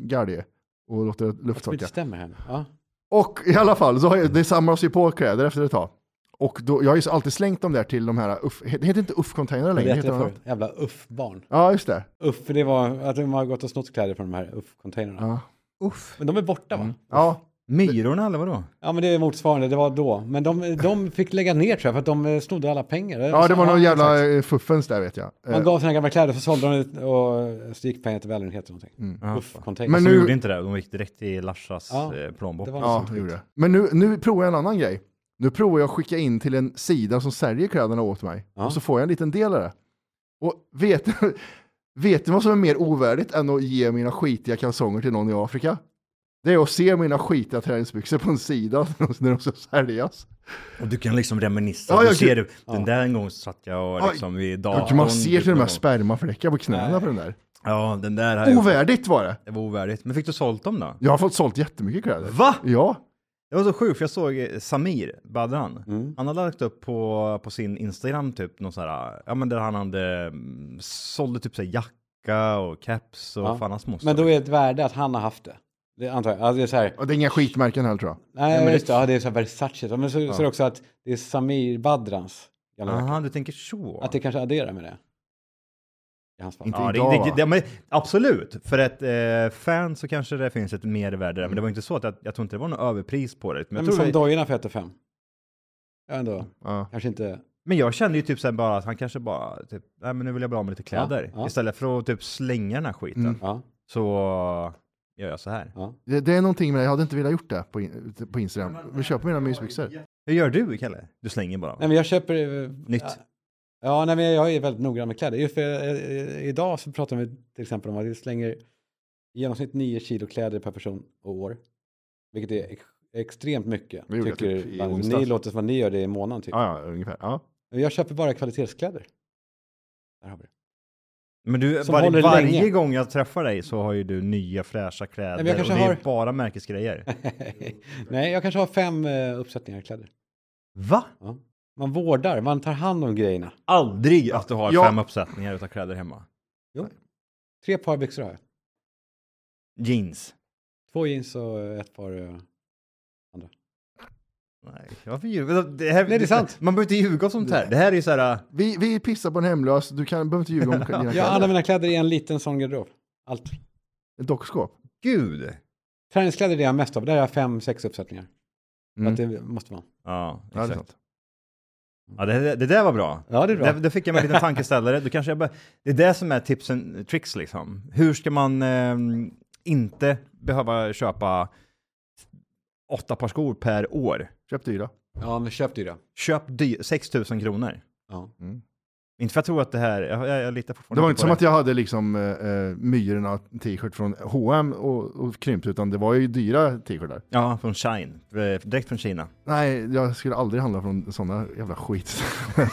[SPEAKER 1] gardie och låter
[SPEAKER 3] det
[SPEAKER 1] lufttorka.
[SPEAKER 3] inte stämmer här nu. Ja.
[SPEAKER 1] Och i alla fall, så har jag, det samlas ju på kläder efter ett tag. Och då, jag har ju alltid slängt dem där till de här, uff, det heter inte UFF-containrar
[SPEAKER 3] Jag
[SPEAKER 1] längre.
[SPEAKER 3] vet
[SPEAKER 1] Heter
[SPEAKER 3] det
[SPEAKER 1] det
[SPEAKER 3] för.
[SPEAKER 1] något?
[SPEAKER 3] Jävla uff-barn.
[SPEAKER 1] ja, just det.
[SPEAKER 3] Uff, för det var att de har gått och snott kläder från de här uff-containrarna.
[SPEAKER 1] Ja.
[SPEAKER 2] Uff.
[SPEAKER 3] Men de är borta
[SPEAKER 1] Mm.
[SPEAKER 3] va?
[SPEAKER 1] Ja,
[SPEAKER 2] Myrorna eller vadå?
[SPEAKER 3] Ja men det är motsvarande, det var då. Men de, de fick lägga ner tror jag för att de eh, snodde alla pengar.
[SPEAKER 1] ja, det var någon
[SPEAKER 3] exakt.
[SPEAKER 1] jävla eh, fuffens där vet jag.
[SPEAKER 3] Man
[SPEAKER 1] Eh,
[SPEAKER 3] gav sina gamla kläder så sålde de det och eh, så gick pengarna till välgörenhet eller någonting.
[SPEAKER 2] Ja.
[SPEAKER 3] Uff, container.
[SPEAKER 1] Men
[SPEAKER 2] Men
[SPEAKER 1] nu-
[SPEAKER 2] nu... gjorde inte det, de gick direkt till Larsas
[SPEAKER 3] Ja,
[SPEAKER 2] eh, plånbok.
[SPEAKER 3] det var
[SPEAKER 1] Ja, det gjorde jag. Men nu, nu provar jag en annan grej. Nu provar jag att skicka in till en sida som säljer kläderna åt mig.
[SPEAKER 3] Ja.
[SPEAKER 1] Och så får jag en liten del av det. Och vet, vet du <laughs> vad som är mer ovärdigt än att ge mina skitiga kalsonger till någon i Afrika? Det är att se mina skitiga träningsbyxor på en sida <laughs> när de ska säljas.
[SPEAKER 2] Och du kan liksom reminissa,
[SPEAKER 1] Ja,
[SPEAKER 2] du
[SPEAKER 1] jag kan-
[SPEAKER 2] ser du, den där en gång satt jag
[SPEAKER 1] Ja,
[SPEAKER 2] och liksom vid
[SPEAKER 1] Ja,
[SPEAKER 2] datorn.
[SPEAKER 1] man ser till de här
[SPEAKER 2] någon-
[SPEAKER 1] spermafläckar på knäna
[SPEAKER 3] Nej.
[SPEAKER 1] på den där.
[SPEAKER 2] Ja, den där här.
[SPEAKER 1] Ovärdigt var det.
[SPEAKER 2] Det var ovärdigt. Men fick du sålt dem då?
[SPEAKER 1] Jag har fått sålt jättemycket kläder.
[SPEAKER 2] Va?
[SPEAKER 1] Ja.
[SPEAKER 2] Det var så sjukt, för jag såg eh, Samir Badran.
[SPEAKER 3] Mm.
[SPEAKER 2] Han hade lagt upp på, på sin Instagram typ någon så här, ja men där han hade mm, sålde typ så här jacka och caps och
[SPEAKER 3] Ja.
[SPEAKER 2] fan hans moster.
[SPEAKER 3] Men då är det ett värde att han har haft det. Det antar jag. Alltså det är så här,
[SPEAKER 1] Och det är inga skitmärken heller tror jag.
[SPEAKER 3] nej,
[SPEAKER 2] men det-
[SPEAKER 3] just det, ja, det är så här Versace. Ja, Men så, så är det också att det är Samir Badrans gamla jacka.
[SPEAKER 2] Aha, du tänker så.
[SPEAKER 3] Att det kanske adderar med det. I hans fall.
[SPEAKER 1] Inte
[SPEAKER 2] ja, det,
[SPEAKER 1] idag,
[SPEAKER 2] det,
[SPEAKER 1] va?
[SPEAKER 2] det, men absolut, för ett eh, fan så kanske det finns ett mervärde där, men det var inte så att jag, jag tror inte det var något överpris på det. Men
[SPEAKER 3] Men
[SPEAKER 2] jag,
[SPEAKER 3] men
[SPEAKER 2] tror
[SPEAKER 3] som
[SPEAKER 2] det,
[SPEAKER 3] dojorna för 1 5. Ja, ändå.
[SPEAKER 1] Ja.
[SPEAKER 3] Kanske inte.
[SPEAKER 2] men jag kände ju typ sen bara att han kanske bara, typ, nej men nu vill jag bli av med lite kläder.
[SPEAKER 3] ja.
[SPEAKER 2] Istället för att typ slänga den här skiten
[SPEAKER 1] Mm.
[SPEAKER 3] Ja,
[SPEAKER 2] så gör jag så här.
[SPEAKER 3] ja.
[SPEAKER 1] Det, det är någonting med det, jag hade inte velat gjort det på, in, på Instagram. Vi köper mina mysbyxor.
[SPEAKER 2] Hur gör du Kalle? Du slänger bara.
[SPEAKER 3] Nej, men jag köper... eh,
[SPEAKER 2] Nytt.
[SPEAKER 3] Ja, nej, men jag är väldigt noggrann med kläder. Just för, eh, idag så pratar vi till exempel om att vi slänger i genomsnitt 9 kilo kläder per person och år. Vilket är ex- extremt mycket.
[SPEAKER 1] Det gjorde jag
[SPEAKER 3] tycker
[SPEAKER 1] typ i
[SPEAKER 3] man-
[SPEAKER 1] onsdags.
[SPEAKER 3] ni låter som att ni gör det i månaden typ.
[SPEAKER 1] Ja, ja, ungefär. Ja.
[SPEAKER 3] Men Jag köper bara kvalitetskläder. Där har vi det. <laughs>
[SPEAKER 2] Men du,
[SPEAKER 3] Som
[SPEAKER 2] var,
[SPEAKER 3] håller
[SPEAKER 2] varje
[SPEAKER 3] länge.
[SPEAKER 2] gång jag träffar dig så har ju du nya fräscha kläder.
[SPEAKER 3] Nej, men jag kanske
[SPEAKER 2] och det är
[SPEAKER 3] har-
[SPEAKER 2] bara märkesgrejer.
[SPEAKER 3] nej, jag kanske har fem eh, uppsättningar kläder.
[SPEAKER 2] Va?
[SPEAKER 3] Ja. Man vårdar, man tar hand om grejerna.
[SPEAKER 2] Aldrig att du har
[SPEAKER 1] Ja.
[SPEAKER 2] fem uppsättningar utav kläder hemma.
[SPEAKER 3] Tre par byxor har jag.
[SPEAKER 2] Jeans.
[SPEAKER 3] Två jeans och eh, ett par... eh,
[SPEAKER 2] Nej, varför ljuger det här,
[SPEAKER 3] Nej, det är sant.
[SPEAKER 2] Man behöver inte ljuga om sånt här. Det här är ju så här... äh,
[SPEAKER 1] Vi, vi pissar på en hemlös, du kan, behöver
[SPEAKER 3] <laughs>
[SPEAKER 1] inte ljuga om dina
[SPEAKER 3] Jag har
[SPEAKER 1] kläder.
[SPEAKER 3] alla mina kläder i en liten sån garderob. Allt.
[SPEAKER 1] Ett dockskåp.
[SPEAKER 2] Gud!
[SPEAKER 3] Träningskläder är det jag har mest av. Där har jag fem, sex uppsättningar.
[SPEAKER 1] Mm.
[SPEAKER 3] Att det måste man.
[SPEAKER 2] Ja,
[SPEAKER 1] Ja, det är
[SPEAKER 2] exakt.
[SPEAKER 1] sant.
[SPEAKER 2] Ja, det, det där var bra.
[SPEAKER 3] Ja, det är bra.
[SPEAKER 2] Där, där fick jag mig en liten tankeställare. Då kanske jag bör, det är det som är tips and tricks liksom. Hur ska man ehm, inte behöva köpa åtta par skor per år?
[SPEAKER 1] Köp dyra.
[SPEAKER 3] Ja, men köp dyra.
[SPEAKER 2] Köp dy- 6 000 kronor.
[SPEAKER 3] Ja.
[SPEAKER 2] Inte för jag tror att det här, jag, jag, jag litar
[SPEAKER 1] Det
[SPEAKER 2] fortfarande
[SPEAKER 1] var
[SPEAKER 2] inte
[SPEAKER 1] inte
[SPEAKER 2] på
[SPEAKER 1] som att jag hade liksom eh, eh, Myrorna t-shirt från H&M och, och krympt, utan det var ju dyra t-shirtar.
[SPEAKER 2] Ja, från Shine. Eh, Direkt från Kina.
[SPEAKER 1] Nej, jag skulle aldrig handla från sådana jävla skit. <laughs>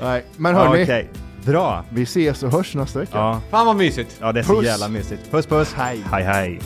[SPEAKER 1] Nej, men
[SPEAKER 2] Ja,
[SPEAKER 1] hörni,
[SPEAKER 2] Okej, bra.
[SPEAKER 1] vi ses och hörs nästa vecka.
[SPEAKER 2] Ja.
[SPEAKER 3] Fan vad mysigt!
[SPEAKER 2] ja, det är så
[SPEAKER 1] Puss.
[SPEAKER 2] jävla mysigt. Puss puss.
[SPEAKER 1] Hej.
[SPEAKER 2] Hej hej.